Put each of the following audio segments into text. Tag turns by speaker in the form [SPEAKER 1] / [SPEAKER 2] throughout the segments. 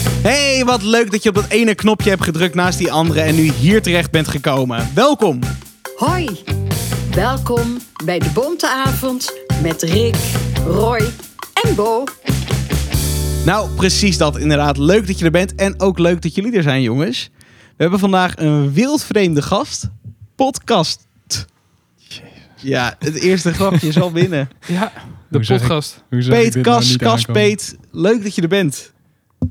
[SPEAKER 1] Hey, wat leuk dat je op dat ene knopje hebt gedrukt naast die andere en nu hier terecht bent gekomen. Welkom.
[SPEAKER 2] Hoi, welkom bij de Bonte Avond met Rick, Roy en Bo.
[SPEAKER 1] Nou, precies dat inderdaad. Leuk dat je er bent en ook leuk dat jullie er zijn, jongens. We hebben vandaag een wildvreemde gast. Podcast. Ja, het eerste grapje is al binnen.
[SPEAKER 3] Ja, de
[SPEAKER 4] Hoe zeg ik-
[SPEAKER 3] podcast.
[SPEAKER 4] Hoe zou ik
[SPEAKER 1] Peet,
[SPEAKER 4] dit nou
[SPEAKER 1] Kas,
[SPEAKER 4] niet
[SPEAKER 1] Kas,
[SPEAKER 4] aankomen?
[SPEAKER 1] Peet. Leuk dat je er bent.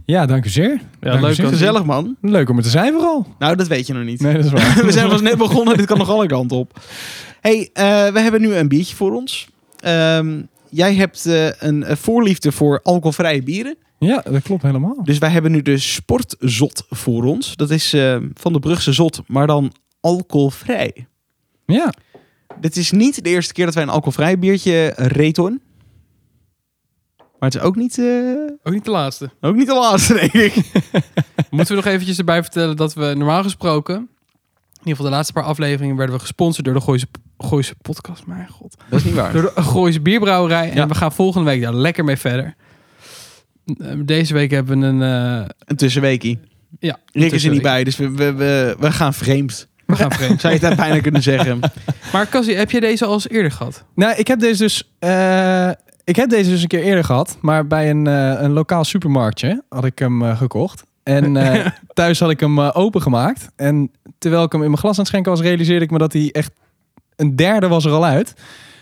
[SPEAKER 4] Ja, dank u zeer. Dank u
[SPEAKER 3] leuk
[SPEAKER 4] zeer.
[SPEAKER 3] dat-
[SPEAKER 1] Gezellig, man.
[SPEAKER 4] Leuk om er te zijn vooral.
[SPEAKER 1] Nou, dat weet je nog niet.
[SPEAKER 4] Nee, dat is waar.
[SPEAKER 1] We zijn pas net begonnen, dit kan nog alle kanten op. hey, eh, we hebben nu een biertje voor ons. Ehm, jij hebt eh, een eh, voorliefde voor alcoholvrije bieren.
[SPEAKER 4] Ja, dat klopt helemaal.
[SPEAKER 1] Dus wij hebben nu de Sportzot voor ons. Dat is eh, van de Brugse Zot, maar dan alcoholvrij.
[SPEAKER 4] Ja,
[SPEAKER 1] Dit is niet de eerste keer dat wij een alcoholvrij biertje eh, reten. Maar het is ook niet, eh,
[SPEAKER 3] Ook niet de laatste.
[SPEAKER 1] ook niet de laatste, denk ik.
[SPEAKER 3] Moeten we nog eventjes erbij vertellen dat we normaal gesproken... in ieder geval de laatste paar afleveringen... werden we gesponsord door de Gooise, Gooise podcast. Mijn god.
[SPEAKER 1] Dat is niet waar.
[SPEAKER 3] Door de Gooise bierbrouwerij. En
[SPEAKER 1] Ja.
[SPEAKER 3] we gaan volgende week daar lekker mee verder. Eh, Deze week hebben we een... eh,
[SPEAKER 1] Een tussenweekie.
[SPEAKER 3] ja,
[SPEAKER 1] Rick is er niet
[SPEAKER 3] tussenweek.
[SPEAKER 1] bij, dus we, we, we, we gaan vreemd.
[SPEAKER 3] We gaan vreemd.
[SPEAKER 1] Zou je het daar bijna kunnen zeggen.
[SPEAKER 3] Maar Cassie, heb jij deze al eens eerder gehad?
[SPEAKER 4] nou, ik heb deze dus, eh, ik heb deze dus een keer eerder gehad. Maar bij een, eh, een lokaal supermarktje had ik hem eh, gekocht. En eh, thuis had ik hem eh, opengemaakt. En terwijl ik hem in mijn glas aan het schenken was, realiseerde ik me dat hij echt een derde was er al uit.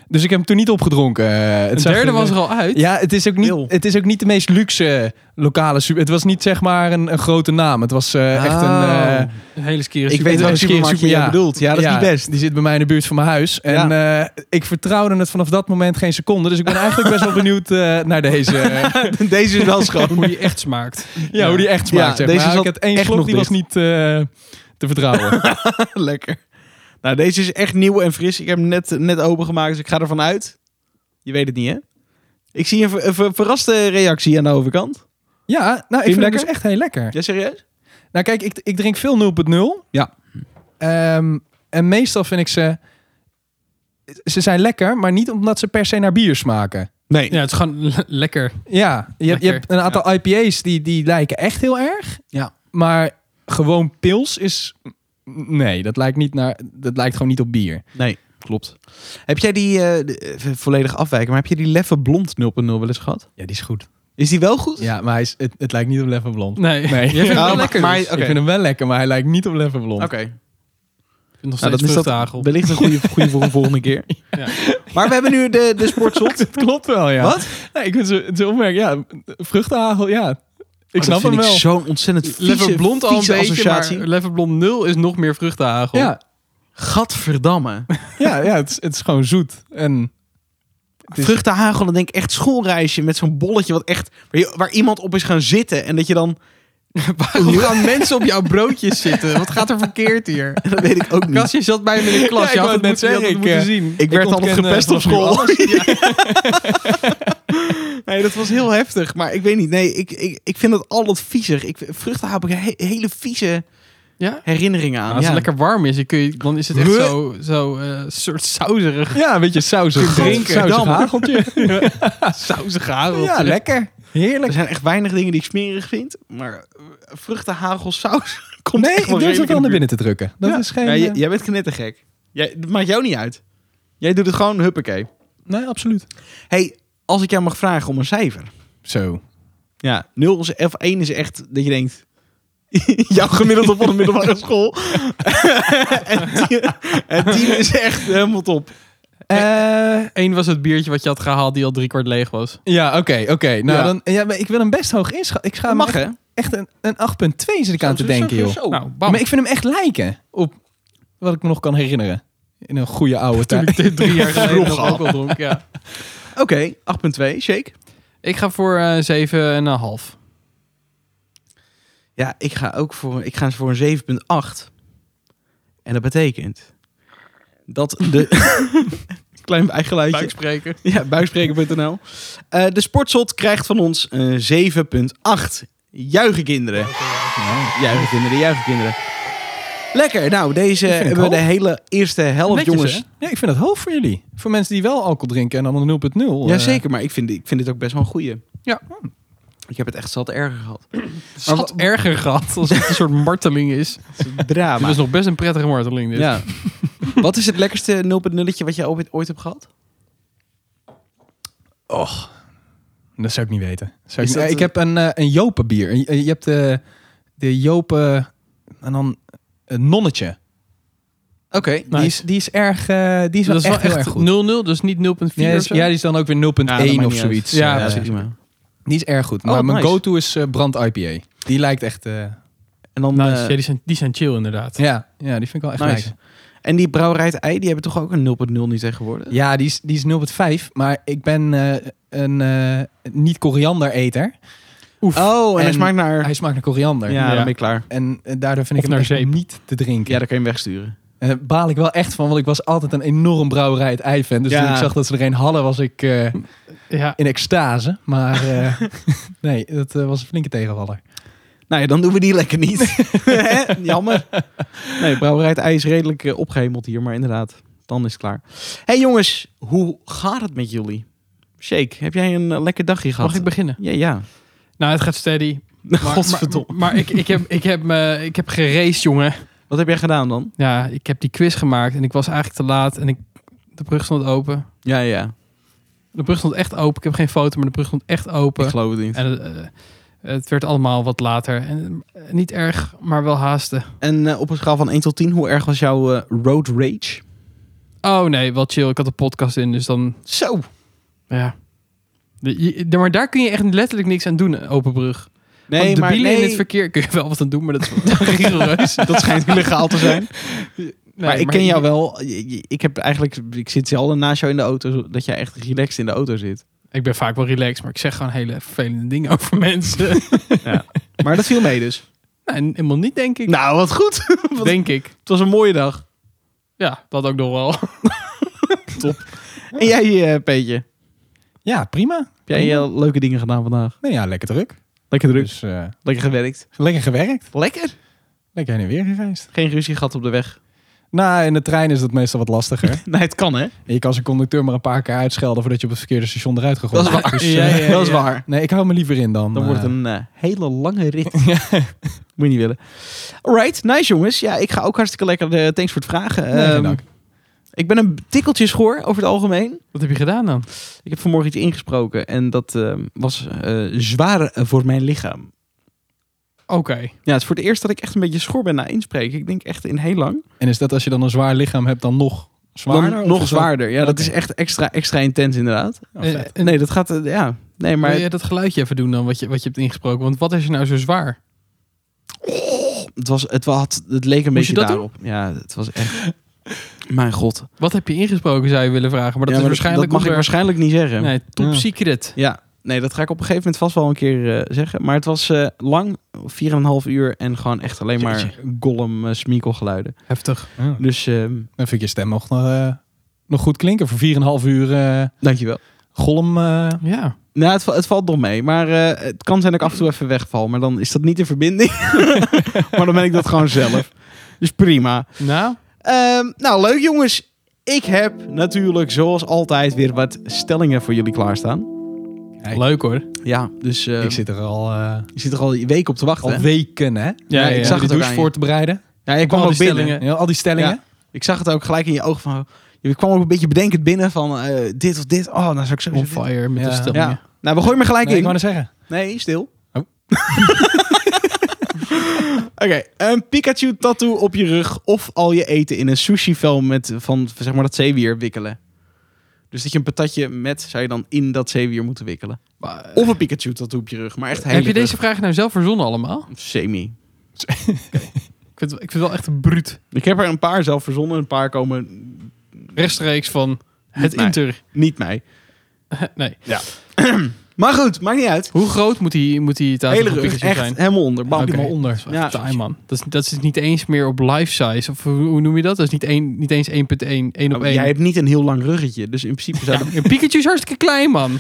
[SPEAKER 4] Dus ik heb hem toen niet opgedronken. Eh, het
[SPEAKER 3] Het
[SPEAKER 4] zag
[SPEAKER 3] derde
[SPEAKER 4] er-
[SPEAKER 3] was er al uit.
[SPEAKER 4] Ja, het is, ook
[SPEAKER 1] Heel.
[SPEAKER 4] niet, het is ook niet de meest luxe lokale super. Het was niet zeg maar een, een grote naam. Het was eh, echt een.
[SPEAKER 1] Oh.
[SPEAKER 4] eh,
[SPEAKER 3] Een hele skere
[SPEAKER 1] Ik weet welke
[SPEAKER 4] een keer
[SPEAKER 1] supermarkt je
[SPEAKER 4] super- ja.
[SPEAKER 1] jij bedoelt. Ja, dat is
[SPEAKER 4] ja,
[SPEAKER 1] niet best.
[SPEAKER 4] Die zit bij mij in de buurt van mijn huis. En eh, ik vertrouwde het vanaf dat moment geen seconde. Dus ik ben eigenlijk best wel benieuwd eh, naar deze. eh,
[SPEAKER 1] Deze is wel schoon.
[SPEAKER 3] Hoe die echt smaakt.
[SPEAKER 4] ja, hoe die echt smaakt.
[SPEAKER 1] Ja,
[SPEAKER 4] zeg
[SPEAKER 1] deze
[SPEAKER 4] maar.
[SPEAKER 1] zat
[SPEAKER 4] ik had één
[SPEAKER 1] echt nog
[SPEAKER 4] slok die was niet eh, te vertrouwen.
[SPEAKER 1] Lekker. Nou, deze is echt nieuw en fris. Ik heb hem net, net opengemaakt, dus ik ga ervan uit. Je weet het niet, hè? Ik zie een, ver- een ver- verraste reactie aan de overkant.
[SPEAKER 4] ja, nou, ik
[SPEAKER 1] je
[SPEAKER 4] vind
[SPEAKER 1] hem
[SPEAKER 4] het
[SPEAKER 1] lekker?
[SPEAKER 4] dus echt heel lekker.
[SPEAKER 1] Ja, serieus?
[SPEAKER 4] Nou, kijk, ik, ik drink veel 0.0.
[SPEAKER 1] Ja.
[SPEAKER 4] Ehm, en meestal vind ik ze. Ze zijn lekker, maar niet omdat ze per se naar bier smaken.
[SPEAKER 1] Nee.
[SPEAKER 3] Ja, het is gewoon le- lekker.
[SPEAKER 4] Ja, je, hebt- je
[SPEAKER 3] Lekker,
[SPEAKER 4] hebt een aantal IPA's die, die lijken echt heel erg.
[SPEAKER 1] Ja.
[SPEAKER 4] Maar gewoon pils is. Nee, dat lijkt, niet naar, dat lijkt gewoon niet op bier.
[SPEAKER 1] Nee, klopt. Heb jij die, eh, de- even volledig afwijken, maar heb je die Leffe Blond 0.0 wel eens gehad?
[SPEAKER 4] Ja, die is goed.
[SPEAKER 1] Is die wel goed?
[SPEAKER 4] Ja, maar hij is, het, het lijkt niet op Level Blond.
[SPEAKER 3] Nee. Je
[SPEAKER 4] Nee.
[SPEAKER 3] vindt het
[SPEAKER 1] Oh,
[SPEAKER 3] wel
[SPEAKER 1] maar-
[SPEAKER 3] lekker.
[SPEAKER 1] maar-
[SPEAKER 3] dus.
[SPEAKER 1] oké.
[SPEAKER 4] Ik vind hem wel lekker, maar hij lijkt niet op Level Blond.
[SPEAKER 1] Oké.
[SPEAKER 3] Ik vind nog
[SPEAKER 1] Nou,
[SPEAKER 3] steeds
[SPEAKER 1] dat is dat
[SPEAKER 3] vruchtagel.
[SPEAKER 1] wellicht een goede, goede voor een volgende keer.
[SPEAKER 3] Ja.
[SPEAKER 1] Maar we hebben nu de, de sportzot.
[SPEAKER 4] Dat klopt wel, ja.
[SPEAKER 1] Wat?
[SPEAKER 4] Nee, ik vind ze, ze opmerken, ja, vruchtenhagel, ja. Ik
[SPEAKER 1] Oh,
[SPEAKER 4] snap
[SPEAKER 1] dat
[SPEAKER 4] hem
[SPEAKER 1] vind
[SPEAKER 4] wel.
[SPEAKER 1] ik zo'n ontzettend vieze,
[SPEAKER 3] Level blond al een
[SPEAKER 1] vieze
[SPEAKER 3] beetje,
[SPEAKER 1] associatie.
[SPEAKER 3] maar level blond 0 is nog meer vruchtenhagel.
[SPEAKER 4] Ja,
[SPEAKER 1] Gadverdamme.
[SPEAKER 4] ja, ja het, is, het is gewoon zoet. En Het is-
[SPEAKER 1] Vruchtenhagel, dan denk ik echt schoolreisje met zo'n bolletje wat echt, waar, je- waar iemand op is gaan zitten. En dat je dan,
[SPEAKER 3] Waarom gaan mensen op jouw broodjes zitten? Wat gaat er verkeerd hier?
[SPEAKER 1] dat weet ik ook niet.
[SPEAKER 3] Kasje zat bij me in de klas.
[SPEAKER 4] Ja, ik
[SPEAKER 3] je had
[SPEAKER 4] wou
[SPEAKER 3] het
[SPEAKER 4] net
[SPEAKER 3] moeten, je had
[SPEAKER 4] zeggen,
[SPEAKER 3] het moeten
[SPEAKER 4] ik,
[SPEAKER 3] zien.
[SPEAKER 1] Ik werd altijd
[SPEAKER 4] ontken, eh,
[SPEAKER 1] gepest op
[SPEAKER 4] vanaf nu
[SPEAKER 1] school.
[SPEAKER 4] alles.
[SPEAKER 1] Nee, dat was heel heftig. Maar ik weet niet. Nee, ik, ik, ik vind dat altijd viezig. Ik, vruchtenhagel heb ik he- hele vieze
[SPEAKER 3] Ja?
[SPEAKER 1] herinneringen aan.
[SPEAKER 3] Nou, als
[SPEAKER 1] ja.
[SPEAKER 3] het lekker warm is, dan, kun je, dan is het echt
[SPEAKER 1] Huh?
[SPEAKER 3] zo, zo eh, soort sauserig.
[SPEAKER 4] Ja, een beetje sausig,
[SPEAKER 3] Drinken.
[SPEAKER 4] sausig
[SPEAKER 1] Dam.
[SPEAKER 4] hageltje.
[SPEAKER 3] Sausig harel.
[SPEAKER 4] Ja, lekker. Heerlijk.
[SPEAKER 1] Er zijn echt weinig dingen die ik smerig vind. Maar eh, vruchtenhagelsaus komt
[SPEAKER 4] Nee,
[SPEAKER 1] echt wel
[SPEAKER 4] ik durf
[SPEAKER 1] redelijk
[SPEAKER 4] het
[SPEAKER 1] in
[SPEAKER 4] wel
[SPEAKER 1] de
[SPEAKER 4] naar
[SPEAKER 1] buurt.
[SPEAKER 4] binnen te drukken. Dat
[SPEAKER 1] Ja.
[SPEAKER 4] is geen...
[SPEAKER 1] Ja, j-
[SPEAKER 4] eh,
[SPEAKER 1] jij bent knettergek. Jij, dat maakt jou niet uit. Jij doet het gewoon huppakee.
[SPEAKER 4] Nee, absoluut.
[SPEAKER 1] hey, als ik jou mag vragen om een cijfer.
[SPEAKER 4] Zo.
[SPEAKER 1] Ja, 0 is, of 1 is echt dat je denkt... jouw gemiddelde van de middelbare school. en 10 en 10 is echt helemaal top.
[SPEAKER 4] Eh,
[SPEAKER 3] Eén was het biertje wat je had gehaald die al driekwart leeg was.
[SPEAKER 4] ja, oké, oké. Nou,
[SPEAKER 1] Ja.
[SPEAKER 4] dan... Ja, maar ik wil hem best hoog inschatten. Ik ga
[SPEAKER 1] Dat
[SPEAKER 4] hem
[SPEAKER 1] mag,
[SPEAKER 4] echt,
[SPEAKER 1] hè?
[SPEAKER 4] echt een, een 8.2 zit ik aan te denken, joh.
[SPEAKER 3] Nou, bam.
[SPEAKER 4] Maar ik vind hem echt lijken op wat ik me nog kan herinneren. In een goede oude
[SPEAKER 3] Toen
[SPEAKER 4] tijd.
[SPEAKER 3] ik dit drie jaar geleden
[SPEAKER 1] Vroeg
[SPEAKER 3] nog
[SPEAKER 1] al.
[SPEAKER 3] ook al dronk. Ja.
[SPEAKER 1] Oké, 8.2, shake.
[SPEAKER 3] Ik ga voor eh, zeven en een half.
[SPEAKER 1] Ja, ik ga ook voor, ik ga voor een 7.8. En dat betekent dat de... Klein bijgeluidje.
[SPEAKER 3] Buikspreker.
[SPEAKER 1] Ja, buikspreken.nl. Eh, de sportzot krijgt van ons eh, een 7.8. Juichen kinderen. Nou, Juichen kinderen, juichen kinderen. Lekker, nou deze
[SPEAKER 4] vind het
[SPEAKER 1] hebben we de
[SPEAKER 4] hoog.
[SPEAKER 1] hele eerste helft,
[SPEAKER 4] Netjes,
[SPEAKER 1] jongens.
[SPEAKER 4] hè? Ja, ik vind dat hoog voor jullie. Voor mensen die wel alcohol drinken en allemaal 0.0. eh,
[SPEAKER 1] Jazeker, maar ik vind, ik vind dit ook best wel een goeie.
[SPEAKER 3] Ja.
[SPEAKER 1] Ik heb het echt zat erger gehad.
[SPEAKER 3] Schat erger gehad. Als het een soort marteling is. Dit
[SPEAKER 1] Drama.
[SPEAKER 3] is nog best een prettige marteling. Dit.
[SPEAKER 1] Ja. wat is het lekkerste 0.0 wat jij ooit, ooit hebt gehad?
[SPEAKER 4] Och, dat zou ik niet weten. Zou ik,
[SPEAKER 1] Is dat
[SPEAKER 4] niet- ik
[SPEAKER 1] een-
[SPEAKER 4] heb een, eh, een Jopenbier. Een- eh, Je hebt de, de Jopen en dan een nonnetje.
[SPEAKER 1] Oké.
[SPEAKER 4] Die,
[SPEAKER 3] Nice.
[SPEAKER 4] is, die is erg, eh, die is
[SPEAKER 3] dat
[SPEAKER 4] wel
[SPEAKER 3] is
[SPEAKER 4] echt,
[SPEAKER 3] wel
[SPEAKER 4] heel erg
[SPEAKER 3] echt 0-0,
[SPEAKER 4] goed.
[SPEAKER 3] dus niet 0,4
[SPEAKER 4] Ja, die
[SPEAKER 3] of
[SPEAKER 4] is,
[SPEAKER 3] zo.
[SPEAKER 4] ja, die is dan ook weer 0.1 of zoiets.
[SPEAKER 1] Ja,
[SPEAKER 3] Ja,
[SPEAKER 4] Eh,
[SPEAKER 1] dat is
[SPEAKER 3] precies.
[SPEAKER 1] prima.
[SPEAKER 4] Die is erg goed.
[SPEAKER 1] Oh,
[SPEAKER 4] Maar mijn
[SPEAKER 1] nice.
[SPEAKER 4] go-to is eh, brand IPA. Die lijkt echt... eh,
[SPEAKER 1] En dan...
[SPEAKER 4] Nou,
[SPEAKER 3] Nice.
[SPEAKER 1] eh,
[SPEAKER 3] Ja, die, zijn, die zijn chill inderdaad.
[SPEAKER 4] ja, ja, die vind ik wel echt
[SPEAKER 1] Nice.
[SPEAKER 4] nice.
[SPEAKER 1] En die brouwerij het Ei, die hebben toch ook een 0.0 nu tegenwoordig?
[SPEAKER 4] Ja, die is, die is 0,5. Maar ik ben eh, een eh, niet-koriander-eter.
[SPEAKER 1] Oh, en, hij
[SPEAKER 4] En
[SPEAKER 1] smaakt naar...
[SPEAKER 4] Hij smaakt naar koriander.
[SPEAKER 1] ja, dan
[SPEAKER 3] Ja.
[SPEAKER 1] ben ik klaar.
[SPEAKER 4] En eh, daardoor vind
[SPEAKER 3] Of
[SPEAKER 4] ik hem
[SPEAKER 3] naar
[SPEAKER 4] echt
[SPEAKER 3] zeep.
[SPEAKER 4] niet te drinken.
[SPEAKER 1] Ja, dan kan je hem wegsturen.
[SPEAKER 4] En daar Eh, baal ik wel echt van, want ik was altijd een enorm brouwerij het ei fan. Dus
[SPEAKER 1] Ja.
[SPEAKER 4] toen ik zag dat ze er een hadden, was ik eh,
[SPEAKER 3] Ja.
[SPEAKER 4] in extase. Maar eh, nee, dat eh, was een flinke tegenvaller.
[SPEAKER 1] Nou ja, dan doen we die lekker niet. Hè? Jammer. Nee, brouwerij het Ei is redelijk eh, opgehemeld hier, maar inderdaad, dan is het klaar. hey, jongens, hoe gaat het met jullie? Shake, heb jij een eh, lekker dagje gehad?
[SPEAKER 3] Mag ik beginnen?
[SPEAKER 1] Ja, ja.
[SPEAKER 3] Nou, het gaat steady. Maar,
[SPEAKER 1] Godverdomme.
[SPEAKER 3] Maar, maar ik, ik, heb, ik, heb, eh, ik heb geraced, jongen.
[SPEAKER 1] Wat heb jij gedaan dan?
[SPEAKER 3] Ja, ik heb die quiz gemaakt en ik was eigenlijk te laat. En ik, de brug stond open.
[SPEAKER 1] Ja, ja.
[SPEAKER 3] De brug stond echt open. Ik heb geen foto, maar de brug stond echt
[SPEAKER 1] Ik
[SPEAKER 3] open.
[SPEAKER 1] geloof het niet. En,
[SPEAKER 3] En eh, het werd allemaal wat later. En, eh, niet erg, maar wel haasten.
[SPEAKER 1] eh, op een schaal van 1 tot 10, hoe erg was jouw eh, road rage?
[SPEAKER 3] Oh nee, wel chill. Ik had de podcast in, dus dan...
[SPEAKER 1] Zo.
[SPEAKER 3] Ja. De- je- de- maar daar kun je echt letterlijk niks aan doen, eh, Openbrug.
[SPEAKER 1] Nee,
[SPEAKER 3] de
[SPEAKER 1] maar nee,
[SPEAKER 3] in het verkeer kun je wel wat aan doen, maar dat is wel rigoureus.
[SPEAKER 1] dat schijnt illegaal te zijn.
[SPEAKER 3] Nee,
[SPEAKER 1] maar ik ken jou wel. Je- je- Ik heb eigenlijk, ik zit zelden naast jou in de auto, zo- dat jij echt relaxed in de auto zit.
[SPEAKER 3] Ik ben vaak wel relaxed, maar ik zeg gewoon hele vervelende dingen over mensen.
[SPEAKER 1] Maar dat viel mee dus.
[SPEAKER 3] nou, en helemaal niet, denk ik.
[SPEAKER 1] Nou, wat goed. wat-
[SPEAKER 3] denk ik.
[SPEAKER 1] Het was een mooie dag.
[SPEAKER 3] Ja, dat ook nog wel.
[SPEAKER 1] En jij, eh Peetje,
[SPEAKER 4] Ja, prima.
[SPEAKER 1] heb jij eh, leuke dingen gedaan vandaag?
[SPEAKER 4] Nee, ja, lekker druk.
[SPEAKER 1] Lekker druk,
[SPEAKER 4] Dus eh,
[SPEAKER 1] lekker gewerkt.
[SPEAKER 4] lekker gewerkt.
[SPEAKER 1] Lekker.
[SPEAKER 4] Lekker heen en weer gereisd.
[SPEAKER 1] Geen ruzie gehad op de weg.
[SPEAKER 4] Nou, in de trein is dat meestal wat lastiger.
[SPEAKER 1] Nee, het kan hè.
[SPEAKER 4] En je kan zijn conducteur maar een paar keer uitschelden voordat je op het verkeerde station eruit gegooid wordt. Dus,
[SPEAKER 3] Ja,
[SPEAKER 4] eh,
[SPEAKER 3] ja,
[SPEAKER 1] dat is
[SPEAKER 3] ja.
[SPEAKER 1] waar.
[SPEAKER 4] Nee, ik hou me liever in dan.
[SPEAKER 1] Dan
[SPEAKER 4] eh,
[SPEAKER 1] wordt het een eh, hele lange rit. Moet je niet willen. Alright, nice jongens. Ja, ik ga ook hartstikke lekker. eh, thanks voor het vragen.
[SPEAKER 4] nee, geen
[SPEAKER 1] Ehm,
[SPEAKER 4] dank.
[SPEAKER 1] ik ben een tikkeltje schoor over het algemeen.
[SPEAKER 3] Wat heb je gedaan dan?
[SPEAKER 1] Ik heb vanmorgen iets ingesproken en dat ehm, was eh, zwaar voor mijn lichaam.
[SPEAKER 3] Oké.
[SPEAKER 1] Ja, het is voor het eerst dat ik echt een beetje schor ben na inspreken. Ik denk echt in heel lang.
[SPEAKER 4] En is dat als je dan een zwaar lichaam hebt, dan nog zwaarder?
[SPEAKER 1] Dan
[SPEAKER 4] Of
[SPEAKER 1] nog
[SPEAKER 4] is dat-
[SPEAKER 1] zwaarder. Ja, dat
[SPEAKER 4] Oké.
[SPEAKER 1] is echt extra, extra intens inderdaad.
[SPEAKER 4] Oh, vet.
[SPEAKER 3] Eh, en-
[SPEAKER 1] Nee, dat gaat... eh, ja, nee, maar
[SPEAKER 3] Wil je dat geluidje even doen dan, wat je, wat je hebt ingesproken? Want wat is er nou zo zwaar?
[SPEAKER 1] het, was, het, had, het leek een
[SPEAKER 3] Moest
[SPEAKER 1] beetje
[SPEAKER 3] je dat doen?
[SPEAKER 1] daarop. Ja, het was echt... mijn god. Maar
[SPEAKER 3] Wat heb je ingesproken, zou je willen vragen? Maar
[SPEAKER 1] ja,
[SPEAKER 3] dat is
[SPEAKER 1] maar dat
[SPEAKER 3] waarschijnlijk...
[SPEAKER 1] mag ik
[SPEAKER 3] onder-
[SPEAKER 1] waarschijnlijk niet zeggen.
[SPEAKER 3] Nee, top
[SPEAKER 4] Ja.
[SPEAKER 3] secret.
[SPEAKER 1] Ja, nee, dat ga ik op een gegeven moment vast wel een keer eh, zeggen. Maar het was eh lang, 4,5 uur en gewoon echt alleen maar golem eh, smiekelgeluiden.
[SPEAKER 3] Heftig.
[SPEAKER 4] Ja.
[SPEAKER 1] Dus ehm
[SPEAKER 4] Dan vind ik je stem nog, eh, nog goed klinken. Voor 4,5 uur eh
[SPEAKER 1] dankjewel.
[SPEAKER 4] golm. eh,
[SPEAKER 3] Ja.
[SPEAKER 1] Nou, het, va- het valt nog mee. Maar eh, het kan zijn dat ik af en toe even wegval. Maar dan is dat niet de verbinding. maar dan ben ik dat gewoon zelf. Dus prima.
[SPEAKER 3] Nou,
[SPEAKER 1] Ehm, nou, leuk jongens. Ik heb natuurlijk zoals altijd weer wat stellingen voor jullie klaarstaan.
[SPEAKER 4] Hey.
[SPEAKER 3] leuk hoor.
[SPEAKER 4] ehm,
[SPEAKER 1] Ja, dus eh,
[SPEAKER 4] ik zit er al, eh,
[SPEAKER 1] je zit er al een week op te wachten.
[SPEAKER 4] al
[SPEAKER 1] hè?
[SPEAKER 4] weken, hè?
[SPEAKER 1] Ja, ik
[SPEAKER 4] Ik
[SPEAKER 1] Ja,
[SPEAKER 4] zag
[SPEAKER 1] die
[SPEAKER 4] het
[SPEAKER 1] douche
[SPEAKER 4] douche voor te bereiden.
[SPEAKER 1] Ja, je kwam
[SPEAKER 3] al
[SPEAKER 1] ook
[SPEAKER 3] die
[SPEAKER 1] binnen.
[SPEAKER 3] stellingen.
[SPEAKER 4] Ja, al die stellingen.
[SPEAKER 1] Ik zag het ook gelijk in je ogen van... Je kwam ook een beetje bedenkend binnen van eh, dit of dit. Oh, nou zou ik zo...
[SPEAKER 3] On fire met de
[SPEAKER 4] Ja.
[SPEAKER 3] stellingen.
[SPEAKER 1] Ja. Nou, we gooien maar gelijk
[SPEAKER 4] Nee, ik
[SPEAKER 1] in.
[SPEAKER 4] wou net zeggen.
[SPEAKER 1] Nee, stil.
[SPEAKER 4] Oh.
[SPEAKER 1] Oké, een Pikachu-tattoo op je rug of al je eten in een sushi-vel met van zeg maar dat zeewier wikkelen. Dus dat je een patatje met zou je dan in dat zeewier moeten wikkelen.
[SPEAKER 3] Maar, eh,
[SPEAKER 1] Of een Pikachu-tattoo op je rug, maar echt hele
[SPEAKER 3] heb je deze vraag nou zelf verzonnen allemaal?
[SPEAKER 1] rug. semi.
[SPEAKER 3] Ik vind, ik vind het wel echt bruut.
[SPEAKER 1] Ik heb er een paar zelf verzonnen, een paar komen
[SPEAKER 3] Rechtstreeks van het
[SPEAKER 1] mij.
[SPEAKER 3] inter.
[SPEAKER 1] niet mij.
[SPEAKER 3] nee.
[SPEAKER 1] Maar goed, maakt niet uit.
[SPEAKER 3] Hoe groot moet die, moet die tafel
[SPEAKER 1] hele
[SPEAKER 3] van
[SPEAKER 1] rug,
[SPEAKER 3] Pikachu
[SPEAKER 1] echt
[SPEAKER 3] zijn?
[SPEAKER 1] helemaal onder. Bam.
[SPEAKER 3] Oké.
[SPEAKER 4] Helemaal onder.
[SPEAKER 1] Ja.
[SPEAKER 3] Ja, taai, man. Dat is, dat is niet eens meer op life size. Of hoe, hoe noem je dat? Dat is niet, één, niet eens 1.1, 1 op
[SPEAKER 1] Maar Oh, Jij
[SPEAKER 3] 1.
[SPEAKER 1] hebt niet een heel lang ruggetje, dus in principe zou dat...
[SPEAKER 3] Pikachu is hartstikke klein, man.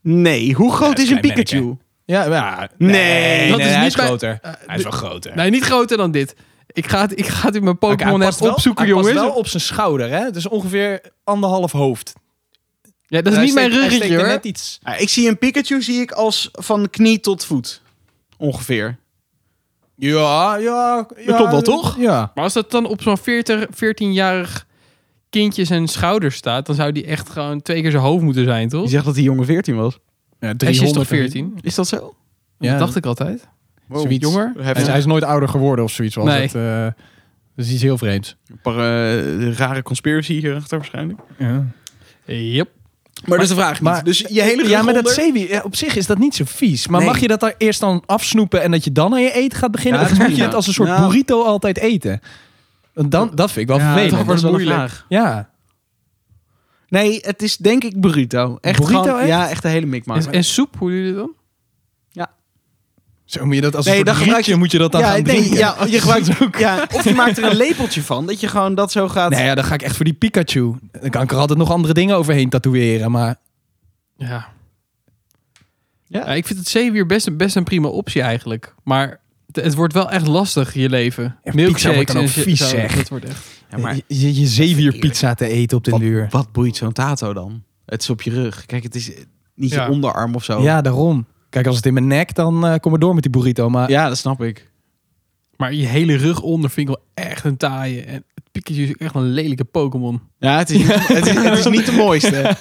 [SPEAKER 1] Nee, hoe groot
[SPEAKER 4] Ja,
[SPEAKER 1] is een
[SPEAKER 4] klein merk, hè.
[SPEAKER 1] Pikachu?
[SPEAKER 4] Ja, ja,
[SPEAKER 1] Nee,
[SPEAKER 3] dat is
[SPEAKER 4] hij
[SPEAKER 3] niet
[SPEAKER 4] is
[SPEAKER 3] bij-
[SPEAKER 4] groter.
[SPEAKER 3] eh,
[SPEAKER 4] hij is wel groter.
[SPEAKER 3] Nee, niet groter dan dit. Ik ga het, ik ga het in mijn
[SPEAKER 4] Oké, hij
[SPEAKER 3] Pokémon
[SPEAKER 4] past
[SPEAKER 3] app
[SPEAKER 4] wel-
[SPEAKER 3] opzoeken,
[SPEAKER 4] hij past
[SPEAKER 3] jongens.
[SPEAKER 4] wel op zijn schouder, hè? Het is ongeveer anderhalf hoofd.
[SPEAKER 3] Ja, dat is niet mijn ruggetje hoor.
[SPEAKER 4] net iets.
[SPEAKER 1] Ja, Ah, ik zie een Pikachu zie ik als van knie tot voet. Ongeveer.
[SPEAKER 4] Ja, ja. Dat
[SPEAKER 1] klopt wel, toch?
[SPEAKER 4] Ja.
[SPEAKER 3] Maar als dat dan op zo'n 40, 14-jarig kindje zijn schouder staat, dan zou die echt gewoon twee keer zijn hoofd moeten zijn,
[SPEAKER 1] Je
[SPEAKER 3] toch?
[SPEAKER 1] zegt dat die jongen 14 was.
[SPEAKER 4] ja
[SPEAKER 3] Hij is toch
[SPEAKER 4] 14?
[SPEAKER 3] 14?
[SPEAKER 1] Is dat zo?
[SPEAKER 4] Ja,
[SPEAKER 3] Dat dacht ik altijd.
[SPEAKER 4] Zoiets.
[SPEAKER 3] Jonger?
[SPEAKER 4] Hij is, hij is nooit ouder geworden of zoiets. Was
[SPEAKER 3] Nee.
[SPEAKER 4] het, eh, dat is iets heel vreemds.
[SPEAKER 1] Een paar eh, rare conspiracy hierachter waarschijnlijk. Maar,
[SPEAKER 3] Yep.
[SPEAKER 1] dat is de vraag
[SPEAKER 4] maar-
[SPEAKER 1] niet. Dus je hele rug
[SPEAKER 4] Ja, maar dat
[SPEAKER 1] onder-
[SPEAKER 4] zeewier, ja, op zich is dat niet zo vies. Maar
[SPEAKER 1] Nee.
[SPEAKER 4] mag je dat daar eerst dan afsnoepen en dat je dan aan je eten gaat beginnen?
[SPEAKER 1] Ja,
[SPEAKER 4] of
[SPEAKER 1] dat is
[SPEAKER 4] moet je
[SPEAKER 1] prima.
[SPEAKER 4] het als een soort
[SPEAKER 1] Nou.
[SPEAKER 4] burrito altijd eten? Want Dan, dat vind ik wel
[SPEAKER 1] Ja,
[SPEAKER 4] vervelend.
[SPEAKER 3] toch
[SPEAKER 1] dat is wel een
[SPEAKER 3] moeilijk.
[SPEAKER 1] vraag.
[SPEAKER 4] Ja,
[SPEAKER 1] Nee, het is denk ik burrito. Echt
[SPEAKER 4] Burrito,
[SPEAKER 1] gewoon-
[SPEAKER 4] echt?
[SPEAKER 1] Ja, echt de hele mikmaak.
[SPEAKER 3] En, en soep, hoe doe je dat dan?
[SPEAKER 4] zo moet je dat als
[SPEAKER 1] Nee,
[SPEAKER 4] een soort
[SPEAKER 1] dan gebruik
[SPEAKER 4] rietje
[SPEAKER 1] je-
[SPEAKER 4] moet je dat dan
[SPEAKER 1] ja,
[SPEAKER 4] gaan
[SPEAKER 1] nee,
[SPEAKER 4] drinken.
[SPEAKER 1] ja, je gebruikt ook. Ja, of je maakt er een lepeltje van, dat je gewoon dat zo gaat.
[SPEAKER 4] Nee, ja, dan ga ik echt voor die Pikachu. Dan kan ik er altijd nog andere dingen overheen tatoeëren. Maar
[SPEAKER 3] Ja.
[SPEAKER 1] Ja.
[SPEAKER 3] Ja. ik vind het zeewier best, best een prima optie eigenlijk. Maar het, het wordt wel echt lastig, je leven.
[SPEAKER 4] pizza wordt dan
[SPEAKER 3] Milkshakes
[SPEAKER 4] ook
[SPEAKER 3] en zo-
[SPEAKER 4] vies,
[SPEAKER 3] zo,
[SPEAKER 4] zeg.
[SPEAKER 3] Dat wordt echt...
[SPEAKER 1] Ja, maar
[SPEAKER 4] je, je, je zeewierpizza te eten op den
[SPEAKER 1] wat,
[SPEAKER 4] duur.
[SPEAKER 1] wat boeit zo'n tato dan? Het is op je rug. Kijk, het is eh, niet
[SPEAKER 3] Ja.
[SPEAKER 1] je onderarm of zo.
[SPEAKER 4] Ja, daarom. Kijk, als het in mijn nek, dan eh, kom ik door met die burrito. Maar
[SPEAKER 1] ja dat snap ik.
[SPEAKER 3] Maar je hele rug onder vind ik wel echt een taaie. En het Pikachu is echt een lelijke Pokémon.
[SPEAKER 1] Ja, het is, niet- Het, is, het is niet de mooiste.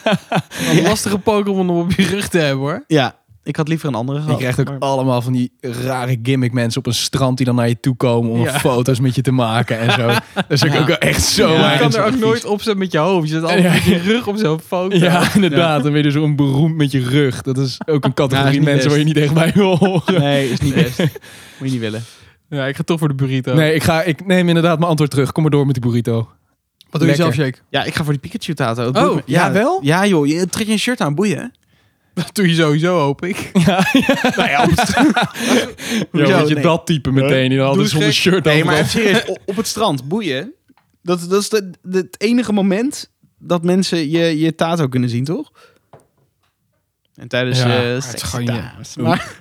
[SPEAKER 3] Een lastige Pokémon om op je rug te hebben hoor.
[SPEAKER 1] Ja, ik had liever een andere
[SPEAKER 4] je
[SPEAKER 1] gehad.
[SPEAKER 4] krijgt ook
[SPEAKER 1] Maar-
[SPEAKER 4] allemaal van die rare gimmick mensen op een strand die dan naar je toe komen om
[SPEAKER 3] Ja.
[SPEAKER 4] foto's met je te maken en zo. Dat is
[SPEAKER 1] Ja.
[SPEAKER 4] ook wel echt zo.
[SPEAKER 1] Ja.
[SPEAKER 3] je
[SPEAKER 4] weinig
[SPEAKER 3] kan er ook
[SPEAKER 4] advies.
[SPEAKER 3] nooit op zitten met je hoofd. Je zit altijd
[SPEAKER 4] Ja.
[SPEAKER 3] met je rug op zo'n foto.
[SPEAKER 4] Ja, inderdaad. Dan ben je zo'n beroemd met je rug. Dat is ook een
[SPEAKER 1] Ja, is
[SPEAKER 4] categorie
[SPEAKER 1] niet
[SPEAKER 4] mensen waar je niet echt bij wil horen.
[SPEAKER 1] Nee, is niet best. Moet je niet willen.
[SPEAKER 3] Ja, ik ga toch voor de burrito.
[SPEAKER 4] Nee, ik, ga, ik neem inderdaad mijn antwoord terug. Kom maar door met die burrito.
[SPEAKER 3] Wat doe je
[SPEAKER 4] Lekker.
[SPEAKER 3] zelf, Jake?
[SPEAKER 1] Ja, ik ga voor die Pikachu-tato. Het
[SPEAKER 3] Oh,
[SPEAKER 1] boeit me-
[SPEAKER 4] ja, wel?
[SPEAKER 1] Ja joh, je, trek je een shirt aan, boeien.
[SPEAKER 3] Dat doe je sowieso, hoop ik. Nou
[SPEAKER 4] Ja,
[SPEAKER 1] Hoezo?
[SPEAKER 4] want je
[SPEAKER 1] Nee.
[SPEAKER 4] dat type meteen. Die dan altijd
[SPEAKER 3] eens
[SPEAKER 4] zonder
[SPEAKER 3] gek.
[SPEAKER 4] shirt
[SPEAKER 1] Nee,
[SPEAKER 4] overal.
[SPEAKER 1] maar even serieus, o- op het strand, boeien. Dat, dat is de- de- het enige moment dat mensen je, je tato kunnen zien, toch? En tijdens
[SPEAKER 3] Ja,
[SPEAKER 1] eh,
[SPEAKER 3] maar het is
[SPEAKER 1] seks-
[SPEAKER 3] gewoon je-
[SPEAKER 1] dames. Maar-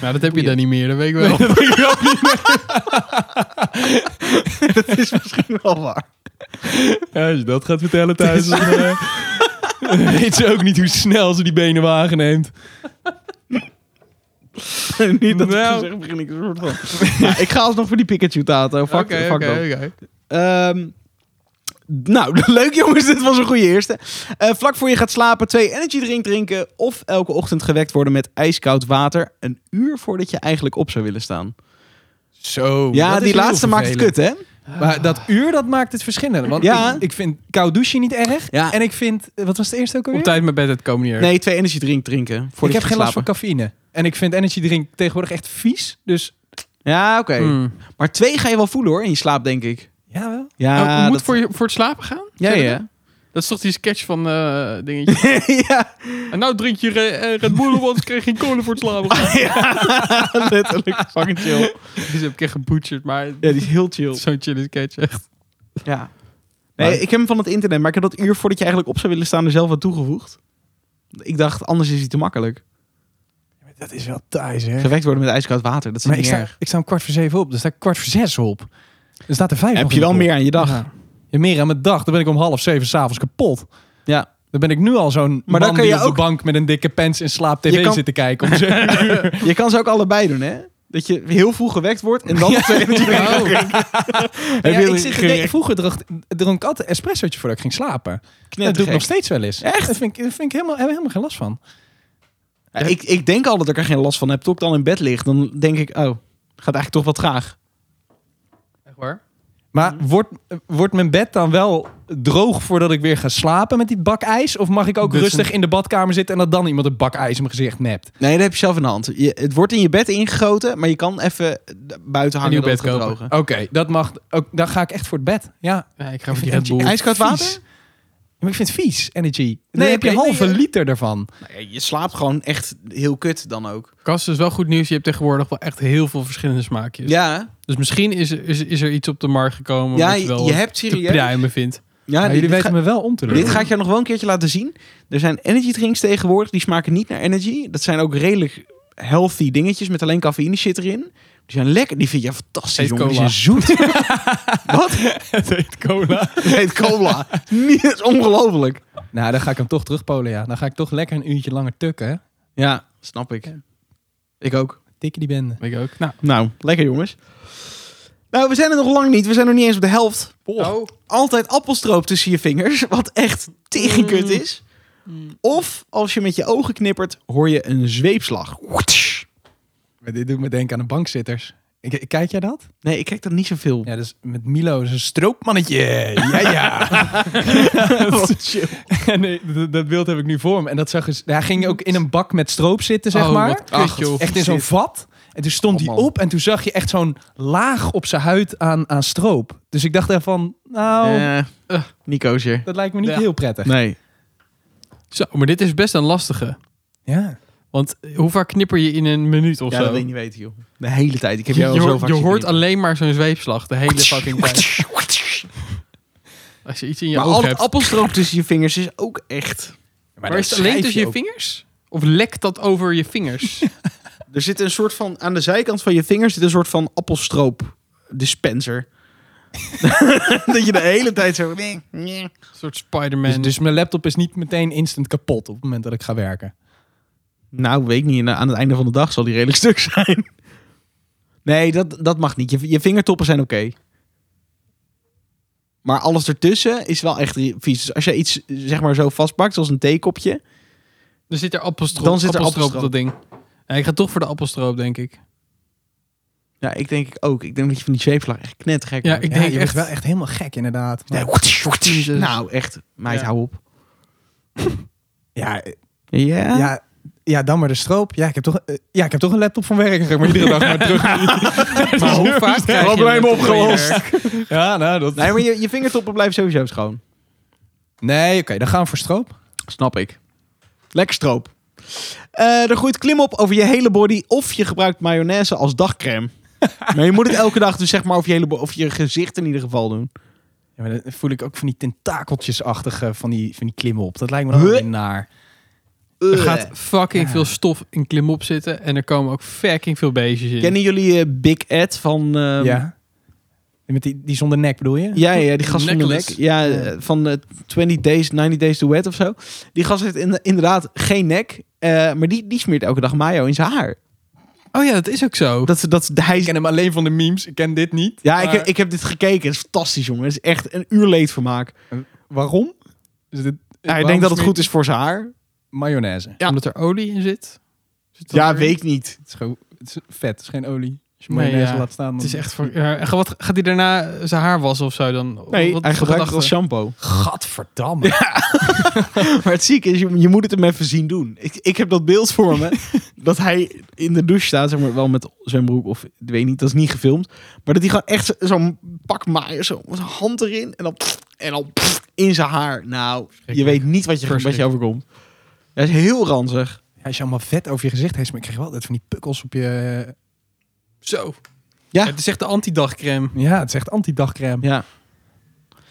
[SPEAKER 3] Nou, dat heb je dan niet meer, dat weet ik wel.
[SPEAKER 1] dat is misschien wel waar.
[SPEAKER 4] Ja, als je dat gaat vertellen thuis, dan eh, dan weet ze ook niet hoe snel ze die benen waarneemt.
[SPEAKER 1] niet dat
[SPEAKER 3] Nou.
[SPEAKER 1] ik zeg, begin ik een soort van. Nou, ik ga alsnog voor die Pikachu-tato. Fuck,
[SPEAKER 3] Oké,
[SPEAKER 1] fuck dat.
[SPEAKER 3] oké, oké.
[SPEAKER 1] Ehm, nou, leuk jongens, dit was een goede eerste. Eh, vlak voor je gaat slapen, twee energy drink drinken of elke ochtend gewekt worden met ijskoud water een uur voordat je eigenlijk op zou willen staan.
[SPEAKER 4] Zo.
[SPEAKER 1] ja, die laatste maakt het kut, hè?
[SPEAKER 4] Maar dat uur, dat maakt het verschillend. Want
[SPEAKER 1] Ja.
[SPEAKER 4] ik, ik vind koud douchen niet erg.
[SPEAKER 1] Ja.
[SPEAKER 4] En ik vind, eh, wat was het eerste ook
[SPEAKER 3] Op
[SPEAKER 4] alweer?
[SPEAKER 3] tijd met bed, het komen niet erg.
[SPEAKER 1] Nee, twee energy drink drinken
[SPEAKER 4] Ik
[SPEAKER 1] voordat
[SPEAKER 4] heb
[SPEAKER 1] je
[SPEAKER 4] geen
[SPEAKER 1] gaat
[SPEAKER 4] last van
[SPEAKER 1] slapen.
[SPEAKER 4] cafeïne. En ik vind energy drink tegenwoordig echt vies. Dus
[SPEAKER 1] Ja, oké.
[SPEAKER 3] Hmm.
[SPEAKER 1] Maar twee ga je wel voelen hoor, in je slaap denk ik.
[SPEAKER 4] ja, wel.
[SPEAKER 1] Ja,
[SPEAKER 3] Oh, moet
[SPEAKER 1] dat-
[SPEAKER 3] voor, je, voor het slapen gaan?
[SPEAKER 1] Ja,
[SPEAKER 3] Zeg je
[SPEAKER 1] ja.
[SPEAKER 3] dat? Dat is toch die sketch van eh dingetje.
[SPEAKER 1] ja,
[SPEAKER 3] en nou drink je re- eh, Red Bull, want anders krijg je geen kolen voor het slapen. gaan.
[SPEAKER 1] letterlijk. Fucking chill.
[SPEAKER 3] Die heb ik echt geboeterd, maar
[SPEAKER 1] Ja, die is heel chill.
[SPEAKER 3] zo'n chille sketch echt.
[SPEAKER 1] Ja. Nee, ik heb hem van het internet, maar ik heb dat uur voordat je eigenlijk op zou willen staan er zelf aan toegevoegd. Ik dacht, anders is hij te makkelijk.
[SPEAKER 4] Dat is wel thuis, hè.
[SPEAKER 1] Gewekt worden met ijskoud water, dat is
[SPEAKER 4] Maar
[SPEAKER 1] niet
[SPEAKER 4] ik sta,
[SPEAKER 1] erg.
[SPEAKER 4] ik sta om kwart voor zeven op. Dan sta ik kwart voor zes op. Dan staat er vijf
[SPEAKER 1] Heb
[SPEAKER 4] nog
[SPEAKER 1] je
[SPEAKER 4] niet
[SPEAKER 1] wel
[SPEAKER 4] op.
[SPEAKER 1] meer aan je dag.
[SPEAKER 4] Ja. Ja, meer aan mijn dag. Dan ben ik om half zeven s'avonds kapot.
[SPEAKER 1] Ja.
[SPEAKER 4] Dan ben ik nu al zo'n
[SPEAKER 1] dan
[SPEAKER 4] man
[SPEAKER 1] kan
[SPEAKER 4] die
[SPEAKER 1] je
[SPEAKER 4] op
[SPEAKER 1] ook-
[SPEAKER 4] de bank met een dikke pens in slaap tv
[SPEAKER 1] Je kan-
[SPEAKER 4] zit te kijken. Om zeven uur.
[SPEAKER 1] Je kan ze ook allebei doen, hè? Dat je heel vroeg gewekt wordt en dan...
[SPEAKER 4] Ja,
[SPEAKER 1] je
[SPEAKER 4] ik
[SPEAKER 1] een
[SPEAKER 4] zit te
[SPEAKER 1] gere-
[SPEAKER 4] denken, vroeger dronk, dronk ik altijd een espressootje voordat ik ging slapen. dat doe ik nog steeds wel eens. Echt? Dat vind ik, dat vind ik helemaal, heb ik helemaal geen last van.
[SPEAKER 1] Ja, ik, ik denk al dat ik er geen last van heb. Tot ik dan in bed lig, dan denk ik, oh, gaat eigenlijk toch wat graag.
[SPEAKER 3] Echt waar?
[SPEAKER 4] Maar
[SPEAKER 1] Mm.
[SPEAKER 4] wordt, wordt mijn bed dan wel droog voordat ik weer ga slapen met die bak ijs? Of mag ik ook
[SPEAKER 3] Dus
[SPEAKER 4] rustig in de badkamer zitten en dat dan iemand een bak ijs in mijn gezicht nept?
[SPEAKER 1] Nee, dat heb je zelf in de hand. Je- het wordt in je bed ingegoten, maar je kan even d- buiten hangen
[SPEAKER 3] nieuw
[SPEAKER 1] dat
[SPEAKER 3] bed
[SPEAKER 1] het gaat
[SPEAKER 3] kopen.
[SPEAKER 1] drogen.
[SPEAKER 4] Oké, dat mag. Ook, dan ga ik echt voor het bed. Ja.
[SPEAKER 3] Nee, ik ga voor
[SPEAKER 4] Ik vind
[SPEAKER 3] die Red Bull.
[SPEAKER 4] energy-
[SPEAKER 1] Ijskoud water?
[SPEAKER 4] Vies. Ja, maar ik vind het vies, energy. Nee,
[SPEAKER 1] Nee,
[SPEAKER 4] heb je een
[SPEAKER 1] oké, nee,
[SPEAKER 4] halve
[SPEAKER 1] eh.
[SPEAKER 4] liter daarvan.
[SPEAKER 1] Nou ja, je slaapt gewoon echt heel kut dan ook.
[SPEAKER 3] Kast is wel goed nieuws. Je hebt tegenwoordig wel echt heel veel verschillende smaakjes.
[SPEAKER 1] Ja,
[SPEAKER 3] Dus misschien is, er- is, is er iets op de markt gekomen
[SPEAKER 1] ja
[SPEAKER 3] wat je
[SPEAKER 1] je,
[SPEAKER 3] wel
[SPEAKER 1] je hebt
[SPEAKER 3] te
[SPEAKER 1] serieus...
[SPEAKER 3] pruimen vindt.
[SPEAKER 1] Ja,
[SPEAKER 4] Maar
[SPEAKER 1] dit-
[SPEAKER 4] jullie
[SPEAKER 1] dit,
[SPEAKER 4] weten me wel om te
[SPEAKER 1] ga,
[SPEAKER 4] doen.
[SPEAKER 1] dit ga ik jou nog wel een keertje laten zien. Er zijn energy drinks tegenwoordig, die smaken niet naar energy. Dat zijn ook redelijk healthy dingetjes met alleen cafeïne shit erin. Die zijn lekker. Die vind je fantastisch,
[SPEAKER 3] Heet
[SPEAKER 1] jongen. Die
[SPEAKER 3] cola.
[SPEAKER 1] zijn zoet. Wat?
[SPEAKER 3] Het heet cola.
[SPEAKER 1] Heet cola. Niet dat is ongelooflijk.
[SPEAKER 4] Nou, dan ga ik hem toch terugpolen, ja. Dan ga ik toch lekker een uurtje langer tukken, hè.
[SPEAKER 1] Ja, snap ik. Ik ook.
[SPEAKER 4] Tikken die bende.
[SPEAKER 3] Ik ook. Nou,
[SPEAKER 1] Nou, lekker jongens. Nou, we zijn er nog lang niet. We zijn nog niet eens op de helft.
[SPEAKER 3] oh.
[SPEAKER 1] Altijd appelstroop tussen je vingers, wat echt
[SPEAKER 3] Mm.
[SPEAKER 1] tegenkut is. Of als je met je ogen knippert, hoor je een zweepslag.
[SPEAKER 4] Maar dit doet me denken aan de bankzitters. Ik, ik- kijk jij dat?
[SPEAKER 1] Nee, ik kijk dat niet zoveel.
[SPEAKER 4] Ja, dus met Milo is een stroopmannetje. Ja, ja.
[SPEAKER 3] Oh.
[SPEAKER 1] Wat chill.
[SPEAKER 4] nee, dat, dat beeld heb ik nu voor me. En dat zag eens... Hij ging ook in een bak met stroop zitten, zeg
[SPEAKER 3] Oh,
[SPEAKER 4] maar.
[SPEAKER 3] wat kut,
[SPEAKER 4] Ach,
[SPEAKER 3] joh.
[SPEAKER 4] Echt in zo'n vat. En toen stond
[SPEAKER 1] Oh,
[SPEAKER 4] hij
[SPEAKER 1] man.
[SPEAKER 4] op en toen zag je echt zo'n laag op zijn huid aan, aan stroop. Dus ik dacht daarvan,
[SPEAKER 3] Oh.
[SPEAKER 4] nou,
[SPEAKER 1] Eh, Nico's hier.
[SPEAKER 4] dat lijkt me niet
[SPEAKER 3] Ja.
[SPEAKER 4] heel prettig.
[SPEAKER 1] Nee.
[SPEAKER 3] Zo, maar dit is best een lastige.
[SPEAKER 4] Ja.
[SPEAKER 3] Want hoe vaak knipper je in een minuut of
[SPEAKER 1] Ja,
[SPEAKER 3] zo?
[SPEAKER 1] dat wil ik niet weten, joh. De hele tijd. Ik heb
[SPEAKER 3] je,
[SPEAKER 1] je, al zo
[SPEAKER 3] hoort-
[SPEAKER 1] vaak
[SPEAKER 3] je
[SPEAKER 1] zien
[SPEAKER 3] hoort
[SPEAKER 1] knippen.
[SPEAKER 3] alleen maar zo'n zweepslag de hele fucking tijd. Als je iets in je
[SPEAKER 1] Maar
[SPEAKER 3] oog
[SPEAKER 1] al
[SPEAKER 3] hebt.
[SPEAKER 1] dat appelstroop tussen je vingers is ook echt...
[SPEAKER 3] Maar, is het alleen tussen je, vingers? Of lekt dat over je vingers?
[SPEAKER 1] Er zit een soort van... Aan de zijkant van je vingers zit een soort van appelstroop dispenser. dat je de hele tijd zo...
[SPEAKER 3] een soort Spider-Man.
[SPEAKER 4] Dus, dus mijn laptop is niet meteen instant kapot op het moment dat ik ga werken.
[SPEAKER 1] Nou, weet ik niet. Na- Aan het einde van de dag zal die redelijk stuk zijn. Nee, dat, dat mag niet. Je, je vingertoppen zijn oké. Maar alles ertussen is wel echt ri- vies. Dus als jij iets eh, zeg maar zo vastpakt, zoals een theekopje...
[SPEAKER 3] Dan zit er appelstroop,
[SPEAKER 1] Dan zit er
[SPEAKER 3] appelstroop op dat ding. Ja, ik ga toch voor de appelstroop, denk ik.
[SPEAKER 1] Ja, ik denk ik ook. Ik denk dat je van die zweepslag echt knettergek
[SPEAKER 3] Ja,
[SPEAKER 1] wordt.
[SPEAKER 3] ik denk
[SPEAKER 4] je
[SPEAKER 3] echt...
[SPEAKER 4] wordt wel echt helemaal gek inderdaad. Maar-
[SPEAKER 1] Nee, woetisch, woetisch.
[SPEAKER 3] Jezus.
[SPEAKER 1] Nou, echt. Meid,
[SPEAKER 3] Ja.
[SPEAKER 1] hou op.
[SPEAKER 4] Ja,
[SPEAKER 1] Ja?
[SPEAKER 4] ja, ja, dan maar de stroop. Ja, ik heb toch, eh, ja, ik heb toch een laptop van werk. Ik ga maar iedere dag maar terug.
[SPEAKER 3] Maar hoe vaak krijg je
[SPEAKER 4] probleem
[SPEAKER 3] het op je
[SPEAKER 4] opgelost.
[SPEAKER 3] werk?
[SPEAKER 4] Ja, nou, dat...
[SPEAKER 1] Nee, maar je, je vingertoppen blijven sowieso schoon.
[SPEAKER 4] Nee, oké, dan gaan we voor stroop.
[SPEAKER 1] Snap ik. Lekker stroop. Eh, er groeit klimop over je hele body of je gebruikt mayonaise als dagcreme. maar je moet het elke dag dus zeg maar over je, hele bo- of je gezicht in ieder geval doen.
[SPEAKER 4] Ja, maar dan voel ik ook van die tentakeltjesachtige van die, van die klimmen op. Dat lijkt me dan
[SPEAKER 1] Huh?
[SPEAKER 4] weer naar.
[SPEAKER 3] Er
[SPEAKER 1] Ugh.
[SPEAKER 3] gaat fucking
[SPEAKER 4] Ja.
[SPEAKER 3] veel stof in klimop zitten. En er komen ook fucking veel beestjes in.
[SPEAKER 1] Kennen jullie eh, Big Ed van... ehm,
[SPEAKER 4] ja. Met die, die zonder nek bedoel je?
[SPEAKER 1] Ja, ja, die gast van de nek.
[SPEAKER 3] Necklace.
[SPEAKER 1] Ja, eh, van eh, 20 days, 90 days to wet of zo. Die gast heeft in- inderdaad geen nek. eh, maar die, die smeert elke dag mayo in zijn haar.
[SPEAKER 3] Oh ja, dat is ook zo.
[SPEAKER 1] Dat, dat, hij,
[SPEAKER 4] Ik ken hem alleen van de memes. Ik ken dit niet.
[SPEAKER 1] Ja, ik,
[SPEAKER 4] Maar-
[SPEAKER 1] heb- ik heb dit gekeken. Het is fantastisch, jongen. Het is echt een uur leedvermaak.
[SPEAKER 4] Waarom? Is dit,
[SPEAKER 1] Ja, ik denk dat het goed is voor zijn haar.
[SPEAKER 4] Mayonaise.
[SPEAKER 1] Ja.
[SPEAKER 3] Omdat er olie in zit. Zit dat
[SPEAKER 1] Ja,
[SPEAKER 3] erin?
[SPEAKER 1] weet ik niet.
[SPEAKER 4] Het is, gewoon, het is vet, het is geen olie. Als je
[SPEAKER 3] Nee,
[SPEAKER 4] mayonaise
[SPEAKER 3] ja.
[SPEAKER 4] laat staan, dan...
[SPEAKER 3] Het
[SPEAKER 1] Hm.
[SPEAKER 3] is echt voor... ja, en wat, gaat hij daarna zijn haar wassen of zo dan?
[SPEAKER 1] Nee,
[SPEAKER 3] Wat-
[SPEAKER 1] hij
[SPEAKER 3] wat
[SPEAKER 1] gebruikt het
[SPEAKER 3] gedachte?
[SPEAKER 1] als shampoo.
[SPEAKER 4] Gadverdamme.
[SPEAKER 1] Maar het zieke is, je, je moet het hem even zien doen. Ik, ik heb dat beeld voor me. dat hij in de douche staat, zeg maar, wel met zijn broek of ik weet niet, dat is niet gefilmd. Maar dat hij gewoon echt zo- zo'n pak maaier, zo, met zijn hand erin en dan, en dan in zijn haar. Nou, je weet niet wat je, wat je
[SPEAKER 3] Verschrikkelijk.
[SPEAKER 1] overkomt. Hij is heel ranzig.
[SPEAKER 4] Ja, als je allemaal vet over je gezicht heeft, maar ik krijg wel dat van die pukkels op je. eh,
[SPEAKER 3] Zo.
[SPEAKER 1] Ja.
[SPEAKER 3] Ja. Het is echt de antidagcreme.
[SPEAKER 4] Ja, het is echt anti-dagcreme.
[SPEAKER 1] Ja.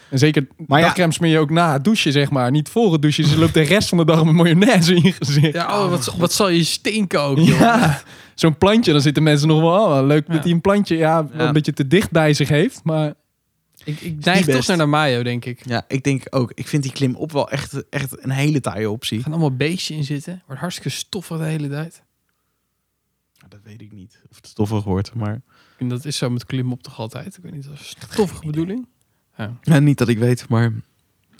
[SPEAKER 4] En zeker
[SPEAKER 1] Maar ja-
[SPEAKER 4] dagcreme smeer je ook na het douchen, zeg maar. Niet voor het douchen. Dus je loopt de rest van de dag met mayonaise in je gezicht.
[SPEAKER 3] Ja, oh, wat, wat zal je stinken ook, joh.
[SPEAKER 4] Ja, zo'n plantje, dan zitten mensen nog wel. oh, wel leuk
[SPEAKER 3] Ja.
[SPEAKER 4] dat hij een plantje, ja, wel
[SPEAKER 1] Ja.
[SPEAKER 4] een beetje te dicht bij zich heeft. Maar
[SPEAKER 3] Ik, ik neig toch
[SPEAKER 1] best.
[SPEAKER 3] naar de mayo, denk ik.
[SPEAKER 1] Ja, ik denk ook. Ik vind die klim op wel echt, echt een hele taaie optie.
[SPEAKER 3] Er gaan allemaal beestjes in zitten. Wordt hartstikke stoffig de hele tijd.
[SPEAKER 1] Ja, Dat weet ik niet. Of het stoffig wordt, maar...
[SPEAKER 3] En dat is zo met klimop toch altijd. Ik weet niet, dat is een stoffige bedoeling.
[SPEAKER 1] Ja, niet dat ik weet, maar...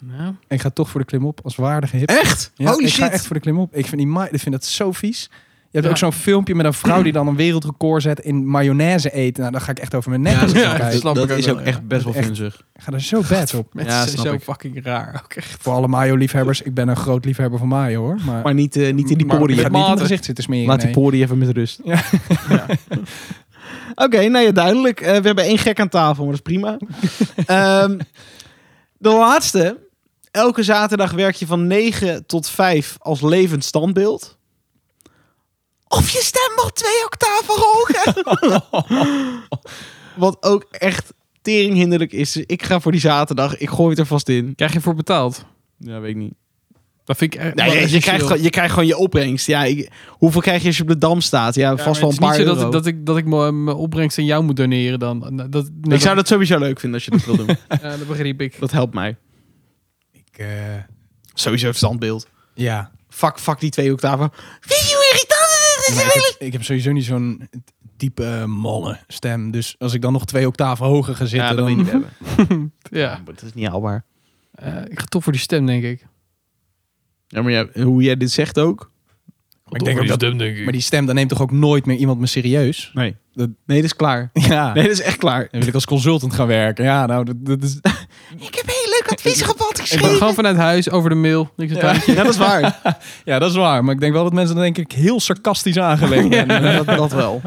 [SPEAKER 3] Ja.
[SPEAKER 4] ik ga toch voor de klim op als waardige hip.
[SPEAKER 1] Echt?
[SPEAKER 4] Ja,
[SPEAKER 1] Holy
[SPEAKER 4] ik
[SPEAKER 1] shit.
[SPEAKER 4] ga echt voor de klim op. Ik vind, die ma- ik vind dat zo vies. Je hebt
[SPEAKER 3] Ja.
[SPEAKER 4] ook zo'n filmpje met een vrouw die dan een wereldrecord zet in mayonaise eten. Nou, dan ga ik echt over mijn nek.
[SPEAKER 1] Ja,
[SPEAKER 4] als ik
[SPEAKER 1] dat
[SPEAKER 4] zo
[SPEAKER 1] is-
[SPEAKER 4] kijk.
[SPEAKER 3] dat snap
[SPEAKER 1] dat
[SPEAKER 3] ik ook
[SPEAKER 1] is
[SPEAKER 3] wel,
[SPEAKER 1] ook
[SPEAKER 3] ja.
[SPEAKER 1] echt best wel
[SPEAKER 4] Echt.
[SPEAKER 1] vunzig.
[SPEAKER 4] Ik ga er zo bad op.
[SPEAKER 3] Mensen
[SPEAKER 1] Ja,
[SPEAKER 3] zijn
[SPEAKER 1] snap
[SPEAKER 3] zo
[SPEAKER 1] ik.
[SPEAKER 3] fucking raar. Ook echt.
[SPEAKER 4] Voor alle mayo-liefhebbers, ik ben een groot liefhebber van mayo hoor. Maar,
[SPEAKER 1] Maar niet, eh, niet in die
[SPEAKER 3] Maar-
[SPEAKER 1] poriën.
[SPEAKER 4] ik ga
[SPEAKER 3] met
[SPEAKER 4] niet in mijn
[SPEAKER 3] mate.
[SPEAKER 4] gezicht zitten smeren.
[SPEAKER 1] Laat
[SPEAKER 4] nee.
[SPEAKER 1] die poriën even met rust.
[SPEAKER 4] Ja.
[SPEAKER 1] Oké, nou ja, duidelijk. Eh, we hebben één gek aan tafel, maar dat is prima. Ehm, de laatste. Elke zaterdag werk je van 9 tot 5 als levend standbeeld. Of je stem mag twee octaven hoger. Wat ook echt teringhinderlijk is. Dus ik ga voor die zaterdag. Ik gooi het er vast in.
[SPEAKER 3] Krijg je voor betaald?
[SPEAKER 1] Ja, weet ik niet.
[SPEAKER 3] Dat vind ik echt
[SPEAKER 1] Nee,
[SPEAKER 3] wel
[SPEAKER 1] je, je,
[SPEAKER 3] essentieel.
[SPEAKER 1] krijgt, gewoon- je krijgt gewoon je opbrengst. Ja, ik- hoeveel krijg je als je op de dam staat? Ja,
[SPEAKER 3] Ja,
[SPEAKER 1] vast
[SPEAKER 3] maar
[SPEAKER 1] wel een paar
[SPEAKER 3] Het is niet zo
[SPEAKER 1] euro.
[SPEAKER 3] dat, ik- dat ik, dat ik mijn mijn opbrengst aan jou moet doneren dan. Nou, Dat, dat,
[SPEAKER 1] ik zou dat sowieso leuk vinden als je dat wil doen.
[SPEAKER 3] Ja, dat begreep ik.
[SPEAKER 1] Dat helpt mij.
[SPEAKER 4] Ik, eh,
[SPEAKER 1] Sowieso standbeeld.
[SPEAKER 4] ja.
[SPEAKER 1] Fuck, fuck die twee octaven.
[SPEAKER 4] Maar ik, heb, ik heb sowieso niet zo'n diepe eh, malle stem. Dus als ik dan nog twee octaven hoger ga zitten,
[SPEAKER 1] ja, dat
[SPEAKER 4] dan...
[SPEAKER 1] wil je niet hebben.
[SPEAKER 3] Ja.
[SPEAKER 1] Dat is niet haalbaar.
[SPEAKER 3] Eh, ik ga toch voor die stem, denk ik.
[SPEAKER 1] Ja, maar jij- hoe jij dit zegt ook.
[SPEAKER 4] ik denk ook dat-
[SPEAKER 3] stem, denk ik.
[SPEAKER 4] Maar die stem, dan neemt toch ook nooit meer iemand me serieus?
[SPEAKER 1] Nee.
[SPEAKER 4] Dat-
[SPEAKER 1] Nee, dat is klaar.
[SPEAKER 4] Ja.
[SPEAKER 1] Nee, dat is echt klaar.
[SPEAKER 4] Dan wil ik als consultant gaan werken. Ja, nou, dat, dat is...
[SPEAKER 1] Ik heb heel leuk advies gehad
[SPEAKER 3] ik ben gewoon vanuit huis, over de mail. Niks aan
[SPEAKER 1] Ja, dat is waar.
[SPEAKER 4] ja, dat is waar. Maar ik denk wel dat mensen dan denk ik heel sarcastisch aangelegd zijn.
[SPEAKER 1] dat, dat wel.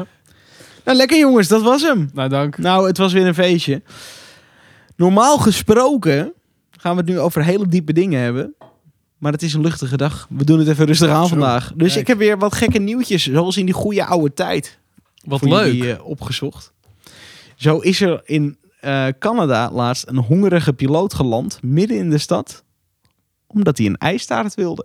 [SPEAKER 1] Nou, lekker jongens, dat was hem.
[SPEAKER 3] Nou, dank.
[SPEAKER 1] Nou, het was weer een feestje. Normaal gesproken gaan we het nu over hele diepe dingen hebben. Maar het is een luchtige dag. We doen het even rustig aan
[SPEAKER 4] Zo,
[SPEAKER 1] vandaag. Dus
[SPEAKER 4] kijk.
[SPEAKER 1] ik heb weer wat gekke nieuwtjes, zoals in die goede oude tijd.
[SPEAKER 3] Wat
[SPEAKER 1] voor
[SPEAKER 3] leuk.
[SPEAKER 1] jullie, eh, opgezocht. Zo is er in eh, Canada laatst een hongerige piloot geland, midden in de stad. Omdat hij een ijstaart wilde.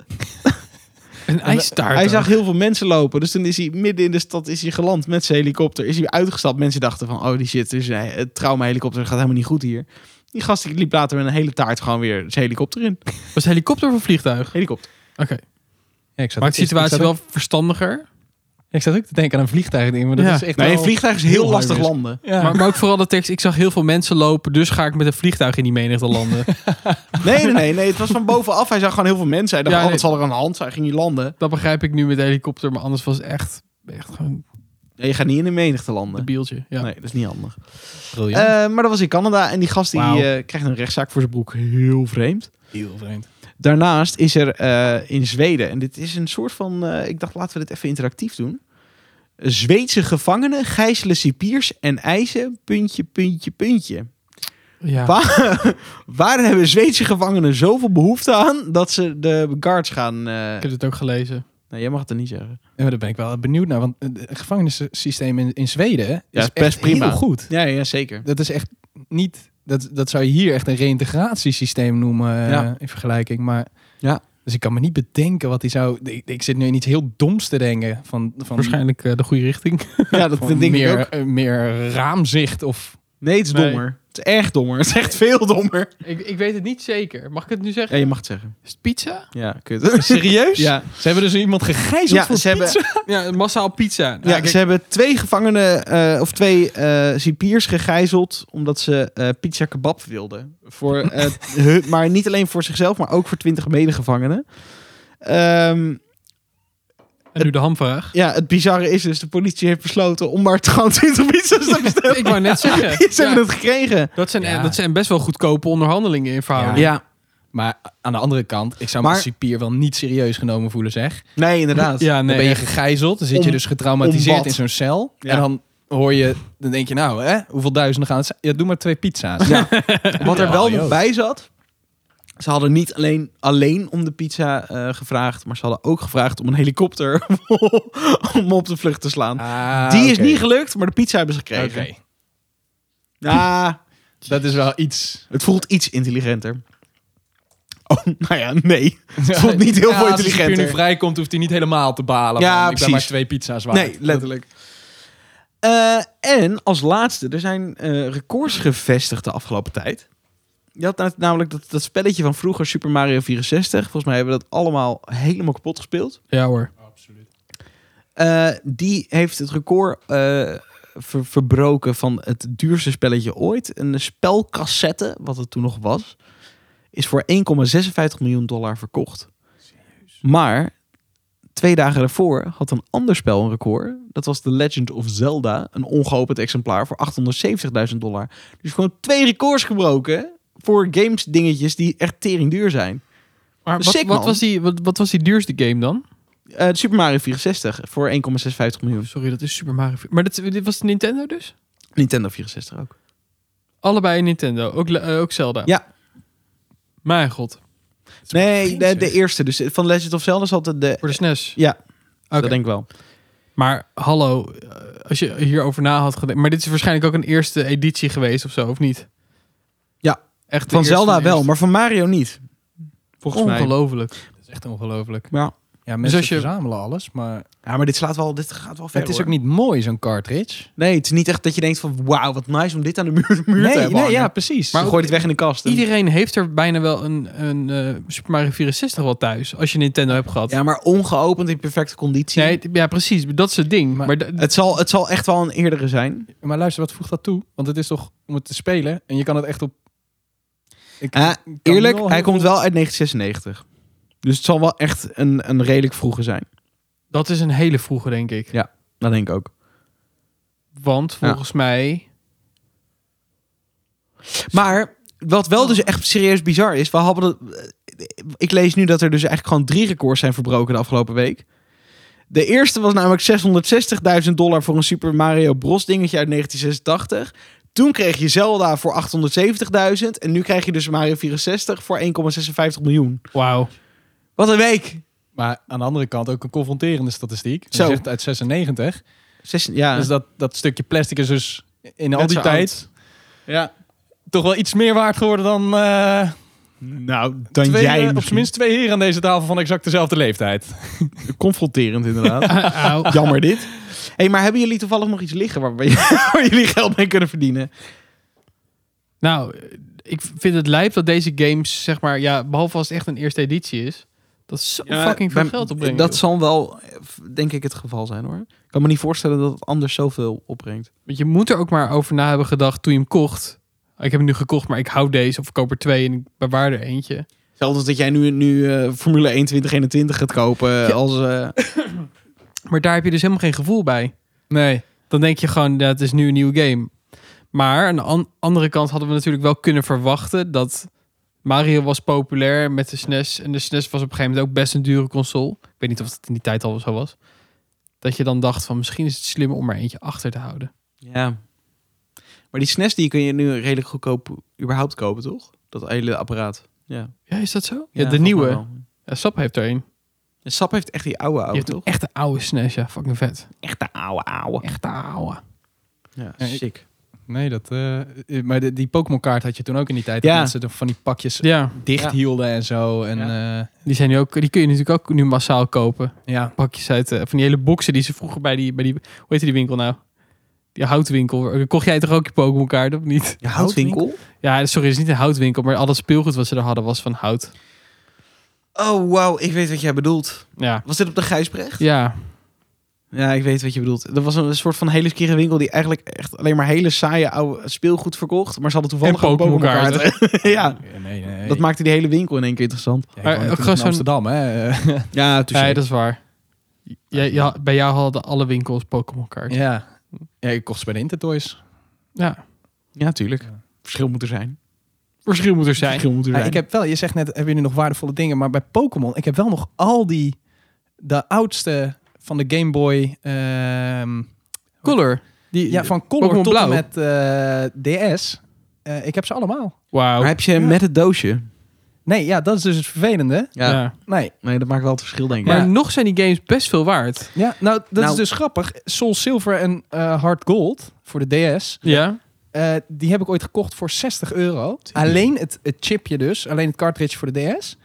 [SPEAKER 3] Een ijstaart.
[SPEAKER 1] Hij
[SPEAKER 3] ook.
[SPEAKER 1] zag heel veel mensen lopen. Dus toen is hij midden in de stad is hij geland met zijn helikopter. Is hij uitgestapt. Mensen dachten van, oh die shit, dus eh, het trauma helikopter gaat helemaal niet goed hier. Die gast die liep later met een hele taart gewoon weer zijn helikopter in.
[SPEAKER 3] Was het helikopter of een vliegtuig?
[SPEAKER 1] Helikopter.
[SPEAKER 3] Oké.
[SPEAKER 4] Ja, ik zat
[SPEAKER 3] Maakt de
[SPEAKER 4] ik- ik
[SPEAKER 3] situatie
[SPEAKER 4] zat
[SPEAKER 3] wel
[SPEAKER 4] ook-
[SPEAKER 3] verstandiger.
[SPEAKER 4] Ik zat ook te denken aan een vliegtuig ding, maar dat
[SPEAKER 3] Ja.
[SPEAKER 4] is echt
[SPEAKER 1] Nee,
[SPEAKER 4] wel...
[SPEAKER 1] een vliegtuig is heel,
[SPEAKER 4] heel
[SPEAKER 1] lastig
[SPEAKER 4] hard dus.
[SPEAKER 1] landen.
[SPEAKER 4] Ja.
[SPEAKER 3] Maar, maar ook vooral de tekst. Ik zag heel veel mensen lopen, dus ga ik met een vliegtuig in die menigte landen.
[SPEAKER 1] Nee, nee, nee, nee. Het was van bovenaf. Hij zag gewoon heel veel mensen. Hij dacht,
[SPEAKER 3] Ja,
[SPEAKER 1] oh,
[SPEAKER 3] nee.
[SPEAKER 1] wat zal er aan de hand zijn? Hij Ging hij landen?
[SPEAKER 3] dat begrijp ik nu met de helikopter, maar anders was het echt, echt gewoon
[SPEAKER 1] Nee, je gaat niet in de menigte landen.
[SPEAKER 3] een bieltje. Ja.
[SPEAKER 1] Nee, dat is niet handig.
[SPEAKER 4] briljant.
[SPEAKER 1] Eh, maar dat was in Canada. En die gast die
[SPEAKER 4] Wauw.
[SPEAKER 1] eh, krijgt een rechtszaak voor zijn broek. Heel vreemd.
[SPEAKER 4] Heel vreemd.
[SPEAKER 1] Daarnaast is er eh, in Zweden, en dit is een soort van, eh, ik dacht laten we dit even interactief doen. Zweedse gevangenen gijzelen cipiers en eisen, puntje, puntje, puntje.
[SPEAKER 3] Ja.
[SPEAKER 1] Waar, waar hebben Zweedse gevangenen zoveel behoefte aan dat ze de guards gaan... eh,
[SPEAKER 3] Ik heb het ook gelezen.
[SPEAKER 1] Nee, jij mag het er niet zeggen.
[SPEAKER 4] Ja, maar daar ben ik wel benieuwd naar, want het gevangenissysteem in, in Zweden is
[SPEAKER 1] is
[SPEAKER 4] best
[SPEAKER 1] best prima.
[SPEAKER 4] heel goed.
[SPEAKER 1] Ja, ja zeker.
[SPEAKER 4] Dat is echt niet... Dat, dat zou je hier echt een reïntegratiesysteem noemen eh,
[SPEAKER 1] Ja.
[SPEAKER 4] in vergelijking, maar...
[SPEAKER 1] Ja.
[SPEAKER 4] Dus ik kan me niet bedenken wat hij zou... Ik, ik zit nu in iets heel doms te denken. Van, van,
[SPEAKER 3] Waarschijnlijk eh, de goede richting.
[SPEAKER 1] Ja, dat
[SPEAKER 4] van
[SPEAKER 1] denk
[SPEAKER 4] meer,
[SPEAKER 1] ik ook.
[SPEAKER 4] eh, meer raamzicht of...
[SPEAKER 1] Nee, het is
[SPEAKER 3] Nee.
[SPEAKER 1] dommer. Het is erg dommer. Het is echt veel dommer.
[SPEAKER 3] ik, ik weet het niet zeker. Mag ik het nu
[SPEAKER 1] Ja,
[SPEAKER 3] zeggen?
[SPEAKER 1] je mag het zeggen.
[SPEAKER 3] Is het pizza?
[SPEAKER 1] Ja, kut.
[SPEAKER 4] Serieus?
[SPEAKER 1] Ja,
[SPEAKER 4] Ze hebben dus iemand gegijzeld
[SPEAKER 1] Ja,
[SPEAKER 4] voor
[SPEAKER 1] ze hebben-
[SPEAKER 4] pizza?
[SPEAKER 3] Ja, massaal pizza. Nou,
[SPEAKER 1] Ja,
[SPEAKER 3] kijk,
[SPEAKER 1] ze hebben twee gevangenen eh, of twee eh cipiers gegijzeld omdat ze eh, pizza kebab wilden. Voor, eh, hun- maar niet alleen voor zichzelf, maar ook voor twintig medegevangenen. Ehm,
[SPEAKER 3] En nu de hamvraag.
[SPEAKER 1] ja, het bizarre is dus, de politie heeft besloten om maar gewoon 20 pizza's te bestellen.
[SPEAKER 3] ik wou net zeggen.
[SPEAKER 1] Ze
[SPEAKER 3] Ja,
[SPEAKER 1] hebben het gekregen.
[SPEAKER 3] dat, zijn,
[SPEAKER 4] Ja.
[SPEAKER 3] dat zijn best wel goedkope onderhandelingen in verhouding.
[SPEAKER 1] Ja,
[SPEAKER 4] Maar aan de andere kant, ik zou
[SPEAKER 1] Maar-
[SPEAKER 4] mijn cipier wel niet serieus genomen voelen, zeg.
[SPEAKER 1] nee, inderdaad.
[SPEAKER 3] Ja,
[SPEAKER 4] dan
[SPEAKER 3] nee.
[SPEAKER 4] ben je gegijzeld, dan zit je
[SPEAKER 1] Om-
[SPEAKER 4] dus getraumatiseerd
[SPEAKER 1] om wat?
[SPEAKER 4] in zo'n cel.
[SPEAKER 1] Ja.
[SPEAKER 4] En dan hoor je, dan denk je nou, hè, hoeveel duizenden gaan het zijn? Ja, doe maar twee pizza's.
[SPEAKER 1] Ja. Wat er wel
[SPEAKER 4] Ja,
[SPEAKER 1] nog
[SPEAKER 4] joh.
[SPEAKER 1] bij zat. Ze hadden niet alleen, alleen om de pizza eh, gevraagd, maar ze hadden ook gevraagd om een helikopter om op de vlucht te slaan.
[SPEAKER 4] Ah,
[SPEAKER 1] Die is
[SPEAKER 4] oké.
[SPEAKER 1] niet gelukt, maar de pizza hebben ze gekregen.
[SPEAKER 4] Oké.
[SPEAKER 1] Ah,
[SPEAKER 4] Dat is wel iets.
[SPEAKER 1] het voelt iets intelligenter. Oh, nou ja, nee. Het voelt niet heel
[SPEAKER 4] Ja,
[SPEAKER 1] veel
[SPEAKER 4] Als de cipier nu
[SPEAKER 1] intelligenter.
[SPEAKER 4] vrijkomt, hoeft hij niet helemaal te balen.
[SPEAKER 1] Ja,
[SPEAKER 4] van, ik ben maar
[SPEAKER 1] precies.
[SPEAKER 4] twee pizza's waard.
[SPEAKER 1] Nee, letterlijk. Eh, en als laatste, er zijn eh, records gevestigd de afgelopen tijd. Je had na- namelijk dat, dat spelletje van vroeger, Super Mario 64. Volgens mij hebben we dat allemaal helemaal kapot gespeeld.
[SPEAKER 3] Ja hoor.
[SPEAKER 4] Absoluut.
[SPEAKER 1] Eh, die heeft het record eh, ver- verbroken van het duurste spelletje ooit. Een spelcassette, wat het toen nog was, is voor 1,56 miljoen dollar verkocht. Maar twee dagen daarvoor had een ander spel een record. Dat was The Legend of Zelda, een ongeopend exemplaar voor 870.000 dollar. Dus gewoon twee records gebroken voor games dingetjes die echt tering duur zijn.
[SPEAKER 3] Maar wat,
[SPEAKER 1] Sick,
[SPEAKER 3] wat,
[SPEAKER 1] man.
[SPEAKER 3] was die, wat, wat was die duurste game dan?
[SPEAKER 1] Eh, Super Mario 64 voor 1,56 miljoen.
[SPEAKER 3] Sorry, dat is Super Mario. Maar dit, dit was de Nintendo dus?
[SPEAKER 1] Nintendo 64 ook.
[SPEAKER 3] Allebei Nintendo. Ook, Le- eh, ook Zelda.
[SPEAKER 1] Ja.
[SPEAKER 3] Mijn god.
[SPEAKER 1] Nee, de,
[SPEAKER 4] Jezus.
[SPEAKER 1] de eerste. Dus van Legend of Zelda zat de... de
[SPEAKER 3] Voor de SNES.
[SPEAKER 1] ja, dat
[SPEAKER 3] Oké.
[SPEAKER 1] denk ik wel.
[SPEAKER 3] Maar hallo, eh, als je hierover na had gedacht. Maar dit is waarschijnlijk ook een eerste editie geweest of zo, of niet?
[SPEAKER 1] Ja,
[SPEAKER 3] Echt de
[SPEAKER 1] Van
[SPEAKER 3] eerste
[SPEAKER 1] Zelda wel,
[SPEAKER 3] eerste.
[SPEAKER 1] maar van Mario niet. Volgens mij.
[SPEAKER 3] Ongelooflijk.
[SPEAKER 4] is echt ongelooflijk.
[SPEAKER 1] Ja.
[SPEAKER 4] Ja, mensen
[SPEAKER 3] als je-
[SPEAKER 4] verzamelen alles, maar
[SPEAKER 1] ja, maar dit, slaat wel, dit gaat wel ver.
[SPEAKER 4] het is
[SPEAKER 1] hoor.
[SPEAKER 4] ook niet mooi, zo'n cartridge.
[SPEAKER 1] Nee, het is niet echt dat je denkt van... Wauw, wat nice om dit aan de muur, muur te
[SPEAKER 4] Nee,
[SPEAKER 1] hebben
[SPEAKER 4] nee
[SPEAKER 1] hangen.
[SPEAKER 4] ja, precies.
[SPEAKER 1] Maar
[SPEAKER 3] Maar
[SPEAKER 1] gooi
[SPEAKER 3] ook-
[SPEAKER 1] dit weg in de kast. En-
[SPEAKER 3] Iedereen heeft er bijna wel een, een eh, Super Mario 64 wel thuis. Als je Nintendo hebt gehad.
[SPEAKER 1] Ja, maar ongeopend in perfecte conditie.
[SPEAKER 3] nee, t- ja precies. Dat is het ding. Maar,
[SPEAKER 4] Maar-
[SPEAKER 3] d-
[SPEAKER 1] Het zal, het zal echt wel een eerdere zijn.
[SPEAKER 4] Maar luister, wat voegt dat toe? Want het is toch om het te spelen en je kan het echt op. Ik
[SPEAKER 1] Ah,
[SPEAKER 4] kan
[SPEAKER 1] Eerlijk,
[SPEAKER 4] nu al
[SPEAKER 1] hij
[SPEAKER 4] heel
[SPEAKER 1] komt
[SPEAKER 4] veel-
[SPEAKER 1] wel uit 1996. Dus het zal wel echt een, een redelijk vroege zijn.
[SPEAKER 3] dat is een hele vroege, denk ik.
[SPEAKER 1] Dat denk ik ook.
[SPEAKER 3] Want volgens mij...
[SPEAKER 1] Maar wat wel dus echt serieus bizar is, we hadden het- ik lees nu dat er dus eigenlijk gewoon drie records zijn verbroken de afgelopen week. De eerste was namelijk 660.000 dollar voor een Super Mario Bros dingetje uit 1986. Toen kreeg je Zelda voor 870.000 en nu krijg je dus Mario 64 voor 1,56 miljoen.
[SPEAKER 3] Wauw.
[SPEAKER 1] Wat een week!
[SPEAKER 4] Maar aan de andere kant ook een confronterende statistiek. Zo.
[SPEAKER 1] Zo.
[SPEAKER 4] zegt uit 96.
[SPEAKER 1] Zes, ja.
[SPEAKER 4] Dus dat, dat stukje plastic is dus in al
[SPEAKER 1] Net
[SPEAKER 4] die
[SPEAKER 1] zo
[SPEAKER 4] tijd
[SPEAKER 1] ja.
[SPEAKER 4] toch wel iets meer waard geworden dan, eh,
[SPEAKER 1] Nou, dan
[SPEAKER 4] twee, eh,
[SPEAKER 1] jij
[SPEAKER 4] op zijn minst twee heren aan deze tafel van exact dezelfde leeftijd.
[SPEAKER 1] Confronterend inderdaad.
[SPEAKER 3] Au.
[SPEAKER 1] Jammer dit. hey, maar hebben jullie toevallig nog iets liggen waar, waar jullie geld mee kunnen verdienen?
[SPEAKER 3] Nou, ik vind het lijp dat deze games, zeg maar, ja, behalve als het echt een eerste editie is, dat zo fucking veel
[SPEAKER 1] Bij-
[SPEAKER 3] geld opbrengt.
[SPEAKER 1] Dat zal wel, eh, f- denk ik, het geval zijn hoor. Ik kan me niet voorstellen dat het anders zoveel opbrengt.
[SPEAKER 3] Want je moet er ook maar over na hebben gedacht toen je hem kocht. Ik heb hem nu gekocht, maar ik hou deze of ik koop er twee en ik bewaar er eentje.
[SPEAKER 1] Zelfs dat jij nu, nu eh, Formule 1 2021 gaat kopen. eh, Als, eh,
[SPEAKER 3] Maar daar heb je dus helemaal geen gevoel bij.
[SPEAKER 4] Nee.
[SPEAKER 3] Dan denk je gewoon, dat is nu een nieuwe game. Maar aan de an- andere kant hadden we natuurlijk wel kunnen verwachten dat Mario was populair met de SNES. En de SNES was op een gegeven moment ook best een dure console. Ik weet niet of dat in die tijd al zo was. Dat je dan dacht van misschien is het slimmer om er eentje achter te houden.
[SPEAKER 1] ja. Maar die SNES die kun je nu redelijk goedkoop überhaupt kopen, toch? Dat hele apparaat. Ja,
[SPEAKER 3] Ja, is dat zo?
[SPEAKER 1] Ja,
[SPEAKER 3] Ja, de
[SPEAKER 1] volgens mij
[SPEAKER 3] nieuwe.
[SPEAKER 1] wel.
[SPEAKER 3] Ja, Sap heeft er een.
[SPEAKER 1] En Sap heeft echt die oude
[SPEAKER 3] Je
[SPEAKER 1] oude,
[SPEAKER 4] Oh,
[SPEAKER 3] hebt een
[SPEAKER 1] toch?
[SPEAKER 3] echte oude SNES, ja. Fucking vet.
[SPEAKER 1] Echt de oude oude.
[SPEAKER 3] Echte oude.
[SPEAKER 1] Ja,
[SPEAKER 4] Ja, ik-
[SPEAKER 1] sick.
[SPEAKER 4] Nee, dat, eh, eh, maar de- die Pokémon kaart had je toen ook in die tijd.
[SPEAKER 1] Ja.
[SPEAKER 4] Ja. Dat ze er van die pakjes
[SPEAKER 3] Ja,
[SPEAKER 4] dicht
[SPEAKER 1] Ja.
[SPEAKER 4] hielden en zo. En, eh,
[SPEAKER 1] Ja.
[SPEAKER 4] ja.
[SPEAKER 3] die, zijn nu ook, die kun je natuurlijk ook nu massaal kopen.
[SPEAKER 4] ja.
[SPEAKER 3] Pakjes uit eh, van die hele boxen die ze vroeger bij die, bij die... Hoe heette die winkel nou? Die houtwinkel. Kocht jij toch ook je Pokémon kaart of niet?
[SPEAKER 1] Je houtwinkel?
[SPEAKER 3] Ja, sorry, het is niet een houtwinkel, maar al dat speelgoed wat ze er hadden was van hout.
[SPEAKER 1] Oh, wauw. Ik weet wat jij bedoelt.
[SPEAKER 3] Ja.
[SPEAKER 1] Was dit op de Gijsbrecht?
[SPEAKER 3] Ja,
[SPEAKER 1] Ja, ik weet wat je bedoelt. Dat was een soort van hele skere winkel die eigenlijk echt alleen maar hele saaie oude speelgoed verkocht. Maar ze hadden toevallig
[SPEAKER 3] En
[SPEAKER 1] ook
[SPEAKER 3] Pokémon
[SPEAKER 1] Pokémon kaarten. ja,
[SPEAKER 4] Nee, nee.
[SPEAKER 1] dat maakte die hele winkel in één keer interessant.
[SPEAKER 4] Ja, ik
[SPEAKER 3] Maar
[SPEAKER 4] woon
[SPEAKER 3] ook
[SPEAKER 4] natuurlijk
[SPEAKER 3] gewoon
[SPEAKER 4] in
[SPEAKER 3] zo'n-
[SPEAKER 4] Amsterdam, hè.
[SPEAKER 1] Ja,
[SPEAKER 3] nee, dat is waar. Jij- ja, bij jou hadden alle winkels Pokémon kaart. Ja.
[SPEAKER 4] ja. ja, ik kocht ze bij de Intertoys.
[SPEAKER 1] ja, tuurlijk.
[SPEAKER 4] Ja.
[SPEAKER 1] Verschil moet er zijn.
[SPEAKER 3] Verschil moet er zijn.
[SPEAKER 1] Verschil moet er
[SPEAKER 4] Ja,
[SPEAKER 1] zijn.
[SPEAKER 4] Ah, ik heb wel, je zegt net, hebben jullie nog waardevolle dingen? Maar bij Pokémon, ik heb wel nog al die, de oudste van de Game Boy, ehm,
[SPEAKER 3] Color. Die,
[SPEAKER 4] ja, van Color
[SPEAKER 3] Pokémon
[SPEAKER 4] tot en
[SPEAKER 3] Blauw.
[SPEAKER 4] met eh, DS. Eh, ik heb ze allemaal.
[SPEAKER 3] Wauw.
[SPEAKER 1] Maar heb je met het doosje?
[SPEAKER 4] Nee, ja, dat is dus het vervelende.
[SPEAKER 1] Ja.
[SPEAKER 3] Ja.
[SPEAKER 4] Nee,
[SPEAKER 1] Nee, dat maakt wel het verschil, denk ik.
[SPEAKER 3] Maar nog zijn die games best veel waard.
[SPEAKER 4] ja, nou, dat
[SPEAKER 1] Nou.
[SPEAKER 4] is dus grappig. Soul Silver en eh, Hard Gold voor de DS,
[SPEAKER 3] Ja.
[SPEAKER 4] eh, die heb ik ooit gekocht voor 60 euro. Alleen het, het chipje dus, alleen het cartridge voor de DS.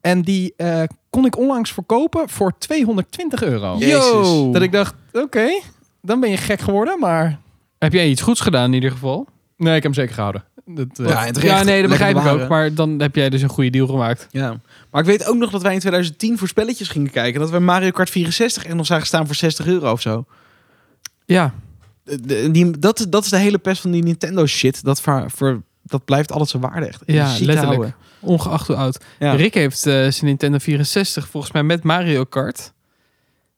[SPEAKER 4] En die eh, kon ik onlangs verkopen voor 220 euro.
[SPEAKER 1] Jezus.
[SPEAKER 3] Yo.
[SPEAKER 4] Dat ik dacht, oké, dan ben je gek geworden, maar...
[SPEAKER 3] Heb jij iets goeds gedaan in ieder geval?
[SPEAKER 4] Nee, ik heb hem zeker gehouden. Dat, eh,
[SPEAKER 1] Ja, en terecht.
[SPEAKER 3] ja, nee, dat
[SPEAKER 1] Lekker
[SPEAKER 3] begrijp ik
[SPEAKER 1] bewaren.
[SPEAKER 3] ook. Maar dan heb jij dus een goede deal gemaakt.
[SPEAKER 1] Ja. Maar ik weet ook nog dat wij in 2010 voor spelletjes gingen kijken. Dat we Mario Kart 64 echt nog zagen staan voor 60 euro of zo.
[SPEAKER 3] Ja.
[SPEAKER 1] De- de- die, dat, dat is de hele pest van die Nintendo shit. Dat, voor, voor, dat blijft altijd zijn waarde echt.
[SPEAKER 3] Ja,
[SPEAKER 1] ziek te
[SPEAKER 3] letterlijk.
[SPEAKER 1] houden.
[SPEAKER 3] Ongeacht hoe oud.
[SPEAKER 1] Ja.
[SPEAKER 3] Rick heeft eh, zijn Nintendo 64 volgens mij met Mario Kart.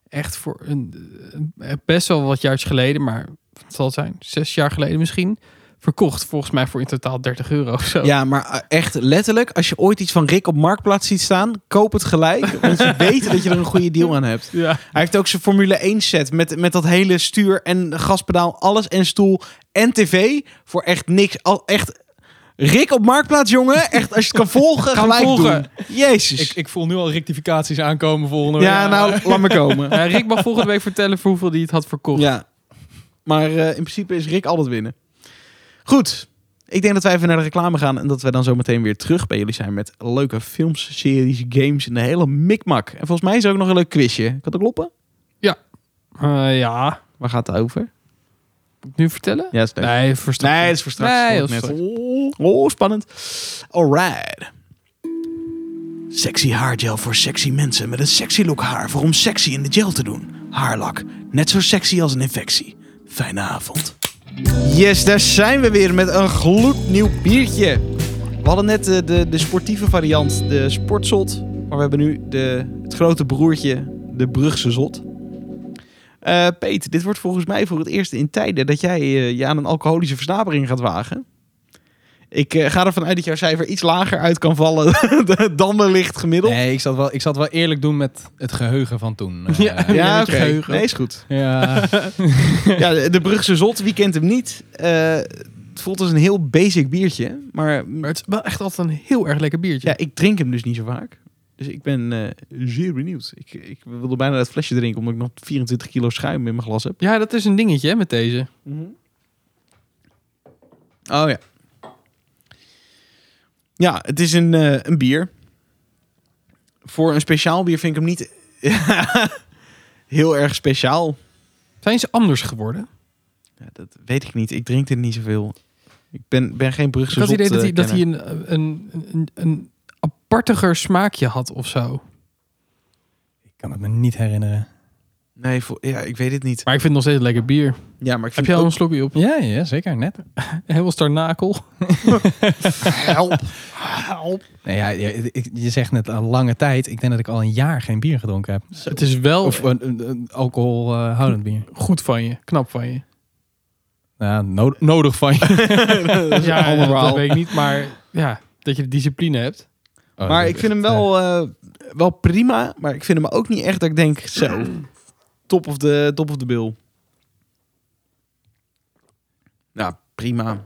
[SPEAKER 3] Echt voor een, een- best wel wat jaartjes geleden, maar het zal zijn zes jaar geleden misschien. Verkocht volgens mij voor in totaal 30 euro of zo.
[SPEAKER 1] Ja, maar eh, echt letterlijk, als je ooit iets van Rick op Marktplaats ziet staan, koop het gelijk. Want we weten dat je er een goede deal aan hebt.
[SPEAKER 3] Ja.
[SPEAKER 1] Hij heeft ook zijn Formule 1 set met, met dat hele stuur en gaspedaal, alles en stoel en tv voor echt niks. Al, echt Rick op Marktplaats, jongen. Echt, als je het kan volgen,
[SPEAKER 3] Kan
[SPEAKER 1] gelijk
[SPEAKER 3] volgen.
[SPEAKER 1] doen. Jezus.
[SPEAKER 4] ik, ik voel nu al rectificaties aankomen volgende week.
[SPEAKER 1] ja, nou, laat me komen.
[SPEAKER 3] Eh, Rick mag volgende week vertellen voor hoeveel hij het had verkocht.
[SPEAKER 1] Ja. Maar eh, in principe is Rick altijd winnen. Goed. Ik denk dat wij even naar de reclame gaan en dat wij dan zometeen weer terug bij jullie zijn met leuke films, series, games en de hele mikmak. En volgens mij is er ook nog een leuk quizje. Kan dat kloppen?
[SPEAKER 3] Eh, ja,
[SPEAKER 1] Waar gaat het over?
[SPEAKER 3] moet ik nu vertellen?
[SPEAKER 1] Ja, is leuk.
[SPEAKER 3] Nee, voor straks.
[SPEAKER 1] Nee, dat is voor straks.
[SPEAKER 3] Nee,
[SPEAKER 1] Dat
[SPEAKER 3] heel
[SPEAKER 1] net. Oh, spannend. Alright. Sexy haargel voor sexy mensen met een sexy look haar voor om sexy in de gel te doen. Haarlak, net zo sexy als een infectie. Fijne avond. Yes, daar zijn we weer met een gloednieuw biertje. We hadden net de, de, de sportieve variant, de sportzot. Maar we hebben nu de, het grote broertje, de Brugse zot. Eh, Peet, dit wordt volgens mij voor het eerst in tijden dat jij eh, je aan een alcoholische versnapering gaat wagen. Ik eh, ga ervan uit dat jouw cijfer iets lager uit kan vallen dan wellicht gemiddeld.
[SPEAKER 4] Nee, ik zat, wel, ik zat wel eerlijk doen met het geheugen van toen. Eh,
[SPEAKER 3] Ja.
[SPEAKER 4] ja.
[SPEAKER 3] met
[SPEAKER 1] oké.
[SPEAKER 3] je geheugen.
[SPEAKER 1] Nee, is goed.
[SPEAKER 4] ja.
[SPEAKER 1] Ja, de- de Brugse Zot, wie kent hem niet? Eh, het voelt als een heel basic biertje. Maar mm,
[SPEAKER 3] Maar het is wel echt altijd een heel erg lekker biertje.
[SPEAKER 1] ja, ik drink hem dus niet zo vaak. Dus ik ben eh, zeer benieuwd. Ik, ik wilde bijna dat flesje drinken omdat ik nog 24 kilo schuim in mijn glas heb.
[SPEAKER 3] Ja, dat is een dingetje hè, met deze.
[SPEAKER 1] Oh ja. Ja, het is een, eh, een bier. Voor een speciaal bier vind ik hem niet heel erg speciaal.
[SPEAKER 3] Zijn ze anders geworden?
[SPEAKER 1] Ja, dat weet ik niet. Ik drink dit niet zoveel. Ik ben, ben geen
[SPEAKER 3] Ik
[SPEAKER 1] Brugse
[SPEAKER 3] had het idee dat hij,
[SPEAKER 1] zot,
[SPEAKER 3] dat
[SPEAKER 1] eh,
[SPEAKER 3] hij een, een, een, een apartiger smaakje had of zo.
[SPEAKER 4] Ik kan het me niet herinneren.
[SPEAKER 1] kenner. Nee, voor- ja, ik weet het niet.
[SPEAKER 3] Maar ik vind het nog steeds lekker bier.
[SPEAKER 1] Ja, maar ik
[SPEAKER 3] Heb
[SPEAKER 1] vind
[SPEAKER 3] jij al
[SPEAKER 1] ook...
[SPEAKER 3] een slokje op?
[SPEAKER 4] Ja, ja zeker. Net.
[SPEAKER 3] Heel starnakel.
[SPEAKER 1] Help.
[SPEAKER 4] Nee, ja, je, ik- je zegt net een lange tijd. Ik denk dat ik al een jaar geen bier gedronken heb.
[SPEAKER 3] Het is wel
[SPEAKER 4] Of een, een- een eh, alcoholhoudend bier.
[SPEAKER 3] goed van je. Knap van je.
[SPEAKER 4] Ja, no- nodig van je.
[SPEAKER 3] ja,
[SPEAKER 1] ander verhaal.
[SPEAKER 3] dat weet ik niet. Maar ja, dat je de discipline hebt.
[SPEAKER 4] Oh,
[SPEAKER 1] Maar ik vind hem wel, eh, wel prima. Maar ik vind hem ook niet echt dat ik denk... Zo, top of de, top of de bill. Ja, prima.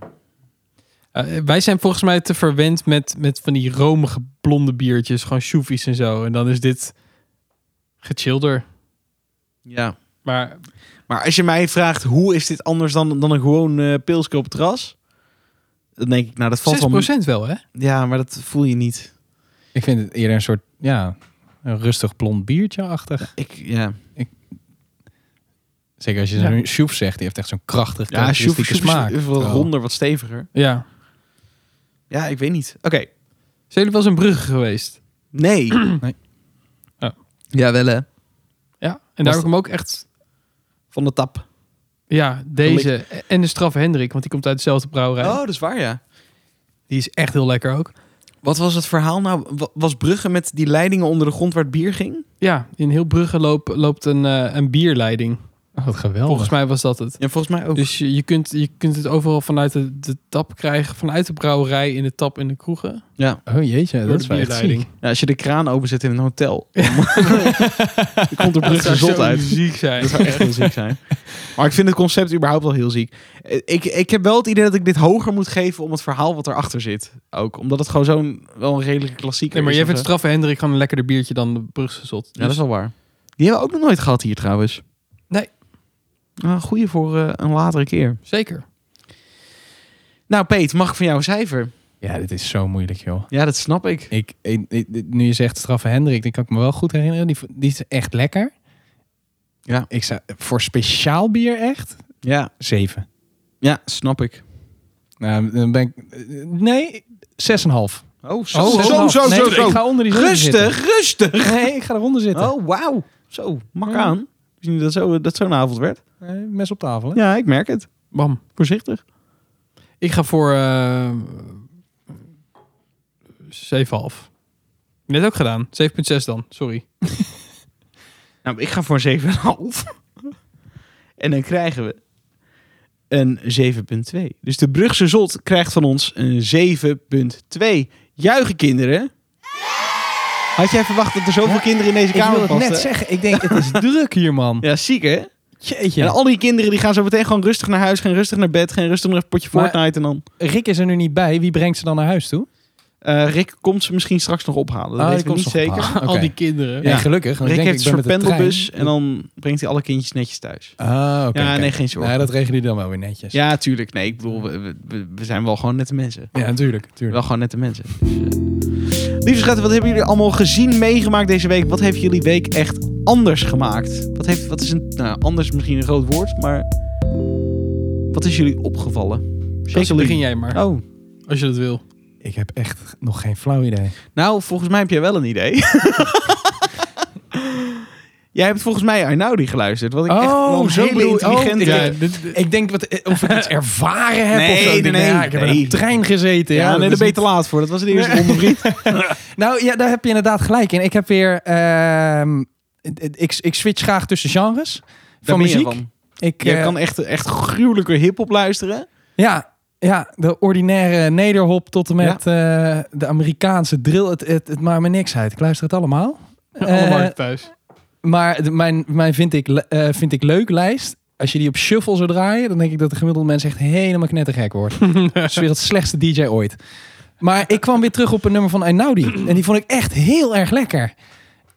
[SPEAKER 3] Eh, wij zijn volgens mij te verwend met, met van die romige blonde biertjes. Gewoon shoefies en zo. En dan is dit gechillder.
[SPEAKER 1] Ja.
[SPEAKER 3] Maar
[SPEAKER 1] Maar als je mij vraagt hoe is dit anders dan, dan een gewoon eh pilsje op het terras, dan denk ik, nou dat valt wel.
[SPEAKER 3] 6% wel, hè?
[SPEAKER 1] Ja, maar dat voel je niet.
[SPEAKER 4] Ik vind het eerder een soort, ja, een rustig blond biertje-achtig.
[SPEAKER 1] Ik, ja.
[SPEAKER 4] Zeker als je
[SPEAKER 3] Ja.
[SPEAKER 4] zo'n Sjoef zegt, die heeft echt zo'n krachtig,
[SPEAKER 1] Ja, Sjoef
[SPEAKER 4] karakteristieke
[SPEAKER 1] is
[SPEAKER 4] smaak.
[SPEAKER 1] Wat
[SPEAKER 4] Oh.
[SPEAKER 1] ronder, wat steviger.
[SPEAKER 3] Ja.
[SPEAKER 1] Ja, ik weet niet. Oké,
[SPEAKER 3] Zijn jullie wel eens in Brugge geweest?
[SPEAKER 1] nee.
[SPEAKER 4] Nee.
[SPEAKER 3] Ja.
[SPEAKER 1] Ja, wel hè.
[SPEAKER 3] Ja. En daar heb ik hem ook echt...
[SPEAKER 1] Van de tap.
[SPEAKER 3] Ja, deze. En de straf Hendrik, want die komt uit dezelfde brouwerij.
[SPEAKER 1] Oh,
[SPEAKER 4] Oh.
[SPEAKER 1] dat is waar, ja.
[SPEAKER 3] Die is echt heel lekker ook.
[SPEAKER 1] Wat was het verhaal nou? Wa- Was Brugge met die leidingen onder de grond waar het bier ging?
[SPEAKER 3] Ja, in heel Brugge loop- loopt een, eh, een bierleiding.
[SPEAKER 4] Oh, wat geweldig.
[SPEAKER 3] Volgens mij was dat het.
[SPEAKER 1] Ja, volgens mij ook.
[SPEAKER 3] Dus je, je, kunt, je kunt het overal vanuit de, de tap krijgen. Vanuit de brouwerij in de tap in de kroegen.
[SPEAKER 4] Oh jeetje,
[SPEAKER 3] door
[SPEAKER 4] dat
[SPEAKER 3] de
[SPEAKER 4] is wel echt
[SPEAKER 3] bierleiding.
[SPEAKER 4] ziek.
[SPEAKER 1] Ja, nou, als je de kraan openzet in een hotel, dan dan komt er Brugge zot uit.
[SPEAKER 3] ziek zijn.
[SPEAKER 1] Dat zou echt heel ziek zijn. Maar ik vind het concept überhaupt wel heel ziek. Eh, Ik, ik heb wel het idee dat ik dit hoger moet geven om het verhaal wat erachter zit. Ook omdat het gewoon zo'n wel een redelijke klassieker
[SPEAKER 3] Nee, maar
[SPEAKER 1] is.
[SPEAKER 3] jij
[SPEAKER 1] of
[SPEAKER 3] vindt
[SPEAKER 1] zo.
[SPEAKER 3] straffe Hendrik gewoon een lekkerder biertje dan de Brugse zot. Dus
[SPEAKER 1] Ja, dat is wel waar. Die hebben we ook nog nooit gehad hier trouwens.
[SPEAKER 3] Nee.
[SPEAKER 1] Nou, goeie voor eh, een latere keer.
[SPEAKER 3] Dus Zeker.
[SPEAKER 1] Nou, Peet, mag ik van jou een cijfer?
[SPEAKER 4] Ja, dit is zo moeilijk, joh.
[SPEAKER 1] Ja, dat snap ik.
[SPEAKER 4] Ik, ik- ik- nu je zegt straffe Hendrik, die kan ik me wel goed herinneren. Die, die is echt lekker.
[SPEAKER 1] Ja.
[SPEAKER 4] Ik zou, voor speciaal bier echt?
[SPEAKER 1] Ja,
[SPEAKER 4] Zeven.
[SPEAKER 1] ja snap ik.
[SPEAKER 4] Nou, dan ben ik... Nee, zes en half.
[SPEAKER 1] Oh,
[SPEAKER 4] Oh, zes en half. nee, Ik ga onder die zeven
[SPEAKER 1] Rustig, rustig.
[SPEAKER 4] zitten. Nee, ik ga eronder zitten.
[SPEAKER 1] Oh, wauw. Zo, mak
[SPEAKER 4] Ja.
[SPEAKER 1] aan. Ik wist niet dat zo- dat zo'n avond werd.
[SPEAKER 4] Eh, mes op tafel, hè?
[SPEAKER 1] Ja, ik merk het.
[SPEAKER 3] Bam.
[SPEAKER 1] Voorzichtig.
[SPEAKER 3] Ik ga voor eh 7,5. Net ook gedaan. 7,6 dan. Sorry.
[SPEAKER 1] Nou, ik ga voor een 7,5. en dan krijgen we een 7,2. Dus de Brugse Zot krijgt van ons een 7,2. Juichen, kinderen. Had jij verwacht dat er zoveel kinderen in deze
[SPEAKER 4] Ik
[SPEAKER 1] kamer
[SPEAKER 4] wil het
[SPEAKER 1] pasten?
[SPEAKER 4] net zeggen. Ik denk, het is druk hier, man.
[SPEAKER 1] Ja, ziek hè?
[SPEAKER 4] Jeetje.
[SPEAKER 1] En al die kinderen die gaan zo meteen gewoon rustig naar huis, gaan rustig naar bed, gaan rustig naar een potje
[SPEAKER 4] Maar-
[SPEAKER 1] Fortnite en dan...
[SPEAKER 4] Rick is er nu niet bij. Wie brengt ze dan naar huis toe?
[SPEAKER 1] Eh, Rick komt ze misschien straks nog ophalen. Dat
[SPEAKER 4] Ah,
[SPEAKER 1] weten
[SPEAKER 4] die
[SPEAKER 1] we niet
[SPEAKER 4] komt ze nog
[SPEAKER 1] zeker.
[SPEAKER 4] ophalen. Oké.
[SPEAKER 3] Al die kinderen.
[SPEAKER 1] Ja.
[SPEAKER 4] Nee, gelukkig. want ik
[SPEAKER 1] Rick
[SPEAKER 4] denk,
[SPEAKER 1] heeft
[SPEAKER 4] ik
[SPEAKER 1] een
[SPEAKER 4] ben
[SPEAKER 1] soort
[SPEAKER 4] met de
[SPEAKER 1] pendelbus
[SPEAKER 4] trein.
[SPEAKER 1] en dan brengt hij alle kindjes netjes thuis.
[SPEAKER 4] Ah, oké.
[SPEAKER 1] ja,
[SPEAKER 4] oké.
[SPEAKER 1] nee, geen zorgen.
[SPEAKER 4] Nee, dat regelen die dan wel weer netjes.
[SPEAKER 1] Ja, tuurlijk. Nee, ik bedoel, we, we- we zijn wel gewoon nette mensen.
[SPEAKER 4] Ja, natuurlijk.
[SPEAKER 1] Wel
[SPEAKER 4] natuurlijk.
[SPEAKER 1] gewoon nette mensen. Dus, eh. Lieve schatten, wat hebben jullie allemaal gezien, meegemaakt deze week? Wat heeft jullie week echt anders gemaakt? Wat, heeft, wat is een... Nou, anders misschien een groot woord, maar... Wat is jullie opgevallen?
[SPEAKER 3] Zo begin jij maar,
[SPEAKER 1] Oh,
[SPEAKER 3] als je dat wil.
[SPEAKER 4] Ik heb echt nog geen flauw idee.
[SPEAKER 1] nou, volgens mij heb jij wel een idee. jij hebt volgens mij Arnaudi geluisterd, wat ik echt wel een hele
[SPEAKER 4] bedoel- oh,
[SPEAKER 1] intelligente...
[SPEAKER 4] ik, denk- ik denk wat, eh, of ik iets ervaren heb
[SPEAKER 1] Nee,
[SPEAKER 4] of zo.
[SPEAKER 1] nee,
[SPEAKER 4] Ik denk,
[SPEAKER 1] nee,
[SPEAKER 4] ja, ik heb in
[SPEAKER 1] nee.
[SPEAKER 4] een trein gezeten.
[SPEAKER 1] ja,
[SPEAKER 4] Ja,
[SPEAKER 1] nee,
[SPEAKER 4] dat
[SPEAKER 1] daar
[SPEAKER 4] is
[SPEAKER 1] ben je
[SPEAKER 4] niet-
[SPEAKER 1] te laat voor. Dat was de eerste
[SPEAKER 4] Nee.
[SPEAKER 1] ronde, vriend.
[SPEAKER 4] Nou ja, daar heb je inderdaad gelijk in. Ik heb weer... ehm, ik, ik switch graag tussen genres.
[SPEAKER 1] Daar
[SPEAKER 4] Van
[SPEAKER 1] ben je
[SPEAKER 4] muziek.
[SPEAKER 1] van.
[SPEAKER 4] Ik,
[SPEAKER 1] Je
[SPEAKER 4] eh,
[SPEAKER 1] kan echt, echt gruwelijke hiphop luisteren.
[SPEAKER 4] Ja, ja, de ordinaire nederhop tot en met eh, de Amerikaanse drill. Het, het, het maakt me niks uit. Ik luister het allemaal.
[SPEAKER 3] Alle
[SPEAKER 4] Eh,
[SPEAKER 3] markten thuis.
[SPEAKER 4] maar de- mijn, mijn vind, ik, le- eh, vind ik leuk lijst. Als je die op shuffle zou draaien, dan denk ik dat de gemiddelde mens echt helemaal knettergek wordt. Het is weer het slechtste DJ ooit. Maar ik kwam weer terug op een nummer van Einaudi. En die vond ik echt heel erg lekker.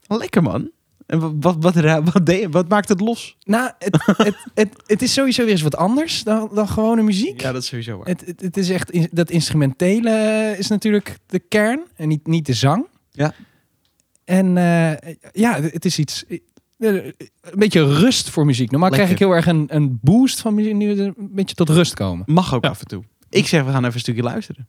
[SPEAKER 1] Lekker, man. En wa- wat, wat, ra- wat, deed- wat maakt het los?
[SPEAKER 4] Nou, het, het, het, het is sowieso weer eens wat anders dan, dan gewone muziek.
[SPEAKER 1] Ja, dat is sowieso waar.
[SPEAKER 4] Het, het, het is echt, in- dat instrumentele eh, is natuurlijk de kern en niet, niet de zang.
[SPEAKER 1] Ja.
[SPEAKER 4] En eh, ja, het is iets, eh, een beetje rust voor muziek. Normaal
[SPEAKER 1] Lekker.
[SPEAKER 4] krijg ik heel erg een, een boost van muziek, nu een beetje tot rust komen.
[SPEAKER 1] Mag ook
[SPEAKER 3] Ja.
[SPEAKER 1] af en toe. Ik zeg, we gaan even een stukje luisteren.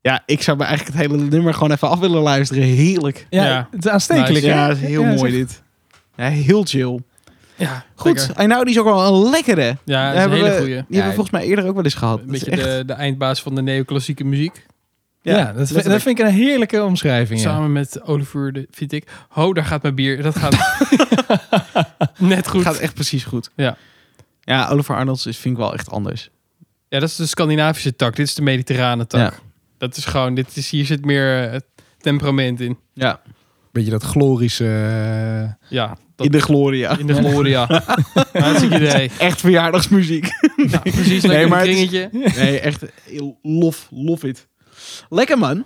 [SPEAKER 1] Ja, ik zou me eigenlijk het hele nummer gewoon even af willen luisteren. Heerlijk.
[SPEAKER 4] Ja,
[SPEAKER 3] Ja.
[SPEAKER 4] het is aanstekelijk.
[SPEAKER 3] Nice.
[SPEAKER 4] hè?
[SPEAKER 1] Ja, dat is heel
[SPEAKER 4] Ja,
[SPEAKER 1] mooi
[SPEAKER 4] is
[SPEAKER 1] dit. Ja, heel chill.
[SPEAKER 3] Ja,
[SPEAKER 1] Goed, nou die is ook wel een lekkere.
[SPEAKER 3] Ja,
[SPEAKER 1] Daar
[SPEAKER 3] dat is een hele
[SPEAKER 1] we-
[SPEAKER 3] goeie.
[SPEAKER 1] Die
[SPEAKER 4] Ja,
[SPEAKER 1] hebben we volgens mij eerder ook wel eens gehad.
[SPEAKER 3] Een
[SPEAKER 1] Dat is
[SPEAKER 3] beetje
[SPEAKER 1] echt-
[SPEAKER 3] de, de eindbaas van de neoclassieke muziek.
[SPEAKER 4] Ja, dat, vind- dat vind ik een heerlijke omschrijving. Ja.
[SPEAKER 3] Samen met Oliver de Vietik. Ho, daar gaat mijn bier. Dat gaat net goed.
[SPEAKER 1] Het gaat echt precies goed.
[SPEAKER 3] Ja.
[SPEAKER 1] Ja, Oliver Arnold is, vind ik wel echt anders.
[SPEAKER 3] Ja, dat is de Scandinavische tak. Dit is de mediterrane tak. Dat is gewoon, dit is, hier zit meer eh, temperament in.
[SPEAKER 1] Ja,
[SPEAKER 4] Beetje dat glorische... eh,
[SPEAKER 3] Ja, dat-
[SPEAKER 1] in de gloria.
[SPEAKER 3] in de gloria. Hartstikke idee.
[SPEAKER 1] Echt verjaardagsmuziek.
[SPEAKER 3] Ja, precies,
[SPEAKER 1] Nee,
[SPEAKER 3] lekker
[SPEAKER 1] maar
[SPEAKER 3] een
[SPEAKER 1] het is-
[SPEAKER 3] kringetje.
[SPEAKER 1] Nee, echt eh, lof, lof it. Lekker man.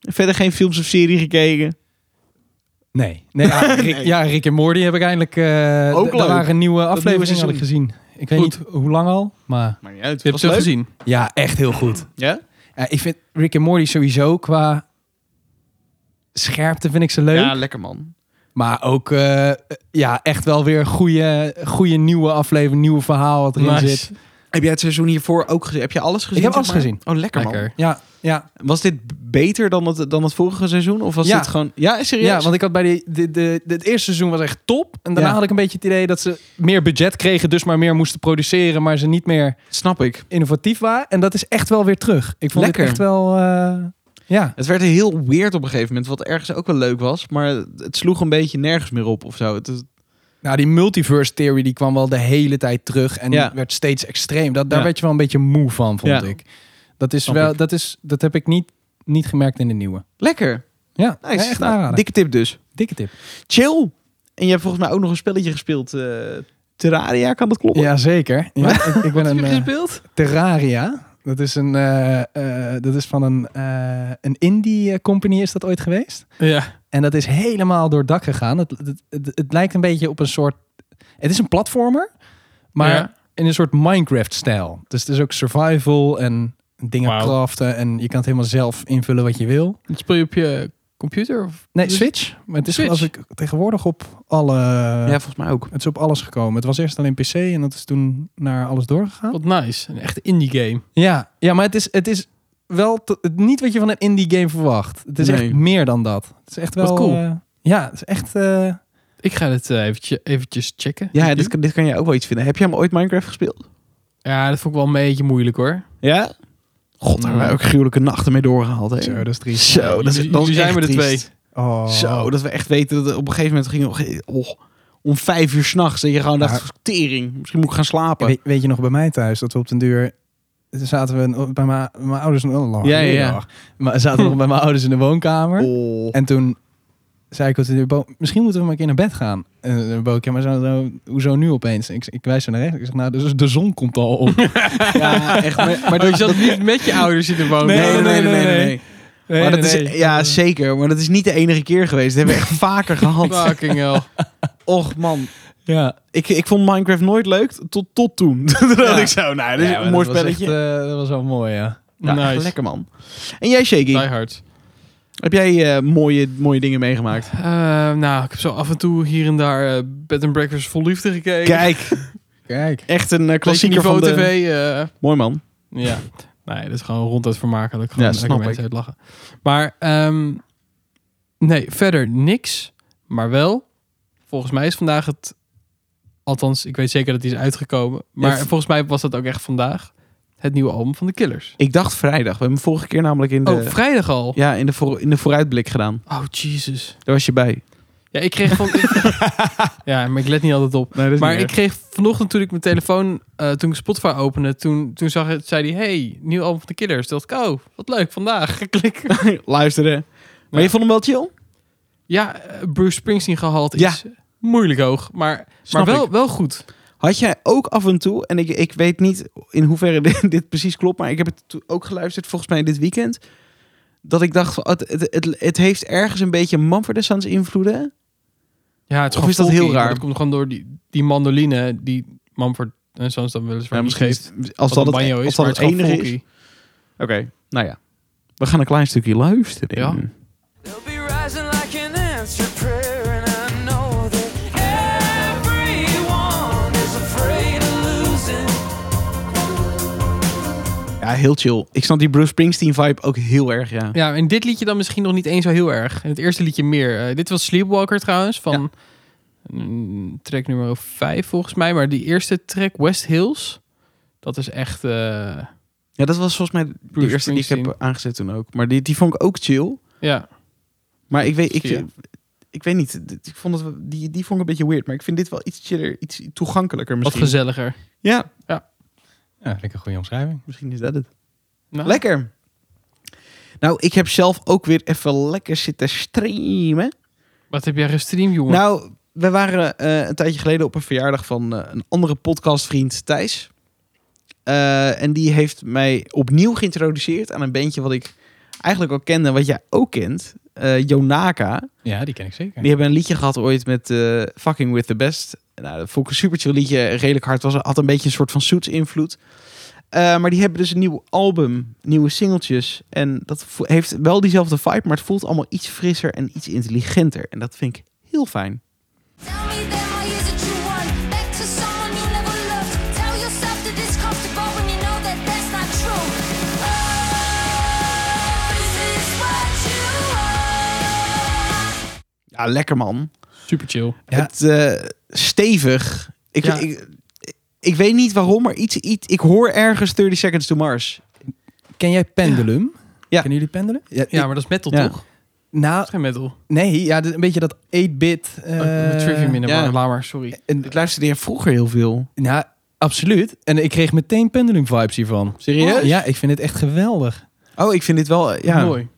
[SPEAKER 1] Verder geen films of serie gekeken.
[SPEAKER 4] Nee. nee, ja, Rick,
[SPEAKER 1] Nee.
[SPEAKER 4] ja, Rick en Morty heb ik eindelijk... eh
[SPEAKER 1] Ook
[SPEAKER 4] d-
[SPEAKER 1] leuk.
[SPEAKER 4] Er waren nieuwe afleveringen
[SPEAKER 1] seizoen.
[SPEAKER 4] had ik gezien. Ik weet niet
[SPEAKER 3] Goed.
[SPEAKER 4] hoe lang al, maar...
[SPEAKER 1] Maar niet uit.
[SPEAKER 3] Je hebt ze gezien.
[SPEAKER 4] Ja, echt heel goed.
[SPEAKER 1] Ja?
[SPEAKER 4] Ja, ik vind Rick en Morty sowieso qua scherpte vind ik ze leuk.
[SPEAKER 1] Ja, lekker man.
[SPEAKER 4] Maar ook eh, ja, echt wel weer goede, goede nieuwe aflevering, nieuw verhaal wat erin
[SPEAKER 3] Nice.
[SPEAKER 4] zit.
[SPEAKER 1] Heb jij het seizoen hiervoor ook gezien? Heb je alles gezien?
[SPEAKER 4] heb
[SPEAKER 1] zeg
[SPEAKER 4] alles
[SPEAKER 1] maar?
[SPEAKER 4] gezien.
[SPEAKER 1] Oh, lekker,
[SPEAKER 3] Lekker.
[SPEAKER 4] Ja, ja.
[SPEAKER 1] man. Was dit b- beter dan het, dan het vorige seizoen? Of was
[SPEAKER 4] Ja.
[SPEAKER 1] dit gewoon... Ja, serieus?
[SPEAKER 4] ja, want ik had bij die, de, de, de- het eerste seizoen was echt top. En daarna
[SPEAKER 1] Ja.
[SPEAKER 4] had ik een beetje het idee dat ze meer budget kregen, dus maar meer moesten produceren, maar ze niet meer
[SPEAKER 1] Snap ik.
[SPEAKER 4] innovatief waren. En dat is echt wel weer terug. Ik vond
[SPEAKER 1] Lekker.
[SPEAKER 4] het echt wel. eh, ja.
[SPEAKER 1] Het werd heel weird op een gegeven moment. Wat ergens ook wel leuk was. Maar het sloeg een beetje nergens meer op of zo. Het, is-
[SPEAKER 4] Nou, die multiverse theory die kwam wel de hele tijd terug en
[SPEAKER 1] Ja.
[SPEAKER 4] werd steeds extreem. Dat, daar
[SPEAKER 1] Ja.
[SPEAKER 4] werd je wel een beetje moe van, vond
[SPEAKER 1] Ja.
[SPEAKER 4] ik. Dat is
[SPEAKER 1] Snap
[SPEAKER 4] wel,
[SPEAKER 1] ik.
[SPEAKER 4] dat is, dat heb ik niet, niet gemerkt in de nieuwe.
[SPEAKER 1] Lekker.
[SPEAKER 4] Ja,
[SPEAKER 1] Nice.
[SPEAKER 4] ja, echt
[SPEAKER 1] Nou,
[SPEAKER 4] aanrader.
[SPEAKER 1] dikke tip dus.
[SPEAKER 4] dikke tip.
[SPEAKER 1] Chill. En je hebt volgens mij ook nog een spelletje gespeeld. eh, Terraria, kan dat kloppen?
[SPEAKER 4] Ja, zeker. Ja, ik, ik ben een eh,
[SPEAKER 3] gespeeld?
[SPEAKER 4] Terraria. Dat is een, eh, eh, dat is van een, eh, een indie eh, company is dat ooit geweest.
[SPEAKER 3] Ja.
[SPEAKER 4] En dat is helemaal door het dak gegaan. Het, het, het, het lijkt een beetje op een soort. Het is een platformer, maar
[SPEAKER 3] Ja.
[SPEAKER 4] in een soort Minecraft-stijl. Dus het is ook survival en dingen
[SPEAKER 3] Wauw.
[SPEAKER 4] craften. En je kan het helemaal zelf invullen wat je wil.
[SPEAKER 3] Dat speel je op je computer? Of?
[SPEAKER 4] Nee,
[SPEAKER 3] Dus-
[SPEAKER 4] Switch. Maar het is
[SPEAKER 3] Switch.
[SPEAKER 4] als ik tegenwoordig op alle.
[SPEAKER 1] Ja, volgens mij ook.
[SPEAKER 4] Het is op alles gekomen. Het was eerst alleen PC en dat is toen naar alles doorgegaan.
[SPEAKER 3] Wat nice. Een echte indie game.
[SPEAKER 4] Ja, ja maar het is, het is wel te- het- niet wat je van een indie game verwacht. Het is
[SPEAKER 1] Nee.
[SPEAKER 4] echt meer dan dat. Het is echt wel
[SPEAKER 3] Wat cool.
[SPEAKER 4] eh, ja, het is echt. eh,
[SPEAKER 3] Ik ga dit eh, eventje, eventjes checken.
[SPEAKER 1] Ja, dit, kan- dit kan je ook wel iets vinden. Heb jij hem ooit Minecraft gespeeld?
[SPEAKER 3] ja, dat vond ik wel een beetje moeilijk hoor.
[SPEAKER 1] Ja? God, daar hebben wij ook gruwelijke nachten mee doorgehaald. Hè?
[SPEAKER 4] zo, dat is triest.
[SPEAKER 1] Zo, dat is,
[SPEAKER 3] Jullie-
[SPEAKER 1] dat is
[SPEAKER 3] jullie zijn
[SPEAKER 1] echt
[SPEAKER 3] we de
[SPEAKER 1] triest.
[SPEAKER 4] Oh.
[SPEAKER 1] Zo, dat we echt weten dat we op een gegeven moment gingen... we- Oh, om vijf uur s'nachts dat je gewoon dacht,
[SPEAKER 4] Ja.
[SPEAKER 1] tering, misschien moet ik gaan slapen.
[SPEAKER 4] Weet, weet je nog bij mij thuis dat we op den duur zaten we een- bij mijn mijn ouders... Oh, lang
[SPEAKER 1] Ja,
[SPEAKER 4] geleden
[SPEAKER 1] ja.
[SPEAKER 4] al. Maar zaten we nog bij mijn ouders in de woonkamer.
[SPEAKER 1] Oh.
[SPEAKER 4] En toen zei ik tegen de Bo, misschien moeten we maar een keer naar bed gaan. En de Bo, ja, maar zo, zo- hoezo nu opeens? Ik, ik wijs zo naar rechts. Ik zeg, nou, dus de zon komt al op.
[SPEAKER 1] Ja, echt. Maar,
[SPEAKER 3] Maar Oh, je zat niet met je ouders in de woning.
[SPEAKER 1] nee, nee, nee, nee, nee, nee.
[SPEAKER 4] Nee,
[SPEAKER 1] maar dat
[SPEAKER 4] nee,
[SPEAKER 1] is,
[SPEAKER 4] nee.
[SPEAKER 1] Ja, zeker. Maar dat is niet de enige keer geweest. Dat hebben we echt vaker gehad.
[SPEAKER 3] Fucking hell.
[SPEAKER 1] Och man.
[SPEAKER 4] Ja,
[SPEAKER 1] Ik, ik vond Minecraft nooit leuk tot, tot toen. Toen dacht
[SPEAKER 4] Ja.
[SPEAKER 1] ik zo, nou, dit is
[SPEAKER 4] Ja, maar
[SPEAKER 1] een mooi
[SPEAKER 4] dat was echt,
[SPEAKER 1] spelletje.
[SPEAKER 4] eh, dat was wel mooi, ja.
[SPEAKER 1] Nou, echt
[SPEAKER 3] nice.
[SPEAKER 1] Lekker man. En jij, Shaky,
[SPEAKER 3] Die hard.
[SPEAKER 1] heb jij eh, mooie, mooie dingen meegemaakt?
[SPEAKER 3] Eh, nou, ik heb zo af en toe hier en daar eh, bed and breakfast vol liefde gekeken.
[SPEAKER 1] Kijk,
[SPEAKER 4] Kijk.
[SPEAKER 1] echt een eh,
[SPEAKER 3] Beetje
[SPEAKER 1] klassieker van
[SPEAKER 3] niveau
[SPEAKER 1] de...
[SPEAKER 3] tv. eh,
[SPEAKER 1] Mooi man.
[SPEAKER 3] ja. Nee, dat is gewoon ronduit vermakelijk. Gewoon
[SPEAKER 1] Ja,
[SPEAKER 3] lekker
[SPEAKER 1] snap
[SPEAKER 3] mensen
[SPEAKER 1] ik.
[SPEAKER 3] uitlachen. Maar ehm, nee, verder niks. Maar wel, volgens mij is vandaag het... Althans, ik weet zeker dat die is uitgekomen. Maar
[SPEAKER 1] Ja, v-
[SPEAKER 3] volgens mij was dat ook echt vandaag. Het nieuwe album van de Killers.
[SPEAKER 1] Ik dacht vrijdag. We hebben hem vorige keer namelijk in de,
[SPEAKER 3] Oh, vrijdag al?
[SPEAKER 1] ja, in de, voor, in de vooruitblik gedaan.
[SPEAKER 3] Oh, Jesus.
[SPEAKER 1] Daar was je bij.
[SPEAKER 3] Ja, ik kreeg van... ja, maar ik let niet altijd op. Maar ik kreeg vanochtend toen ik mijn telefoon, eh, toen ik Spotify opende, toen, toen zag, het- zei hij, hey, nieuw album van de Killers. Toen dacht ik, oh, wat leuk, vandaag. Klik.
[SPEAKER 1] luisterde. Maar
[SPEAKER 3] Ja.
[SPEAKER 1] je vond hem wel chill?
[SPEAKER 3] Ja, eh, Bruce Springsteen gehaald
[SPEAKER 1] Ja.
[SPEAKER 3] is moeilijk hoog, maar, maar
[SPEAKER 1] Snap
[SPEAKER 3] wel,
[SPEAKER 1] ik.
[SPEAKER 3] wel goed.
[SPEAKER 1] Had jij ook af en toe, en ik, ik weet niet in hoeverre dit, dit precies klopt, maar ik heb het to- ook geluisterd volgens mij dit weekend, dat ik dacht, van, het, het, het, het heeft ergens een beetje Mumford Sons invloeden.
[SPEAKER 3] Ja, het
[SPEAKER 1] Of is dat
[SPEAKER 3] funky,
[SPEAKER 1] heel
[SPEAKER 3] maar
[SPEAKER 1] raar?
[SPEAKER 3] Dat komt gewoon door die, die mandoline, die Manfred en Sons dan wel eens
[SPEAKER 1] Ja,
[SPEAKER 3] ja,
[SPEAKER 1] misschien
[SPEAKER 3] geeft.
[SPEAKER 1] is- als dat, het,
[SPEAKER 3] Wat een banjo
[SPEAKER 1] als
[SPEAKER 3] is,
[SPEAKER 1] dat
[SPEAKER 3] maar
[SPEAKER 1] het
[SPEAKER 3] het is gewoon
[SPEAKER 1] enige is.
[SPEAKER 3] funky.
[SPEAKER 1] Oké, nou ja. We gaan een klein stukje luisteren.
[SPEAKER 3] Ja.
[SPEAKER 5] They'll be rising like an answered prayer, and I know that everyone is afraid of losing.
[SPEAKER 1] Ja, heel chill. Ik snap die Bruce Springsteen vibe ook heel erg, ja.
[SPEAKER 3] Ja, en dit liedje dan misschien nog niet eens zo heel erg. En het eerste liedje meer. Eh, dit was Sleepwalker trouwens, van mm, track nummer 5 volgens mij. Maar die eerste track, West Hills, dat is echt... eh,
[SPEAKER 1] Ja, dat was volgens mij de
[SPEAKER 3] Bruce
[SPEAKER 1] eerste die ik heb
[SPEAKER 3] Springsteen.
[SPEAKER 1] aangezet toen ook. Maar die, die vond ik ook chill.
[SPEAKER 3] ja,
[SPEAKER 1] Maar ik weet, ik,
[SPEAKER 3] Ja.
[SPEAKER 1] ik weet niet. Dit- Ik vond het, wel- die, die vond ik een beetje weird. Maar ik vind dit wel iets chiller, iets toegankelijker
[SPEAKER 3] wat
[SPEAKER 1] misschien.
[SPEAKER 3] gezelliger.
[SPEAKER 1] ja,
[SPEAKER 4] Ja, vind ik een goede omschrijving.
[SPEAKER 1] misschien is dat het.
[SPEAKER 3] Nou,
[SPEAKER 1] Lekker. Nou, ik heb zelf ook weer even lekker zitten streamen.
[SPEAKER 3] Wat heb jij gestreamd, jongen?
[SPEAKER 1] Nou, we waren eh, een tijdje geleden op een verjaardag van eh, een andere podcastvriend, Thijs. Eh, en die heeft mij opnieuw geïntroduceerd aan een bandje wat ik eigenlijk al kende en wat jij ook kent. eh Jonaka.
[SPEAKER 4] Ja, die ken ik zeker.
[SPEAKER 1] Die hebben een liedje gehad ooit met eh, Fucking With The Best. Nou, dat vond ik een super chill liedje. Redelijk hard was. Had een beetje een soort van Suits invloed. Eh, maar die hebben dus een nieuw album. Nieuwe singeltjes. En dat vo- heeft wel diezelfde vibe. Maar het voelt allemaal iets frisser en iets intelligenter. En dat vind ik heel fijn.
[SPEAKER 6] Tell me then why is it you want back to someone you never loved? Tell yourself that it's comfortable when you know that that's not true. Oh, is this what you are?
[SPEAKER 1] Ja, lekker man.
[SPEAKER 3] Super chill.
[SPEAKER 4] Ja.
[SPEAKER 1] Het eh, stevig. Ik,
[SPEAKER 3] Ja.
[SPEAKER 1] ik, ik weet niet waarom, maar iets, iets, ik hoor ergens 30 Seconds to Mars.
[SPEAKER 4] Ken jij Pendulum?
[SPEAKER 1] Ja.
[SPEAKER 4] Kennen jullie Pendulum?
[SPEAKER 3] Ja, maar dat is metal,
[SPEAKER 1] Ja.
[SPEAKER 3] toch? Dat
[SPEAKER 4] Nou,
[SPEAKER 3] is geen metal.
[SPEAKER 4] nee. Ja, dit is een beetje dat 8-bit...
[SPEAKER 1] Oh,
[SPEAKER 4] eh,
[SPEAKER 3] Uh, Trivium in de
[SPEAKER 1] ja.
[SPEAKER 3] war, laat maar, sorry.
[SPEAKER 4] en-
[SPEAKER 1] Ik luisterde hier vroeger heel veel.
[SPEAKER 4] Nou, absoluut. En ik kreeg meteen Pendulum vibes hiervan.
[SPEAKER 1] Serieus?
[SPEAKER 4] Ja, ik vind het echt geweldig.
[SPEAKER 1] Oh, ik vind dit wel... eh, Ja.
[SPEAKER 3] Mooi.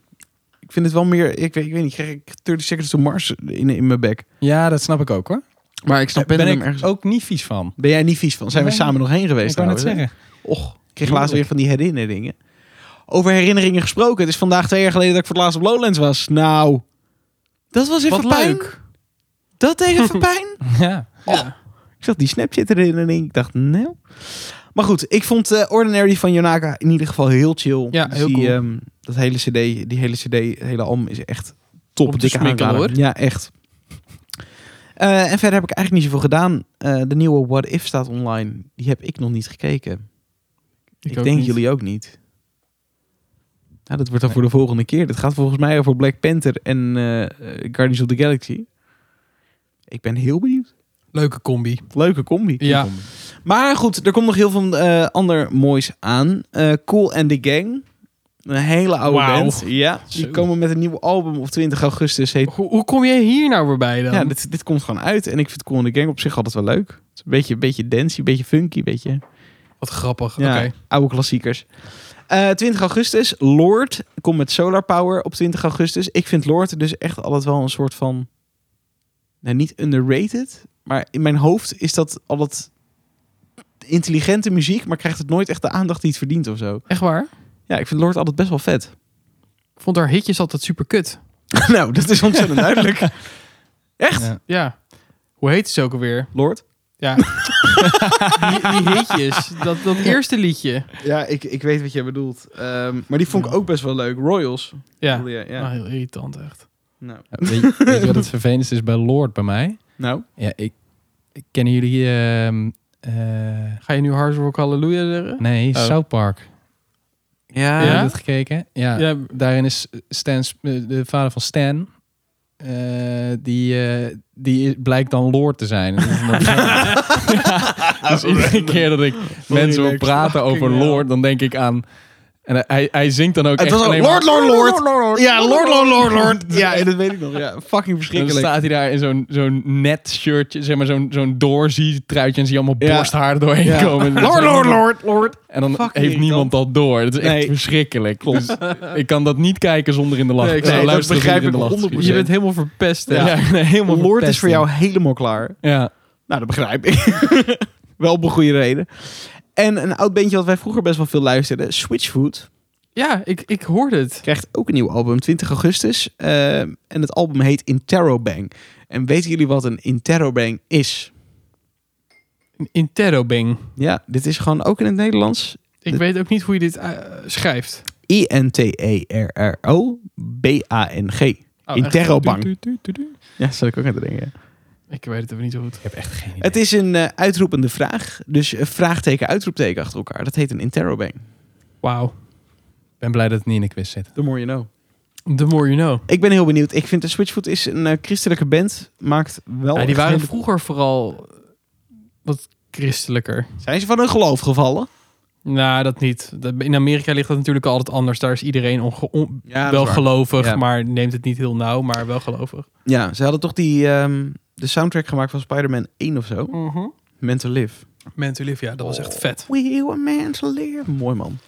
[SPEAKER 1] Ik vind het wel meer... Ik weet, ik weet niet, krijg ik 30 Seconds to Mars in, in mijn bek.
[SPEAKER 4] Ja, dat snap ik ook hoor.
[SPEAKER 1] Maar ik snap
[SPEAKER 4] ben
[SPEAKER 1] ben
[SPEAKER 4] ik
[SPEAKER 1] ergens...
[SPEAKER 4] ook niet vies van.
[SPEAKER 1] Ben jij niet vies van? Zijn we
[SPEAKER 4] Nee.
[SPEAKER 1] samen nog heen geweest?
[SPEAKER 4] Ik kan het
[SPEAKER 1] trouwens,
[SPEAKER 4] zeggen.
[SPEAKER 1] hè? Och, ik kreeg laatst weer van die herinneringen. Over herinneringen gesproken. Het is vandaag twee jaar geleden dat ik voor het laatst op Lowlands was. Nou, dat was even
[SPEAKER 3] Wat
[SPEAKER 1] pijn.
[SPEAKER 3] leuk.
[SPEAKER 1] Dat deed even pijn.
[SPEAKER 4] Ja.
[SPEAKER 3] Ja.
[SPEAKER 1] Ik zag die Snapchat herinnering. Ik dacht, nou. Maar goed, ik vond eh, Ordinary van Jonaka in ieder geval heel chill.
[SPEAKER 3] Ja,
[SPEAKER 1] Dus
[SPEAKER 3] heel
[SPEAKER 1] die,
[SPEAKER 3] cool.
[SPEAKER 1] ehm, dat hele cd, die hele cd, hele album is echt top.
[SPEAKER 3] Om te
[SPEAKER 1] dikke
[SPEAKER 3] smikkelen,
[SPEAKER 1] aanrader.
[SPEAKER 3] hoor.
[SPEAKER 1] Ja, echt. Eh, en verder heb ik eigenlijk niet zoveel gedaan. Eh, de nieuwe What If staat online. Die heb ik nog niet gekeken. Ik,
[SPEAKER 3] ook
[SPEAKER 1] denk
[SPEAKER 3] niet.
[SPEAKER 1] jullie ook niet. Nou, dat wordt dan voor de volgende keer. Dat gaat volgens mij over Black Panther en eh, eh, Guardians of the Galaxy. Ik ben heel benieuwd.
[SPEAKER 3] Leuke combi.
[SPEAKER 1] Leuke combi.
[SPEAKER 3] Ja.
[SPEAKER 1] Maar goed, er komt nog heel veel eh, ander moois aan. Eh, cool and the Gang. Een hele oude
[SPEAKER 3] Wauw.
[SPEAKER 1] band. Ja, die
[SPEAKER 3] Zo.
[SPEAKER 1] komen met een nieuw album op 20 augustus. Heet...
[SPEAKER 3] Hoe, hoe kom jij hier nou weer bij dan?
[SPEAKER 1] Ja, dit, dit komt gewoon uit. En ik vind Cool and the Gang op zich altijd wel leuk. Het is een beetje, beetje dancey, een beetje funky, een beetje...
[SPEAKER 3] Wat grappig.
[SPEAKER 1] Ja,
[SPEAKER 3] Oké.
[SPEAKER 1] oude klassiekers. Eh, 20 augustus, Lord komt met Solar Power op 20 augustus. Ik vind Lord dus echt altijd wel een soort van... Nou, niet underrated, maar in mijn hoofd is dat altijd intelligente muziek, maar krijgt het nooit echt de aandacht die het verdient of zo.
[SPEAKER 3] Echt waar?
[SPEAKER 1] Ja, ik vind Lord altijd best wel vet.
[SPEAKER 3] Ik vond haar hitjes altijd super kut.
[SPEAKER 1] nou, dat is ontzettend duidelijk. Echt?
[SPEAKER 4] Ja.
[SPEAKER 3] Ja. Hoe heet ze ook alweer?
[SPEAKER 1] Lord?
[SPEAKER 3] Ja. die, die hitjes. Dat, dat eerste liedje.
[SPEAKER 1] Ja, ik, ik weet wat jij bedoelt. Ehm, maar die vond ik ook best wel leuk. Royals.
[SPEAKER 3] Ja. Ah, heel irritant echt.
[SPEAKER 1] Nou.
[SPEAKER 4] Ja, weet, je, weet je wat het vervelendste is bij Lord bij mij?
[SPEAKER 1] nou.
[SPEAKER 4] Ja, ik, ik kennen jullie... ehm, eh,
[SPEAKER 3] Ga je nu Hard Rock Hallelujah zeggen?
[SPEAKER 4] nee,
[SPEAKER 3] Oh.
[SPEAKER 4] South Park.
[SPEAKER 1] Ja.
[SPEAKER 4] Heb je
[SPEAKER 3] Ja?
[SPEAKER 4] dat gekeken? Ah, Ja.
[SPEAKER 3] Ja.
[SPEAKER 4] Daarin is Stan, Sp- eh, de vader van Stan... eh, die, eh, die is- blijkt dan Lord te zijn. En dat is nog- Ja, dus iedere keer dat ik mensen wil
[SPEAKER 1] relaxed.
[SPEAKER 4] praten over
[SPEAKER 3] Fucking hell.
[SPEAKER 4] Lord, dan denk ik aan... En hij, hij zingt dan ook
[SPEAKER 1] Het
[SPEAKER 4] echt
[SPEAKER 1] was ook
[SPEAKER 4] alleen
[SPEAKER 1] Lord,
[SPEAKER 4] maar-
[SPEAKER 1] Lord, Lord. Ja, Lord, Lord, Lord, Lord. Ja, dat weet ik nog. Ja, fucking
[SPEAKER 4] Dan
[SPEAKER 1] verschrikkelijk.
[SPEAKER 4] staat hij daar in zo'n zo'n net shirtje, zeg maar zo'n zo'n doorzy truitje en zie je allemaal
[SPEAKER 1] Ja.
[SPEAKER 4] borsthaar er doorheen
[SPEAKER 1] Ja.
[SPEAKER 4] komen. En dat is
[SPEAKER 1] Lord, Lord,
[SPEAKER 4] helemaal-
[SPEAKER 1] Lord, Lord.
[SPEAKER 4] En dan
[SPEAKER 1] Fucking
[SPEAKER 4] heeft niemand dat door. Dat is echt
[SPEAKER 1] Nee.
[SPEAKER 4] verschrikkelijk. Dus ik kan dat niet kijken zonder in de lach.
[SPEAKER 3] Nee, ik
[SPEAKER 4] zou
[SPEAKER 3] nee, dat
[SPEAKER 4] luisteren
[SPEAKER 1] begrijp
[SPEAKER 4] zonder in de
[SPEAKER 1] ik
[SPEAKER 4] lach te
[SPEAKER 1] 100%.
[SPEAKER 3] Je
[SPEAKER 4] schieten.
[SPEAKER 3] bent helemaal verpest. hè?
[SPEAKER 4] ja, nee, helemaal
[SPEAKER 1] Lord is voor
[SPEAKER 4] verpesting.
[SPEAKER 1] jou helemaal klaar.
[SPEAKER 4] Ja.
[SPEAKER 1] Nou, dat begrijp ik. wel op een goede reden. En een oud bandje wat wij vroeger best wel veel luisterden, Switchfoot,
[SPEAKER 3] Ja, ik, ik hoorde het.
[SPEAKER 1] krijgt ook een nieuw album, 20 augustus. Ehm, en het album heet Interrobang. En weten jullie wat een Interrobang is?
[SPEAKER 3] Interrobang.
[SPEAKER 1] Ja, dit is gewoon ook in het Nederlands.
[SPEAKER 3] Ik
[SPEAKER 1] De-
[SPEAKER 3] weet ook niet hoe je dit eh, schrijft.
[SPEAKER 1] E I-N-T-E-R-R-O-B-A-N-G.
[SPEAKER 3] Oh, echt?
[SPEAKER 1] Interrobang.
[SPEAKER 4] Du- du- du- du- du.
[SPEAKER 1] Ja, dat zat ik ook aan te denken. ja.
[SPEAKER 3] Ik weet het even niet goed.
[SPEAKER 4] Ik heb echt geen idee.
[SPEAKER 1] Het is een eh, uitroepende vraag. Dus eh, vraagteken, uitroepteken achter elkaar. Dat heet een interrobang.
[SPEAKER 3] Wauw.
[SPEAKER 4] Ik ben blij dat het niet in de quiz zit.
[SPEAKER 1] The more you know.
[SPEAKER 3] The more you know.
[SPEAKER 1] Ik ben heel benieuwd. Ik vind de Switchfoot is een eh, christelijke band. Maakt wel...
[SPEAKER 3] Ja, die waren
[SPEAKER 1] geen-
[SPEAKER 3] vroeger vooral wat christelijker.
[SPEAKER 1] Zijn ze van hun geloof gevallen?
[SPEAKER 3] Nou, dat niet. Dat- In Amerika ligt dat natuurlijk altijd anders. Daar is iedereen onge- on-
[SPEAKER 1] Ja, dat
[SPEAKER 3] wel
[SPEAKER 1] is waar.
[SPEAKER 3] gelovig,
[SPEAKER 1] Ja.
[SPEAKER 3] maar neemt het niet heel nauw, maar wel gelovig.
[SPEAKER 1] Ja, ze hadden toch die, ehm, de soundtrack gemaakt van Spider-Man 1 of zo?
[SPEAKER 3] Mhm.
[SPEAKER 1] Meant to Live.
[SPEAKER 3] Man to Live, ja, dat was
[SPEAKER 1] Oh.
[SPEAKER 3] echt vet.
[SPEAKER 1] We were meant to live. Mooi man.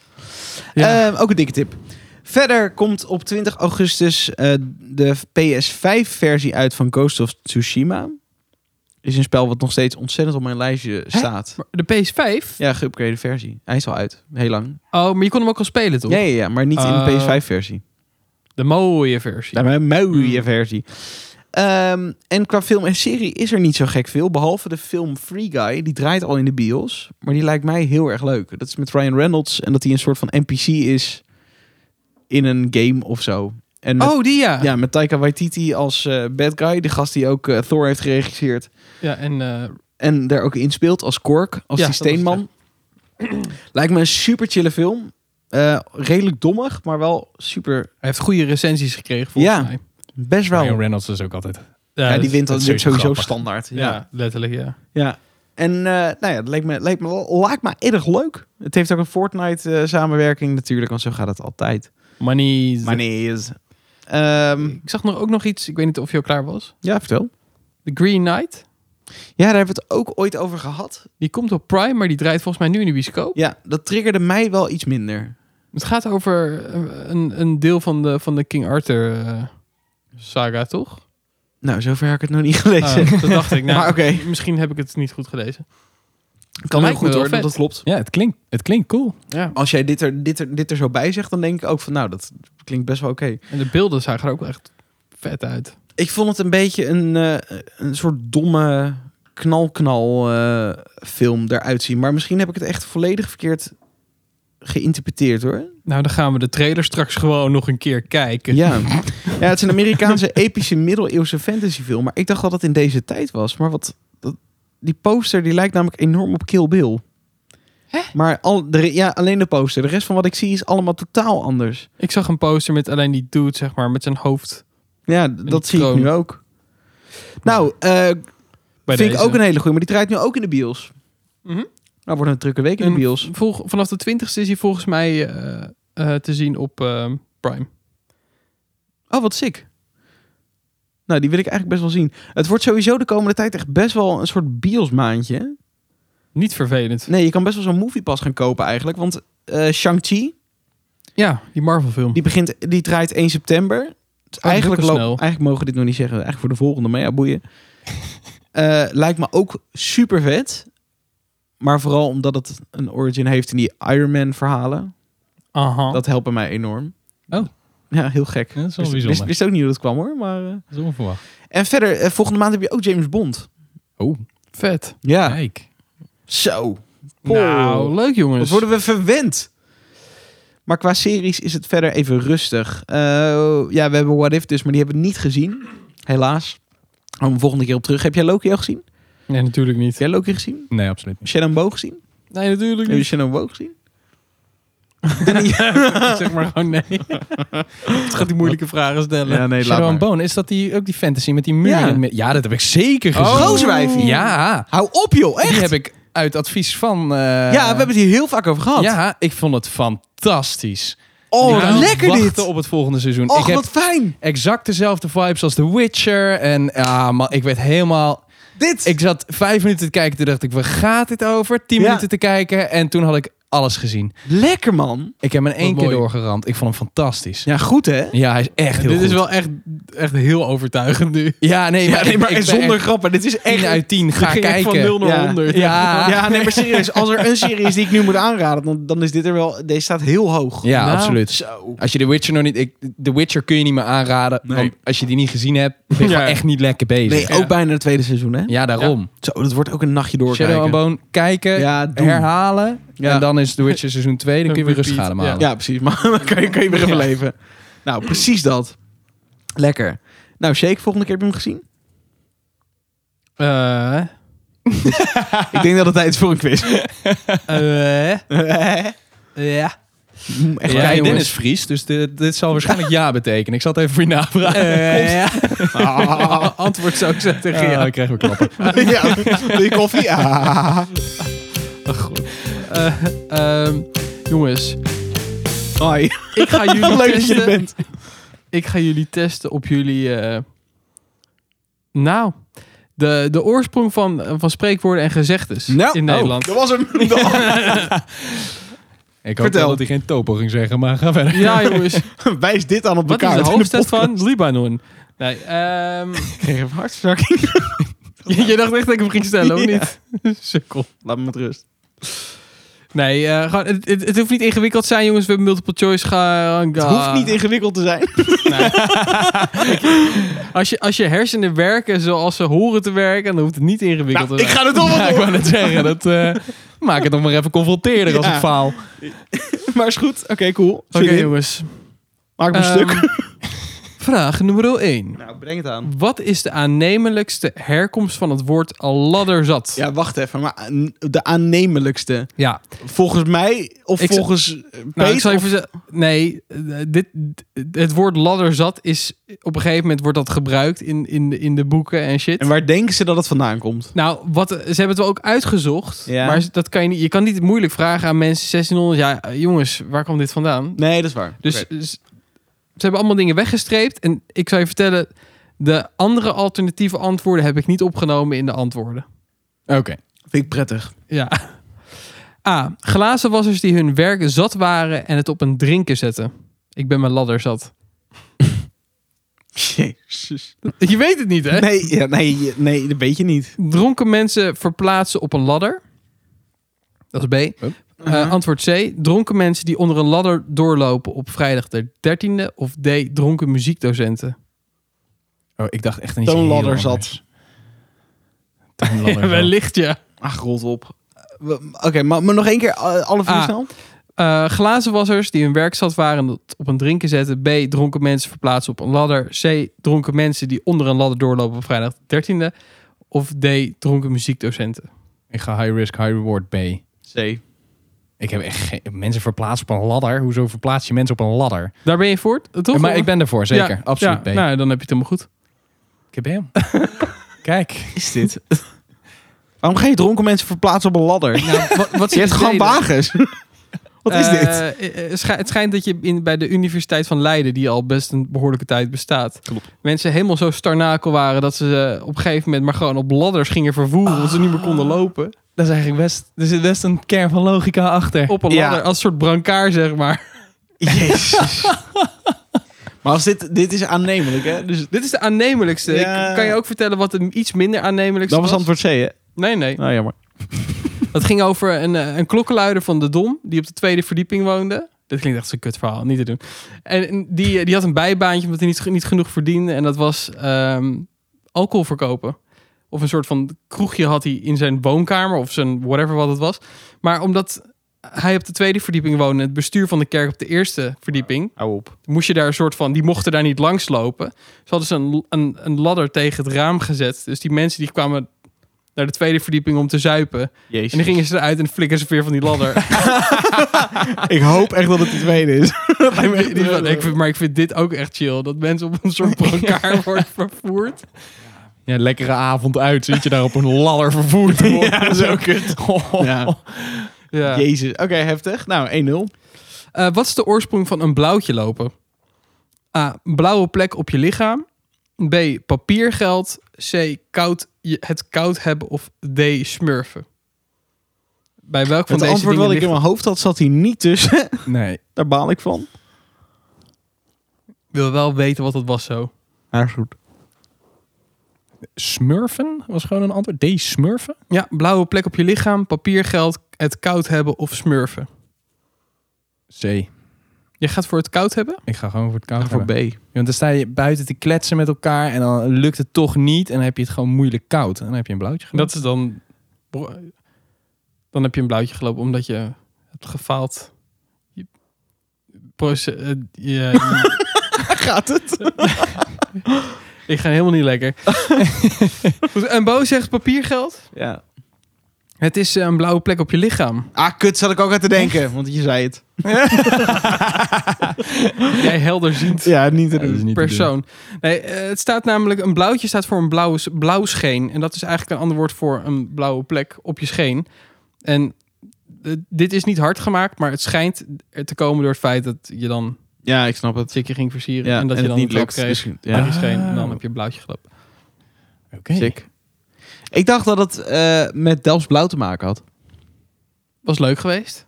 [SPEAKER 3] Ja.
[SPEAKER 1] Ehm, ook een dikke tip. Verder komt op 20 augustus eh, de PS5-versie uit van Ghost of Tsushima. Is een spel wat nog steeds ontzettend op mijn lijstje staat.
[SPEAKER 3] Maar de PS5?
[SPEAKER 1] Ja, geüpgrade versie. Hij is al uit. Heel lang.
[SPEAKER 3] Oh, maar je kon hem ook al spelen, toch?
[SPEAKER 1] Ja, ja, ja, maar niet in de
[SPEAKER 3] Eh,
[SPEAKER 1] PS5-versie.
[SPEAKER 3] De mooie versie.
[SPEAKER 1] Ja, maar een
[SPEAKER 3] Mm.
[SPEAKER 1] mooie versie. Ehm, en qua film en serie is er niet zo gek veel. Behalve de film Free Guy. Die draait al in de bios. Maar die lijkt mij heel erg leuk. Dat is met Ryan Reynolds. En dat hij een soort van NPC is in een game of zo. En met,
[SPEAKER 3] oh, die ja. Ja,
[SPEAKER 1] ja, met Taika Waititi als eh, bad guy. De gast die ook eh, Thor heeft geregisseerd.
[SPEAKER 3] en eh,
[SPEAKER 1] En daar ook in speelt als Kork, als
[SPEAKER 3] Ja,
[SPEAKER 1] die
[SPEAKER 3] dat was het,
[SPEAKER 1] steenman. Lijkt me een super chille film. Eh, redelijk dommig, maar wel super.
[SPEAKER 3] hij heeft goede recensies gekregen, volgens
[SPEAKER 1] Ja.
[SPEAKER 3] mij. dus
[SPEAKER 1] Best wel.
[SPEAKER 4] Ryan
[SPEAKER 1] Ja,
[SPEAKER 4] Reynolds is ook altijd...
[SPEAKER 1] die
[SPEAKER 3] dat is-
[SPEAKER 1] wint
[SPEAKER 4] dat
[SPEAKER 1] dan
[SPEAKER 4] is
[SPEAKER 1] sowieso
[SPEAKER 4] sowieso grappig.
[SPEAKER 1] standaard. Ja.
[SPEAKER 3] Ja,
[SPEAKER 1] ja.
[SPEAKER 3] letterlijk, ja.
[SPEAKER 1] En eh, nou ja, dat lijkt me, lijkt me, lijkt me erg leuk. Het heeft ook een Fortnite-samenwerking natuurlijk, want zo gaat het altijd.
[SPEAKER 3] Money. is-
[SPEAKER 1] Maar nee. is- Ehm,
[SPEAKER 3] Ik zag nog ook nog iets, ik weet niet of je al klaar was.
[SPEAKER 1] ja, vertel.
[SPEAKER 3] The Green Knight.
[SPEAKER 1] Ja, daar hebben we het ook ooit over gehad.
[SPEAKER 3] Die komt op Prime, maar die draait volgens mij nu in de bioscoop.
[SPEAKER 1] Ja, dat triggerde mij wel iets minder.
[SPEAKER 3] Het gaat over eh, een, een deel van de, van de King Arthur eh, saga, toch?
[SPEAKER 1] Nou, zover heb ik het nog niet gelezen.
[SPEAKER 3] Ah, dat dacht ik. Nou,
[SPEAKER 1] Maar oké.
[SPEAKER 3] Misschien heb ik het niet goed gelezen.
[SPEAKER 1] kan heel
[SPEAKER 3] lijkt me
[SPEAKER 1] goed
[SPEAKER 3] wel
[SPEAKER 1] hoor,
[SPEAKER 3] vet.
[SPEAKER 1] dat klopt.
[SPEAKER 4] Ja, het klinkt, het klinkt cool.
[SPEAKER 3] Ja.
[SPEAKER 1] als jij dit er, dit, er, dit er zo bij zegt, dan denk ik ook van nou, dat klinkt best wel oké.
[SPEAKER 3] En de beelden zagen er ook wel echt vet uit.
[SPEAKER 1] Ik vond het een beetje een, eh, een soort domme knal-knal eh, film eruit zien. Maar misschien heb ik het echt volledig verkeerd geïnterpreteerd hoor.
[SPEAKER 3] Nou, dan gaan we de trailer straks gewoon nog een keer kijken.
[SPEAKER 1] Ja. ja, het is een Amerikaanse epische middeleeuwse fantasyfilm. Maar ik dacht dat het in deze tijd was. Maar wat, dat- die poster die lijkt namelijk enorm op Kill Bill. Maar al, de, re- ja, alleen de poster. De rest van wat ik zie is allemaal totaal anders.
[SPEAKER 3] Ik zag een poster met alleen die dude, zeg maar, met zijn hoofd
[SPEAKER 1] Ja, d- dat zie ik
[SPEAKER 3] kroon.
[SPEAKER 1] nu ook. Nou, eh
[SPEAKER 3] bij
[SPEAKER 1] Vind
[SPEAKER 3] deze.
[SPEAKER 1] ik ook een hele goeie, maar die draait nu ook in de bios.
[SPEAKER 3] Mhm.
[SPEAKER 1] Nou, wordt een drukke week in
[SPEAKER 3] En
[SPEAKER 1] de bios.
[SPEAKER 3] volg- vanaf de 20ste is hij volgens mij eh, eh, te zien op eh, Prime.
[SPEAKER 1] Oh, wat sick. Nou, die wil ik eigenlijk best wel zien. Het wordt sowieso de komende tijd echt best wel een soort biosmaandje. hè?
[SPEAKER 3] Niet vervelend.
[SPEAKER 1] Nee, je kan best wel zo'n moviepas gaan kopen eigenlijk. Want eh, Shang-Chi,
[SPEAKER 3] Ja, die Marvel film.
[SPEAKER 1] die, begint, die draait 1 september. Dus
[SPEAKER 4] Oh,
[SPEAKER 3] al
[SPEAKER 1] eigenlijk, loopt-
[SPEAKER 3] snel.
[SPEAKER 1] eigenlijk mogen we dit nog niet zeggen. Eigenlijk voor de volgende, maar ja, boeien. Eh, lijkt me ook super vet. Maar vooral omdat het een origin heeft in die Iron Man verhalen.
[SPEAKER 3] Aha.
[SPEAKER 1] Dat helpen mij enorm.
[SPEAKER 4] Oh.
[SPEAKER 1] Ja, heel gek.
[SPEAKER 4] Ja, dat is wel
[SPEAKER 1] Wist-
[SPEAKER 4] bijzonder.
[SPEAKER 1] Wist, wist ook niet hoe dat kwam hoor. Maar, eh.
[SPEAKER 4] Dat is onverwacht.
[SPEAKER 1] En verder, eh, volgende maand heb je ook James Bond.
[SPEAKER 4] Oh,
[SPEAKER 3] Vet.
[SPEAKER 1] Ja.
[SPEAKER 4] kijk.
[SPEAKER 1] Zo.
[SPEAKER 3] Nou, leuk
[SPEAKER 1] Wat
[SPEAKER 3] jongens.
[SPEAKER 1] worden we verwend. Maar qua series is het verder even rustig. Eh, ja, we hebben What If dus, maar die hebben we niet gezien. Helaas. Om de volgende keer op terug. Heb jij Loki al gezien? Heb
[SPEAKER 3] Nee, natuurlijk niet.
[SPEAKER 1] jij Loki gezien?
[SPEAKER 4] Nee, absoluut niet.
[SPEAKER 1] Shannon Boog gezien?
[SPEAKER 3] Nee, natuurlijk
[SPEAKER 1] Heb je
[SPEAKER 3] niet.
[SPEAKER 1] Shannon Boog gezien?
[SPEAKER 3] zeg maar gewoon nee. Het gaat die moeilijke vragen stellen.
[SPEAKER 1] nee,
[SPEAKER 4] Shadow and Bone, is dat die, ook die fantasy met die muur?
[SPEAKER 1] Ja.
[SPEAKER 4] in het midden? ja dat heb ik zeker gezien.
[SPEAKER 1] Oh. Rooswijfie.
[SPEAKER 4] Ja,
[SPEAKER 1] Hou op joh, echt?
[SPEAKER 4] die heb ik uit advies van... eh,
[SPEAKER 1] Ja, we hebben het hier heel vaak over gehad.
[SPEAKER 4] Ja, ik vond het fantastisch.
[SPEAKER 1] Oh,
[SPEAKER 4] Ik kan
[SPEAKER 1] lekker
[SPEAKER 4] wachten
[SPEAKER 1] dit.
[SPEAKER 4] op het volgende seizoen. ik
[SPEAKER 1] Och,
[SPEAKER 4] heb
[SPEAKER 1] wat fijn.
[SPEAKER 4] exact dezelfde vibes als The Witcher. En ja, man, ik werd helemaal...
[SPEAKER 1] Dit.
[SPEAKER 4] Ik zat vijf minuten te kijken, toen dacht ik, waar gaat dit over? Tien
[SPEAKER 1] Ja.
[SPEAKER 4] minuten te kijken en toen had ik alles gezien.
[SPEAKER 1] Lekker man.
[SPEAKER 4] Ik heb hem in één
[SPEAKER 3] Wat
[SPEAKER 4] keer
[SPEAKER 3] mooi.
[SPEAKER 4] doorgeramd. Ik vond hem fantastisch. Ja,
[SPEAKER 1] Ja, goed hè?
[SPEAKER 4] hij is echt heel
[SPEAKER 3] Dit is
[SPEAKER 4] goed.
[SPEAKER 3] wel echt, echt heel overtuigend nu.
[SPEAKER 4] Ja, nee, maar,
[SPEAKER 1] Ja, nee, maar
[SPEAKER 4] ik ben
[SPEAKER 1] zonder
[SPEAKER 4] echt
[SPEAKER 1] grappen. Dit is echt...
[SPEAKER 4] 10 uit Ah. 10 ga
[SPEAKER 3] Ging ik
[SPEAKER 4] kijken.
[SPEAKER 3] van 0 naar
[SPEAKER 1] Ja.
[SPEAKER 3] 100.
[SPEAKER 4] Ja, ja,
[SPEAKER 1] Ja, nee, maar serieus. Als er een serie is die ik nu moet aanraden, dan, dan is dit er wel... Deze staat heel hoog.
[SPEAKER 3] Nou,
[SPEAKER 4] absoluut.
[SPEAKER 1] Zo.
[SPEAKER 4] Als je The Witcher nog niet... Ik, The Witcher kun je niet meer aanraden.
[SPEAKER 1] Nee.
[SPEAKER 4] Want als je die niet gezien hebt, ben je
[SPEAKER 3] Ja.
[SPEAKER 4] gewoon echt niet lekker bezig.
[SPEAKER 1] Nee, ook bijna het tweede seizoen, hè?
[SPEAKER 4] Ja, daarom.
[SPEAKER 1] Zo, dat wordt ook een nachtje doorkijken.
[SPEAKER 4] Shadow and Bone, kijken,
[SPEAKER 1] Ja, doen.
[SPEAKER 4] herhalen.
[SPEAKER 1] Ja.
[SPEAKER 4] En dan is The Witcher seizoen 2. Dan kun je weer
[SPEAKER 3] Repeat,
[SPEAKER 4] rustig ademhalen.
[SPEAKER 3] ja.
[SPEAKER 1] Ja, precies. Maar dan kan je, kan je weer even leven. Nou, precies dat. Lekker. Nou, Shake, volgende keer heb je hem gezien?
[SPEAKER 3] Eh,
[SPEAKER 1] Ik denk dat het tijd is voor een quiz.
[SPEAKER 3] eh, ja.
[SPEAKER 1] Echt
[SPEAKER 4] Ja,
[SPEAKER 1] ja,
[SPEAKER 4] Dennis
[SPEAKER 1] jongens.
[SPEAKER 4] Fries, dus dit, dit zal waarschijnlijk ja betekenen. Ik zal het even voor je navragen.
[SPEAKER 1] Ah,
[SPEAKER 3] Antwoord zou ik zeggen tegen
[SPEAKER 4] ja,
[SPEAKER 3] jou.
[SPEAKER 4] ik krijg weer klappen.
[SPEAKER 1] ja. Wil je koffie? Ah.
[SPEAKER 3] Eh, ehm, jongens,
[SPEAKER 1] Hoi.
[SPEAKER 3] ik ga jullie
[SPEAKER 1] Leuk dat je
[SPEAKER 3] testen.
[SPEAKER 1] er bent.
[SPEAKER 3] Ik ga jullie testen op jullie. eh, nou, de, de oorsprong van, van spreekwoorden en gezegdes
[SPEAKER 4] Nou.
[SPEAKER 3] in Nederland.
[SPEAKER 1] Oh, dat was hem. Dat was-
[SPEAKER 4] Ik hoop
[SPEAKER 1] Vertel.
[SPEAKER 4] wel dat hij geen topo ging zeggen, maar ga verder.
[SPEAKER 3] Ja, jongens.
[SPEAKER 1] Wijs dit aan op
[SPEAKER 3] Wat
[SPEAKER 1] elkaar.
[SPEAKER 3] is de
[SPEAKER 1] uit in
[SPEAKER 3] hoofdstad
[SPEAKER 1] podcast.
[SPEAKER 3] van Libanon? Nee, ehm,
[SPEAKER 1] Ik kreeg even hartverzakking.
[SPEAKER 3] je, je dacht echt dat ik hem ging stellen, of
[SPEAKER 1] Ja.
[SPEAKER 3] niet? Sukkel.
[SPEAKER 1] Laat me met rust.
[SPEAKER 3] Nee, eh, gewoon, het, het, het hoeft niet ingewikkeld te zijn, jongens. We hebben multiple choice. Ga,
[SPEAKER 1] Het hoeft niet ingewikkeld te zijn.
[SPEAKER 3] Als je, als je hersenen werken zoals ze horen te werken, dan hoeft het niet ingewikkeld
[SPEAKER 1] Nou,
[SPEAKER 3] te
[SPEAKER 1] ik
[SPEAKER 3] zijn.
[SPEAKER 1] ga het toch
[SPEAKER 4] Ja,
[SPEAKER 1] wel
[SPEAKER 4] ik
[SPEAKER 1] doen.
[SPEAKER 4] wou net zeggen, dat eh, maak het nog maar even confronterender als
[SPEAKER 1] Ja.
[SPEAKER 4] ik faal.
[SPEAKER 1] Maar is goed. Oké, cool.
[SPEAKER 3] Oké,
[SPEAKER 1] Zin in.
[SPEAKER 3] jongens.
[SPEAKER 1] Maak me een stuk.
[SPEAKER 3] Ehm, vraag nummer 1.
[SPEAKER 1] Nou, breng het aan.
[SPEAKER 3] Wat is de aannemelijkste herkomst van het woord ladderzat?
[SPEAKER 1] Ja, wacht even. Maar aan- de aannemelijkste.
[SPEAKER 3] ja.
[SPEAKER 1] Volgens mij of
[SPEAKER 3] Ik z-
[SPEAKER 1] volgens eh,
[SPEAKER 3] Nou, ik
[SPEAKER 1] Peet
[SPEAKER 3] zal
[SPEAKER 1] of-
[SPEAKER 3] even zeggen. Nee, eh, dit, d- het woord ladderzat is op een gegeven moment wordt dat gebruikt in, in, de, in de boeken en shit.
[SPEAKER 1] En waar denken ze dat het vandaan komt?
[SPEAKER 3] Nou, wat, ze hebben het wel ook uitgezocht.
[SPEAKER 1] Ja.
[SPEAKER 3] Maar dat kan je, niet, je kan niet moeilijk vragen aan mensen 1600. Ja, eh, jongens, waar kwam dit vandaan?
[SPEAKER 1] Nee, dat is waar.
[SPEAKER 3] Dus
[SPEAKER 1] Oké.
[SPEAKER 3] z- ze hebben allemaal dingen weggestreept. En ik zou je vertellen, de andere alternatieve antwoorden heb ik niet opgenomen in de antwoorden.
[SPEAKER 4] Oké.
[SPEAKER 1] vind ik prettig.
[SPEAKER 3] Ja. A. Glazenwassers die hun werk zat waren en het op een drinken zetten. Ik ben mijn ladder zat.
[SPEAKER 1] Jezus.
[SPEAKER 3] Je weet het niet, hè?
[SPEAKER 1] Nee, ja, nee, je- nee, dat weet je niet.
[SPEAKER 3] Dronken mensen verplaatsen op een ladder. Dat is B.
[SPEAKER 4] Hup.
[SPEAKER 3] Eh, antwoord C. Dronken mensen die onder een ladder doorlopen op vrijdag de 13e. Of D. Dronken muziekdocenten.
[SPEAKER 4] Oh, ik dacht echt niet
[SPEAKER 1] Toon Ladder zat.
[SPEAKER 3] Wellicht, ja.
[SPEAKER 1] Ach, rolt op. We- Oké, maar, maar nog één keer eh, alle vier
[SPEAKER 3] Ah.
[SPEAKER 1] snel.
[SPEAKER 3] Eh, glazenwassers die hun werk zat waren en dat op een drinken zetten. B. Dronken mensen verplaatsen op een ladder. C. Dronken mensen die onder een ladder doorlopen op vrijdag de 13e. Of D. Dronken muziekdocenten.
[SPEAKER 4] Ik ga high risk, high reward B.
[SPEAKER 1] C.
[SPEAKER 4] Ik heb echt geen- mensen verplaatst op een ladder. Hoezo verplaats je mensen op een ladder?
[SPEAKER 3] Daar ben je voor, eh, toch?
[SPEAKER 4] Ja, maar ik ben ervoor, zeker.
[SPEAKER 3] Ja,
[SPEAKER 4] Absoluut
[SPEAKER 3] ja,
[SPEAKER 4] B.
[SPEAKER 3] Nou, dan heb je het helemaal goed.
[SPEAKER 4] Ik heb hem. Kijk.
[SPEAKER 1] Is dit? Waarom ga je dronken mensen verplaatsen op een ladder?
[SPEAKER 3] Nou, wat, wat
[SPEAKER 1] je hebt gewoon wagens. Wat is dit?
[SPEAKER 3] Eh, het schijnt dat je in, bij de Universiteit van Leiden, die al best een behoorlijke tijd bestaat, mensen helemaal
[SPEAKER 1] Ah.
[SPEAKER 3] zo starnakel waren dat ze eh, op een gegeven moment maar gewoon op ladders gingen vervoeren, omdat ze niet meer konden lopen.
[SPEAKER 4] Dat is eigenlijk best, er zit best een kern van logica achter.
[SPEAKER 3] Op een
[SPEAKER 1] Ja.
[SPEAKER 3] ladder, als soort brancard, zeg maar.
[SPEAKER 1] Eh, Jezus. maar als dit, dit is aannemelijk, hè? Dus
[SPEAKER 3] Dit is de aannemelijkste.
[SPEAKER 1] Ja.
[SPEAKER 3] Ik kan je ook vertellen wat de iets minder aannemelijkste
[SPEAKER 1] dat was
[SPEAKER 3] was.
[SPEAKER 1] antwoord C, hè?
[SPEAKER 3] Nee, nee.
[SPEAKER 1] Nou, jammer.
[SPEAKER 3] Dat ging over een, eh, een klokkenluider van de Dom, die op de tweede verdieping woonde. Dit klinkt echt zo'n kut verhaal, niet te doen. En en die, eh, die had een bijbaantje omdat hij niet, niet genoeg verdiende. En dat was ehm, alcohol verkopen. Of een soort van kroegje had hij in zijn woonkamer of zijn whatever wat het was. Maar omdat hij op de tweede verdieping woonde, het bestuur van de kerk op de eerste verdieping,
[SPEAKER 1] Hou op.
[SPEAKER 3] moest je daar een soort van, die mochten daar niet langslopen. Ze hadden ze een, een, een ladder tegen het raam gezet. Dus die mensen die kwamen naar de tweede verdieping om te zuipen.
[SPEAKER 1] Jezus.
[SPEAKER 3] En dan gingen ze eruit en flikken ze weer van die ladder.
[SPEAKER 1] Ik hoop echt dat het de tweede is. Dat lijkt me echt
[SPEAKER 3] Die van,
[SPEAKER 1] heel
[SPEAKER 3] ik vind, maar ik vind dit ook echt chill. Dat mensen op een soort brancard worden vervoerd.
[SPEAKER 4] Ja, lekkere avond uit. Zit je daar op een ladder vervoerd
[SPEAKER 1] Ja, zo kut. Ja.
[SPEAKER 3] Ja.
[SPEAKER 1] Jezus. Oké, heftig. Nou, 1-0.
[SPEAKER 3] Eh, wat is de oorsprong van een blauwtje lopen? A. Blauwe plek op je lichaam. B. Papiergeld. C. Koud, je- het koud hebben. Of D. Smurfen. Bij welk van
[SPEAKER 1] Het
[SPEAKER 3] deze
[SPEAKER 1] antwoord
[SPEAKER 3] dingen
[SPEAKER 1] wat ik in
[SPEAKER 3] ligt-
[SPEAKER 1] mijn hoofd had, zat hier niet tussen.
[SPEAKER 4] Nee.
[SPEAKER 1] Daar baal ik van.
[SPEAKER 3] wil wel weten wat dat was zo.
[SPEAKER 1] Maar goed.
[SPEAKER 4] Smurfen was gewoon een antwoord. D. Smurfen?
[SPEAKER 3] Ja, blauwe plek op je lichaam, papiergeld, het koud hebben of smurfen.
[SPEAKER 4] C.
[SPEAKER 3] Je gaat voor het koud hebben?
[SPEAKER 4] Ik ga gewoon voor het koud
[SPEAKER 1] Voor
[SPEAKER 4] hebben.
[SPEAKER 1] B.
[SPEAKER 4] Ja, Want dan sta je buiten te kletsen met elkaar en dan lukt het toch niet. En dan heb je het gewoon moeilijk koud. En dan heb je een blauwtje gedaan.
[SPEAKER 3] Dat is dan... Dan heb je een blauwtje gelopen omdat je hebt gefaald. Je, proce- eh, je-
[SPEAKER 1] Gaat het?
[SPEAKER 3] ik ga helemaal niet lekker. Goed, en Bo zegt papiergeld.
[SPEAKER 1] Ja.
[SPEAKER 3] Het is eh, een blauwe plek op je lichaam.
[SPEAKER 1] Ah, kut, zat ik ook aan te denken. Want je zei het.
[SPEAKER 3] Jij helderziend
[SPEAKER 1] Ja, dus niet te
[SPEAKER 4] Ja, dat is niet te
[SPEAKER 3] persoon. Nee, eh, het staat namelijk, een blauwtje staat voor een blauwe, blauw scheen. En dat is eigenlijk een ander woord voor een blauwe plek op je scheen. En eh, dit is niet hard gemaakt, maar het schijnt er te komen door het feit dat je dan
[SPEAKER 1] Ja, ik snap
[SPEAKER 3] het zikje ging versieren.
[SPEAKER 1] Ja,
[SPEAKER 3] en dat je dan
[SPEAKER 1] het niet
[SPEAKER 3] een klap
[SPEAKER 1] lukt.
[SPEAKER 3] kreeg
[SPEAKER 1] Dus-
[SPEAKER 3] aan
[SPEAKER 1] ja,
[SPEAKER 3] je scheen. En dan
[SPEAKER 4] Ah.
[SPEAKER 3] heb je een blauwtje gelopen.
[SPEAKER 4] doen. Oké.
[SPEAKER 1] sick. Ik dacht dat het eh, met Delfts Blauw te maken had.
[SPEAKER 3] Was leuk geweest.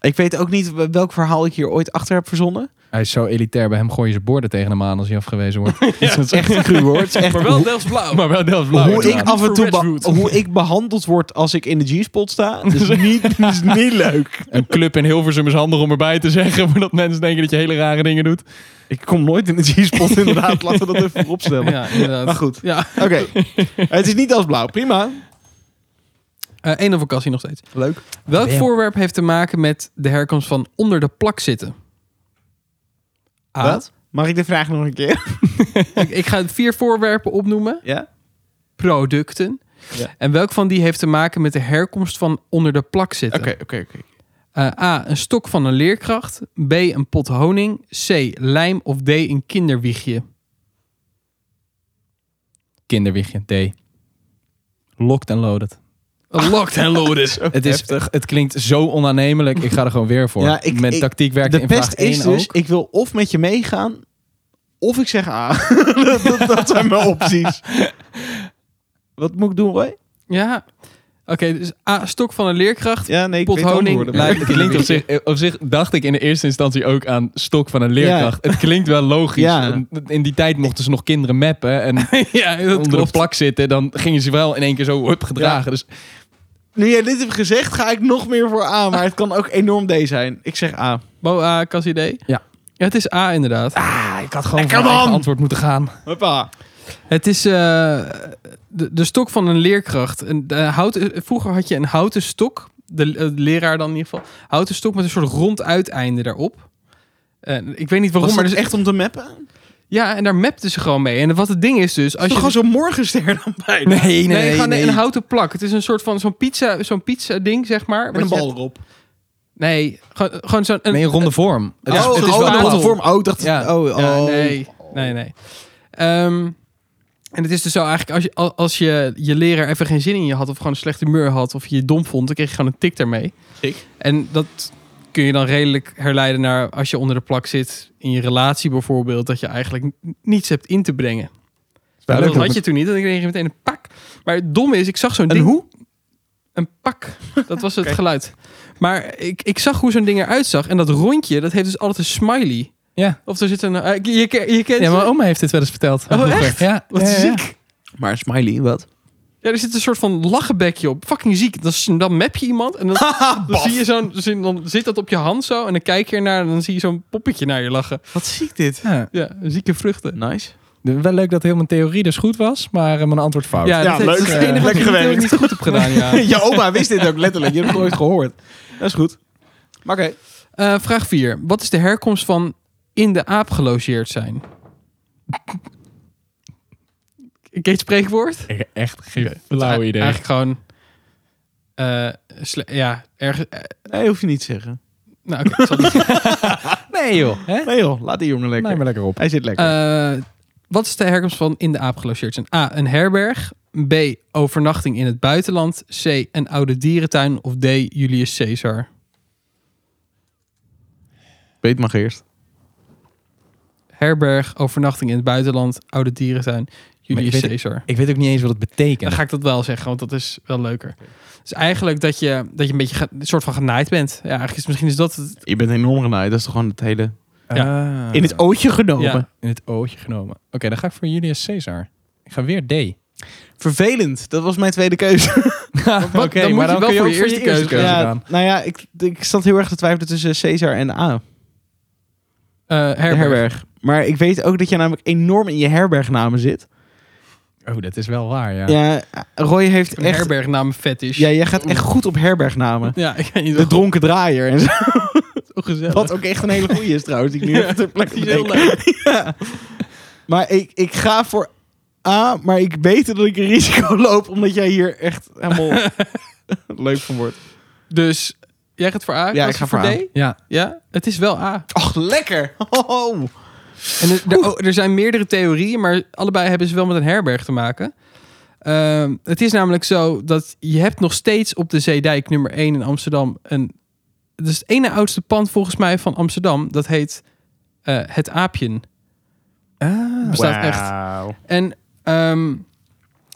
[SPEAKER 1] Ik weet ook niet welk verhaal ik hier ooit achter heb verzonnen.
[SPEAKER 4] Hij is zo elitair. Bij hem gooien ze borden tegen hem aan als hij afgewezen wordt.
[SPEAKER 1] Het is echt cru hoor. Het is echt
[SPEAKER 3] Maar wel Delfts blauw.
[SPEAKER 4] maar wel Delft Blauw.
[SPEAKER 1] hoe ik
[SPEAKER 4] inderdaad.
[SPEAKER 1] af en toe
[SPEAKER 3] Voor
[SPEAKER 1] be-
[SPEAKER 3] Redwood.
[SPEAKER 1] hoe ik behandeld word als ik in de G-spot sta, dat is niet, dat is niet leuk.
[SPEAKER 4] Een club in Hilversum is handig om erbij te zeggen. Voordat mensen denken dat je hele rare dingen doet.
[SPEAKER 1] Ik kom nooit in de G-spot inderdaad, laten we dat even vooropstellen.
[SPEAKER 3] Ja, inderdaad.
[SPEAKER 1] Maar goed.
[SPEAKER 3] Ja,
[SPEAKER 1] Oké, het is niet als blauw, prima.
[SPEAKER 3] Eh, één over Cassie nog steeds.
[SPEAKER 1] Leuk.
[SPEAKER 3] Welk
[SPEAKER 4] Damn.
[SPEAKER 3] voorwerp heeft te maken met de herkomst van onder de plak zitten? A.
[SPEAKER 1] Wat? Mag ik de vraag nog een keer?
[SPEAKER 3] Ik, ik ga vier voorwerpen opnoemen.
[SPEAKER 1] Ja.
[SPEAKER 3] Producten.
[SPEAKER 1] Ja.
[SPEAKER 3] En welk van die heeft te maken met de herkomst van onder de plak zitten?
[SPEAKER 1] oké, oké.
[SPEAKER 3] Eh, A. Een stok van een leerkracht. B. Een pot honing. C. Lijm. Of D. Een kinderwiegje.
[SPEAKER 4] Kinderwiegje. D. Locked and loaded.
[SPEAKER 3] Oh, Locked and loaded.
[SPEAKER 4] Het, is, het klinkt zo onaannemelijk. Ik ga er gewoon weer voor.
[SPEAKER 1] Ja, ik-
[SPEAKER 4] Met
[SPEAKER 1] ik-
[SPEAKER 4] tactiek werkt
[SPEAKER 1] De
[SPEAKER 4] in vraag
[SPEAKER 1] pest
[SPEAKER 4] 1
[SPEAKER 1] is dus,
[SPEAKER 4] ook.
[SPEAKER 1] ik wil of met je meegaan, of ik zeg A. dat, dat- dat zijn mijn opties. Wat moet ik doen, Roy?
[SPEAKER 3] ja. Oké, dus A. Stok van een leerkracht.
[SPEAKER 1] Ja, nee, ik
[SPEAKER 3] Pot
[SPEAKER 1] weet het
[SPEAKER 3] honing,
[SPEAKER 1] antwoord, maar-
[SPEAKER 3] lijm.
[SPEAKER 4] Het klinkt op zich, op zich dacht ik in de eerste instantie ook aan stok van een leerkracht. Het klinkt wel logisch.
[SPEAKER 1] Ja.
[SPEAKER 4] want In die tijd mochten ze nog kinderen mappen en
[SPEAKER 3] ja, dat
[SPEAKER 4] onder een
[SPEAKER 3] klopt.
[SPEAKER 4] plak zitten. Dan gingen ze wel in één keer zo hup gedragen. Dus
[SPEAKER 1] Nu jij dit hebt gezegd, ga ik nog meer voor A. Maar het kan ook enorm D zijn. Ik zeg A.
[SPEAKER 3] Bo A. Cassie D.
[SPEAKER 4] Ja.
[SPEAKER 3] Ja, het is A inderdaad.
[SPEAKER 4] Ah, ik had gewoon
[SPEAKER 1] Lekker voor eigen man!
[SPEAKER 4] antwoord moeten gaan.
[SPEAKER 1] Hoppa.
[SPEAKER 3] Het is eh, de, de stok van een leerkracht. Een, de houten, vroeger had je een houten stok, de, eh, de leraar dan in ieder geval. Houten stok met een soort rond uiteinde daarop. Eh, ik weet niet waarom,
[SPEAKER 1] Was
[SPEAKER 3] maar
[SPEAKER 1] maar dus
[SPEAKER 3] dus-
[SPEAKER 1] echt om te mappen?
[SPEAKER 3] ja, en daar mapten ze gewoon mee. En wat het ding is dus, als
[SPEAKER 1] Als
[SPEAKER 3] je
[SPEAKER 1] je gewoon zo'n morgenster dan bij.
[SPEAKER 4] Nee, nee,
[SPEAKER 3] nee,
[SPEAKER 4] nee.
[SPEAKER 3] gewoon een houten plak. Het is een soort van zo'n pizza, zo'n pizza ding zeg maar.
[SPEAKER 1] Met een
[SPEAKER 3] Wat je
[SPEAKER 1] bal
[SPEAKER 3] hebt-
[SPEAKER 1] erop.
[SPEAKER 3] nee, gewoon, gewoon zo'n. een-
[SPEAKER 4] Nee, een ronde vorm. Het
[SPEAKER 3] Ja,
[SPEAKER 4] is,
[SPEAKER 3] oh,
[SPEAKER 4] het is
[SPEAKER 3] oh,
[SPEAKER 4] wel
[SPEAKER 3] een
[SPEAKER 4] een
[SPEAKER 3] ronde
[SPEAKER 4] plat.
[SPEAKER 1] vorm. Oh, ik dacht...
[SPEAKER 4] Ja.
[SPEAKER 1] Oh, oh.
[SPEAKER 3] Ja, nee, nee, nee. Ehm, en het is dus zo eigenlijk, als je, al- als je je leraar even geen zin in je had... of gewoon een slecht humeur had of je je dom vond... dan kreeg je gewoon een tik daarmee.
[SPEAKER 1] Sick.
[SPEAKER 3] En dat kun je dan redelijk herleiden naar... als je onder de plak zit in je relatie bijvoorbeeld... dat je eigenlijk n- niets hebt in te brengen.
[SPEAKER 4] wel
[SPEAKER 3] dat
[SPEAKER 4] leuk
[SPEAKER 3] had
[SPEAKER 4] dat
[SPEAKER 3] je toen niet, dan kreeg je meteen een pak. Maar het domme is, ik zag zo'n
[SPEAKER 1] En
[SPEAKER 3] ding...
[SPEAKER 1] hoe?
[SPEAKER 3] Een pak. Dat was het geluid. Maar ik, ik zag hoe zo'n ding eruit zag. En dat rondje, dat heeft dus altijd een smiley.
[SPEAKER 4] Ja.
[SPEAKER 3] Of er zit een... eh, je, je, je kent...
[SPEAKER 4] Ja, mijn oma heeft dit wel eens verteld.
[SPEAKER 3] Oh,
[SPEAKER 4] Vroeger.
[SPEAKER 3] echt?
[SPEAKER 4] Ja.
[SPEAKER 3] Wat
[SPEAKER 4] ja, ja, ja.
[SPEAKER 3] ziek.
[SPEAKER 1] Maar smiley, wat?
[SPEAKER 3] Ja, er zit een soort van lachenbekje op. Fucking ziek. Dan, s- dan map je iemand en dan, dan zie je zo'n... zie- Dan zit dat op je hand zo en dan kijk je ernaar en dan zie je zo'n poppetje naar je lachen.
[SPEAKER 1] Wat ziek dit.
[SPEAKER 4] Ja.
[SPEAKER 3] Ja, zieke vruchten.
[SPEAKER 1] Nice.
[SPEAKER 4] De- Wel leuk dat heel mijn theorie dus goed was, maar eh, mijn antwoord fout.
[SPEAKER 3] Ja,
[SPEAKER 1] Ja,
[SPEAKER 3] dat
[SPEAKER 1] leuk.
[SPEAKER 3] is het enige wat
[SPEAKER 1] Lekker
[SPEAKER 3] ik natuurlijk
[SPEAKER 1] gewerkt.
[SPEAKER 3] niet goed heb gedaan, ja.
[SPEAKER 1] Je oma wist dit ook letterlijk. Je hebt het nooit gehoord. Dat is goed. Maar oké.
[SPEAKER 3] Eh, vraag 4. Wat is de herkomst van in de aap gelogeerd zijn? Ken je het spreekwoord?
[SPEAKER 4] Echt geen
[SPEAKER 3] Eigen- Eigenlijk gewoon... eh, sle- ja, ergens... eh,
[SPEAKER 1] Nee, hoef je niet te zeggen.
[SPEAKER 3] nou, oké, ik zal het-
[SPEAKER 4] Nee joh. Hè?
[SPEAKER 1] Nee joh, laat die jongen lekker.
[SPEAKER 4] Nee, maar lekker op.
[SPEAKER 1] Hij zit lekker.
[SPEAKER 3] Eh, wat is de herkomst van in de aap gelogeerd zijn? A. Een herberg. B. Overnachting in het buitenland. C. Een oude dierentuin. Of D. Julius Caesar.
[SPEAKER 1] Weet mag eerst.
[SPEAKER 3] Herberg, overnachting in het buitenland, oude dierentuin,
[SPEAKER 4] ik
[SPEAKER 3] Julius
[SPEAKER 4] weet-
[SPEAKER 3] Caesar.
[SPEAKER 4] Ik weet ook niet eens wat het
[SPEAKER 3] Dan
[SPEAKER 4] betekent.
[SPEAKER 3] ga ik dat wel zeggen, want dat is wel leuker. Dus eigenlijk dat je, dat je een beetje ge- een soort van genaaid bent. Ja, eigenlijk is, misschien is dat het.
[SPEAKER 1] Je bent enorm genaaid. Dat is toch gewoon het hele...
[SPEAKER 4] Ah.
[SPEAKER 1] In het ootje genomen.
[SPEAKER 3] Ja.
[SPEAKER 4] in het ootje genomen. Oké, dan ga ik voor Julius Caesar. Ik ga weer D.
[SPEAKER 1] Vervelend. Dat was mijn tweede keuze.
[SPEAKER 4] Oké,
[SPEAKER 3] dan moet je wel
[SPEAKER 4] kun
[SPEAKER 3] voor
[SPEAKER 4] ook
[SPEAKER 3] je eerste keuze
[SPEAKER 4] gaan.
[SPEAKER 1] nou ja, ik, ik zat heel erg te twijfelen tussen Caesar en A.
[SPEAKER 3] eh, herberg.
[SPEAKER 1] Herberg. Maar ik weet ook dat jij namelijk enorm in je herbergnamen zit.
[SPEAKER 4] Oh, dat is wel waar, ja.
[SPEAKER 1] Ja, Roy heeft
[SPEAKER 3] Een
[SPEAKER 1] echt...
[SPEAKER 3] herbergnaam fetish.
[SPEAKER 1] Ja, jij gaat echt goed op herbergnamen.
[SPEAKER 3] ja, ik weet niet
[SPEAKER 1] De
[SPEAKER 3] wat
[SPEAKER 1] dronken draaier en zo.
[SPEAKER 3] het gezellig.
[SPEAKER 1] Wat ook echt een hele goeie is trouwens. Die ik nu
[SPEAKER 3] Ja,
[SPEAKER 1] even ter plekke
[SPEAKER 3] die is heel
[SPEAKER 1] bedenk. Ja. Maar ik, ik ga voor A, maar ik weet dat ik een risico loop. Omdat jij hier echt helemaal leuk van wordt.
[SPEAKER 3] Dus jij gaat voor A. Klas,
[SPEAKER 1] ik ga voor A.
[SPEAKER 3] D.
[SPEAKER 4] Ja,
[SPEAKER 3] Ja, het is wel A.
[SPEAKER 1] Och, lekker. Oh.
[SPEAKER 3] En er, er- oh, er zijn meerdere theorieën, maar allebei hebben ze wel met een herberg te maken. Ehm, het is namelijk zo dat je hebt nog steeds op de Zeedijk nummer 1 in Amsterdam een... Het is het ene oudste pand volgens mij van Amsterdam. Dat heet eh, Het Aapjen. Ah, bestaat echt. En ehm,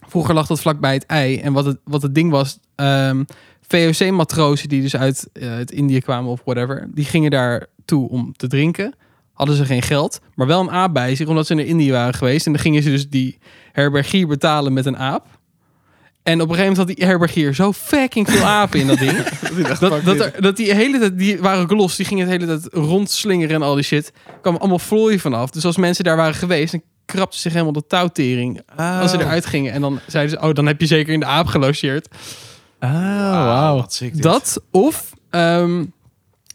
[SPEAKER 3] vroeger lag dat vlakbij het ei. En wat het, wat het ding was, ehm, VOC-matrozen die dus uit eh, het Indië kwamen of whatever, die gingen daar toe om te drinken. Hadden ze geen geld, maar wel een aap bij zich, omdat ze naar Indië waren geweest. En dan gingen ze dus die herbergier betalen met een aap. En op een gegeven moment had die herbergier zo fucking veel apen in dat ding. dat, dat, er- dat die hele tijd, die waren ook los, die gingen het hele tijd rondslingeren en al die shit. Er kwam allemaal vlooien vanaf. Dus als mensen daar waren geweest, dan krapte zich helemaal de touwtering als ze eruit gingen. En dan zeiden ze, oh, dan heb je zeker in de aap gelogeerd.
[SPEAKER 4] Oh, wauw.
[SPEAKER 3] Dat of ehm,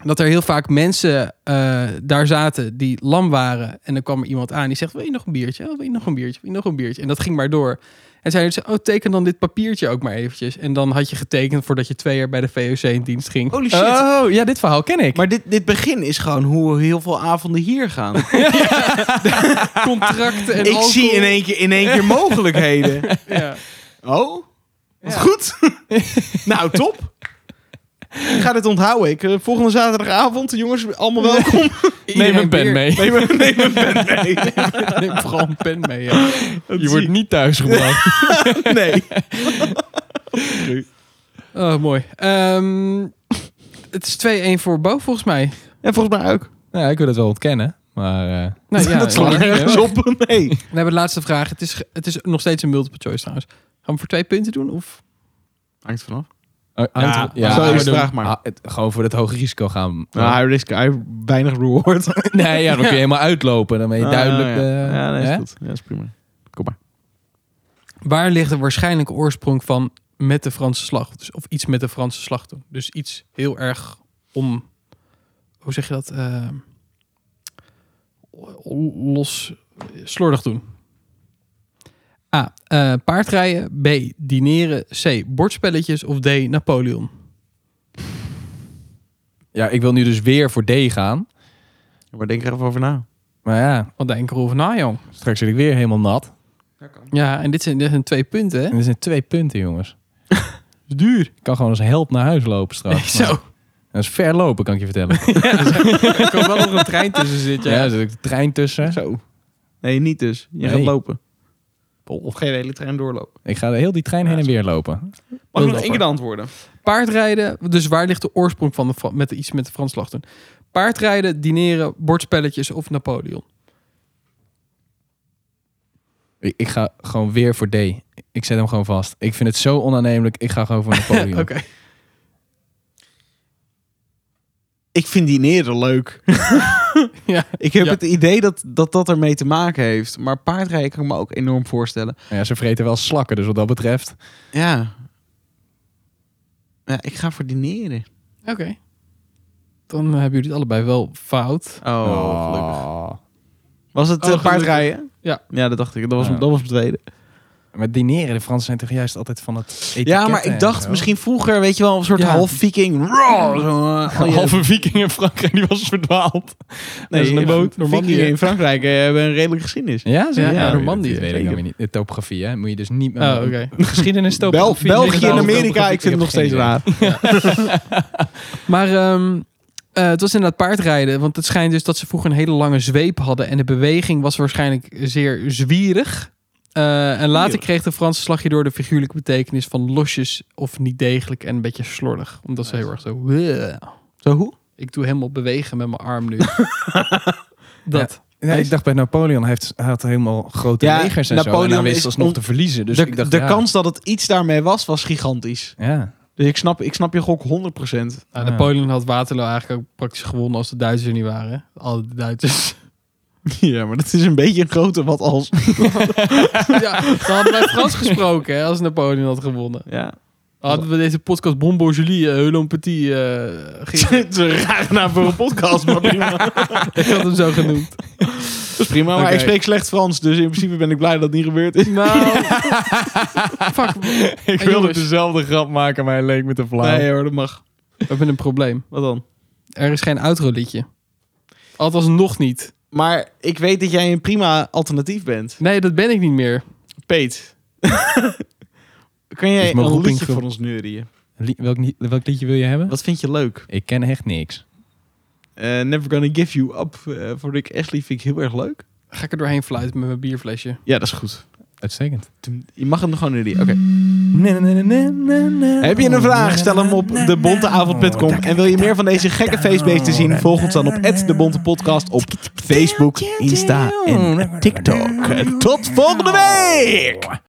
[SPEAKER 3] dat er heel vaak mensen eh, daar zaten die lam waren. En dan kwam er iemand aan die zegt, wil je nog een biertje? Oh, wil je nog een biertje? Wil je nog een biertje? En dat ging maar door. En zeiden ze, oh, teken dan dit papiertje ook maar eventjes. En dan had je getekend voordat je twee jaar bij de VOC in dienst ging.
[SPEAKER 1] Holy shit.
[SPEAKER 4] Oh, ja, dit verhaal ken ik.
[SPEAKER 1] Maar dit, dit begin is gewoon hoe heel veel avonden hier gaan.
[SPEAKER 3] Contracten en
[SPEAKER 1] ik
[SPEAKER 3] alcohol.
[SPEAKER 1] zie in één, keer, in één keer mogelijkheden.
[SPEAKER 3] Ja.
[SPEAKER 1] Oh, wat goed. nou, top. Ik ga dit onthouden. Ik, eh, volgende zaterdagavond, jongens, allemaal welkom.
[SPEAKER 4] Neem
[SPEAKER 3] Iedereen
[SPEAKER 4] een pen
[SPEAKER 3] bier.
[SPEAKER 4] mee.
[SPEAKER 1] Neem een neem een pen mee.
[SPEAKER 3] Neem vooral een pen mee. ja.
[SPEAKER 4] Je wordt niet thuisgebracht.
[SPEAKER 1] Nee.
[SPEAKER 3] Oh, mooi. Ehm, het is 2-1 voor Bo, volgens mij.
[SPEAKER 1] En volgens mij ook.
[SPEAKER 4] Nou ja, ik wil het wel ontkennen, maar... eh,
[SPEAKER 3] Nou, ja,
[SPEAKER 1] dat slaat
[SPEAKER 3] ja.
[SPEAKER 1] nergens op. Nee.
[SPEAKER 3] We hebben de laatste vraag. Het is, ge- het is nog steeds een multiple choice trouwens. Gaan we voor twee punten doen? Of?
[SPEAKER 1] Hangt vanaf.
[SPEAKER 4] hangt er-
[SPEAKER 3] Ja,
[SPEAKER 1] zo is
[SPEAKER 4] we
[SPEAKER 1] het,
[SPEAKER 4] doen-
[SPEAKER 1] vraag maar.
[SPEAKER 4] Ah, het- gewoon voor het hoge risico gaan.
[SPEAKER 1] Nou, hij risk, hij weinig reward.
[SPEAKER 4] nee, ja, dan kun je helemaal uitlopen. Dan ben je duidelijk...
[SPEAKER 1] Ah, ja,
[SPEAKER 4] eh,
[SPEAKER 1] ja nee, is
[SPEAKER 4] hè?
[SPEAKER 1] goed. Ja, is prima. Kom maar.
[SPEAKER 3] Waar ligt de waarschijnlijke oorsprong van met de Franse slag? Dus, of iets met de Franse slag doen. Dus iets heel erg om... Hoe zeg je dat? Eh, los slordig doen. A. eh, paardrijden. B. Dineren. C. Bordspelletjes. Of D. Napoleon.
[SPEAKER 4] Ja, ik wil nu dus weer voor D gaan.
[SPEAKER 1] Maar denk er even over na.
[SPEAKER 4] Maar ja,
[SPEAKER 3] Wat denk ik erover na, jong?
[SPEAKER 4] straks zit ik weer helemaal nat.
[SPEAKER 3] Ja, en dit zijn, dit zijn twee punten, hè?
[SPEAKER 4] En er zijn twee punten, jongens. Dat is duur. Ik kan gewoon als help naar huis lopen straks.
[SPEAKER 3] Zo.
[SPEAKER 4] Dat is ver lopen, kan ik je vertellen.
[SPEAKER 3] Er komt wel nog een trein tussen zitten.
[SPEAKER 4] ja, er zit ook de trein tussen.
[SPEAKER 1] Zo. Nee, niet dus. Je gaat
[SPEAKER 4] Nee.
[SPEAKER 1] lopen. Of geen hele trein doorlopen.
[SPEAKER 4] Ik ga heel die trein heen en weer lopen.
[SPEAKER 1] Mag ik nog
[SPEAKER 4] Loper.
[SPEAKER 1] één keer de antwoorden?
[SPEAKER 3] Paardrijden, dus waar ligt de oorsprong van de, Fra- met de, iets met de Franslag doen? Paardrijden, dineren, bordspelletjes of Napoleon?
[SPEAKER 4] Ik, ik ga gewoon weer voor D. Ik zet hem gewoon vast. Ik vind het zo onaannemelijk. Ik ga gewoon voor Napoleon.
[SPEAKER 3] Oké.
[SPEAKER 1] Ik vind dineren leuk.
[SPEAKER 3] Ja.
[SPEAKER 1] Ik heb
[SPEAKER 3] Ja.
[SPEAKER 1] het idee dat, dat dat ermee te maken heeft. Maar paardrijden kan ik me ook enorm voorstellen.
[SPEAKER 4] Nou Ja, ze vreten wel slakken, dus wat dat betreft.
[SPEAKER 1] Ja. ja ik ga voor dineren.
[SPEAKER 3] Oké. Dan hebben jullie het allebei wel fout.
[SPEAKER 1] Oh, gelukkig.
[SPEAKER 4] Oh.
[SPEAKER 1] Was het
[SPEAKER 3] Oh,
[SPEAKER 1] eh,
[SPEAKER 3] gelukkig.
[SPEAKER 1] paardrijden?
[SPEAKER 3] Ja.
[SPEAKER 1] Ja, dat dacht ik. Dat was,
[SPEAKER 4] Ja.
[SPEAKER 1] dat was het tweede.
[SPEAKER 4] Maar dineren, de Fransen zijn toch juist altijd van het etiket
[SPEAKER 1] Ja, maar ik
[SPEAKER 4] en
[SPEAKER 1] dacht
[SPEAKER 4] zo.
[SPEAKER 1] misschien vroeger, weet je wel, een soort
[SPEAKER 3] Ja.
[SPEAKER 1] half viking. Roar, zo, eh, al je-
[SPEAKER 4] halve viking in Frankrijk, die was verdwaald.
[SPEAKER 1] nee,
[SPEAKER 4] dat is een boot,
[SPEAKER 1] Normandie.
[SPEAKER 4] Normandië.
[SPEAKER 1] Vikingen in Frankrijk eh, hebben een redelijke geschiedenis.
[SPEAKER 4] Ja, ze
[SPEAKER 3] Ja, ja,
[SPEAKER 4] ja,
[SPEAKER 3] Normandië,
[SPEAKER 4] Dat weet ik
[SPEAKER 1] zeker.
[SPEAKER 4] dan weer niet. De topografie, hè. Moet je dus niet...
[SPEAKER 3] Oh, oké.
[SPEAKER 4] Geschiedenis,
[SPEAKER 1] Bel-
[SPEAKER 4] topografie.
[SPEAKER 1] België en
[SPEAKER 4] Nederland,
[SPEAKER 1] Amerika,
[SPEAKER 4] topografie,
[SPEAKER 1] ik vind het nog
[SPEAKER 4] heb
[SPEAKER 1] steeds
[SPEAKER 4] geen
[SPEAKER 1] raar.
[SPEAKER 3] Maar ehm, eh, het was inderdaad paardrijden. Want het schijnt dus dat ze vroeger een hele lange zweep hadden. En de beweging was waarschijnlijk zeer zwierig. Eh, en later
[SPEAKER 1] Zwierig.
[SPEAKER 3] kreeg de Franse slag hierdoor de figuurlijke betekenis van losjes of niet degelijk en een beetje slordig. Omdat ze heel erg zo... "Wuh."
[SPEAKER 1] Zo hoe?
[SPEAKER 3] Ik doe helemaal bewegen met mijn arm nu. dat.
[SPEAKER 4] idee. Ja, ik dacht bij Napoleon, hij heeft, hij had helemaal grote
[SPEAKER 1] Ja,
[SPEAKER 4] legers en zo. En
[SPEAKER 1] Napoleon
[SPEAKER 4] hij wist
[SPEAKER 1] is
[SPEAKER 4] alsnog
[SPEAKER 1] on-
[SPEAKER 4] te verliezen. Dus
[SPEAKER 1] de
[SPEAKER 4] ik dacht,
[SPEAKER 1] de
[SPEAKER 4] ja.
[SPEAKER 1] kans dat het iets daarmee was, was gigantisch.
[SPEAKER 4] Ja.
[SPEAKER 1] Dus ik snap, ik snap je gok 100%.
[SPEAKER 3] Nou,
[SPEAKER 4] Ja.
[SPEAKER 3] Napoleon had Waterloo eigenlijk ook praktisch gewonnen als de Duitsers er niet waren. Al de Duitsers.
[SPEAKER 1] Ja, maar dat is een beetje een grote wat als.
[SPEAKER 3] ja, dan hadden wij Frans gesproken hè, als Napoleon had gewonnen.
[SPEAKER 1] Ja.
[SPEAKER 3] Dan hadden we deze podcast Bon Beaujolais, eh, Heulon Petit. eh, ge-
[SPEAKER 1] Het is een rare naam voor een podcast, maar prima.
[SPEAKER 3] ik had hem zo genoemd.
[SPEAKER 1] Dat is prima, maar
[SPEAKER 3] Oké.
[SPEAKER 1] ik spreek slecht Frans, dus in principe ben ik blij dat het niet gebeurd is.
[SPEAKER 3] Nou, fuck.
[SPEAKER 4] Ik
[SPEAKER 3] wilde jongens.
[SPEAKER 4] dezelfde grap maken, maar hij leek me te flauw.
[SPEAKER 1] Nee hoor, dat mag.
[SPEAKER 3] We hebben een probleem.
[SPEAKER 1] Wat dan?
[SPEAKER 3] Er is geen outro liedje. Althans nog niet.
[SPEAKER 1] Maar ik weet dat jij een prima alternatief bent.
[SPEAKER 3] Nee, dat ben ik niet meer.
[SPEAKER 1] Peet. kan jij
[SPEAKER 4] Is mijn
[SPEAKER 1] een
[SPEAKER 4] roeping
[SPEAKER 1] liedje
[SPEAKER 4] ge-
[SPEAKER 1] voor ons neurieën?
[SPEAKER 4] welk, ni- welk liedje wil je hebben?
[SPEAKER 1] Wat vind je leuk?
[SPEAKER 4] Ik ken echt niks.
[SPEAKER 1] Eh, Never Gonna Give You Up eh, voor Rick Ashley vind ik heel erg leuk.
[SPEAKER 3] Ga ik er doorheen fluiten met mijn bierflesje.
[SPEAKER 1] Ja, dat is goed.
[SPEAKER 4] Uitstekend.
[SPEAKER 1] Je mag hem nog gewoon neurieën. Oké. Heb je een vraag? Stel hem op debonteavond.com.
[SPEAKER 4] Oh,
[SPEAKER 1] En wil je meer van deze gekke feestbeesten zien? Volg ons dan op @debontepodcast op
[SPEAKER 4] nou. Oh.
[SPEAKER 1] Facebook, Insta en TikTok. Tot volgende week!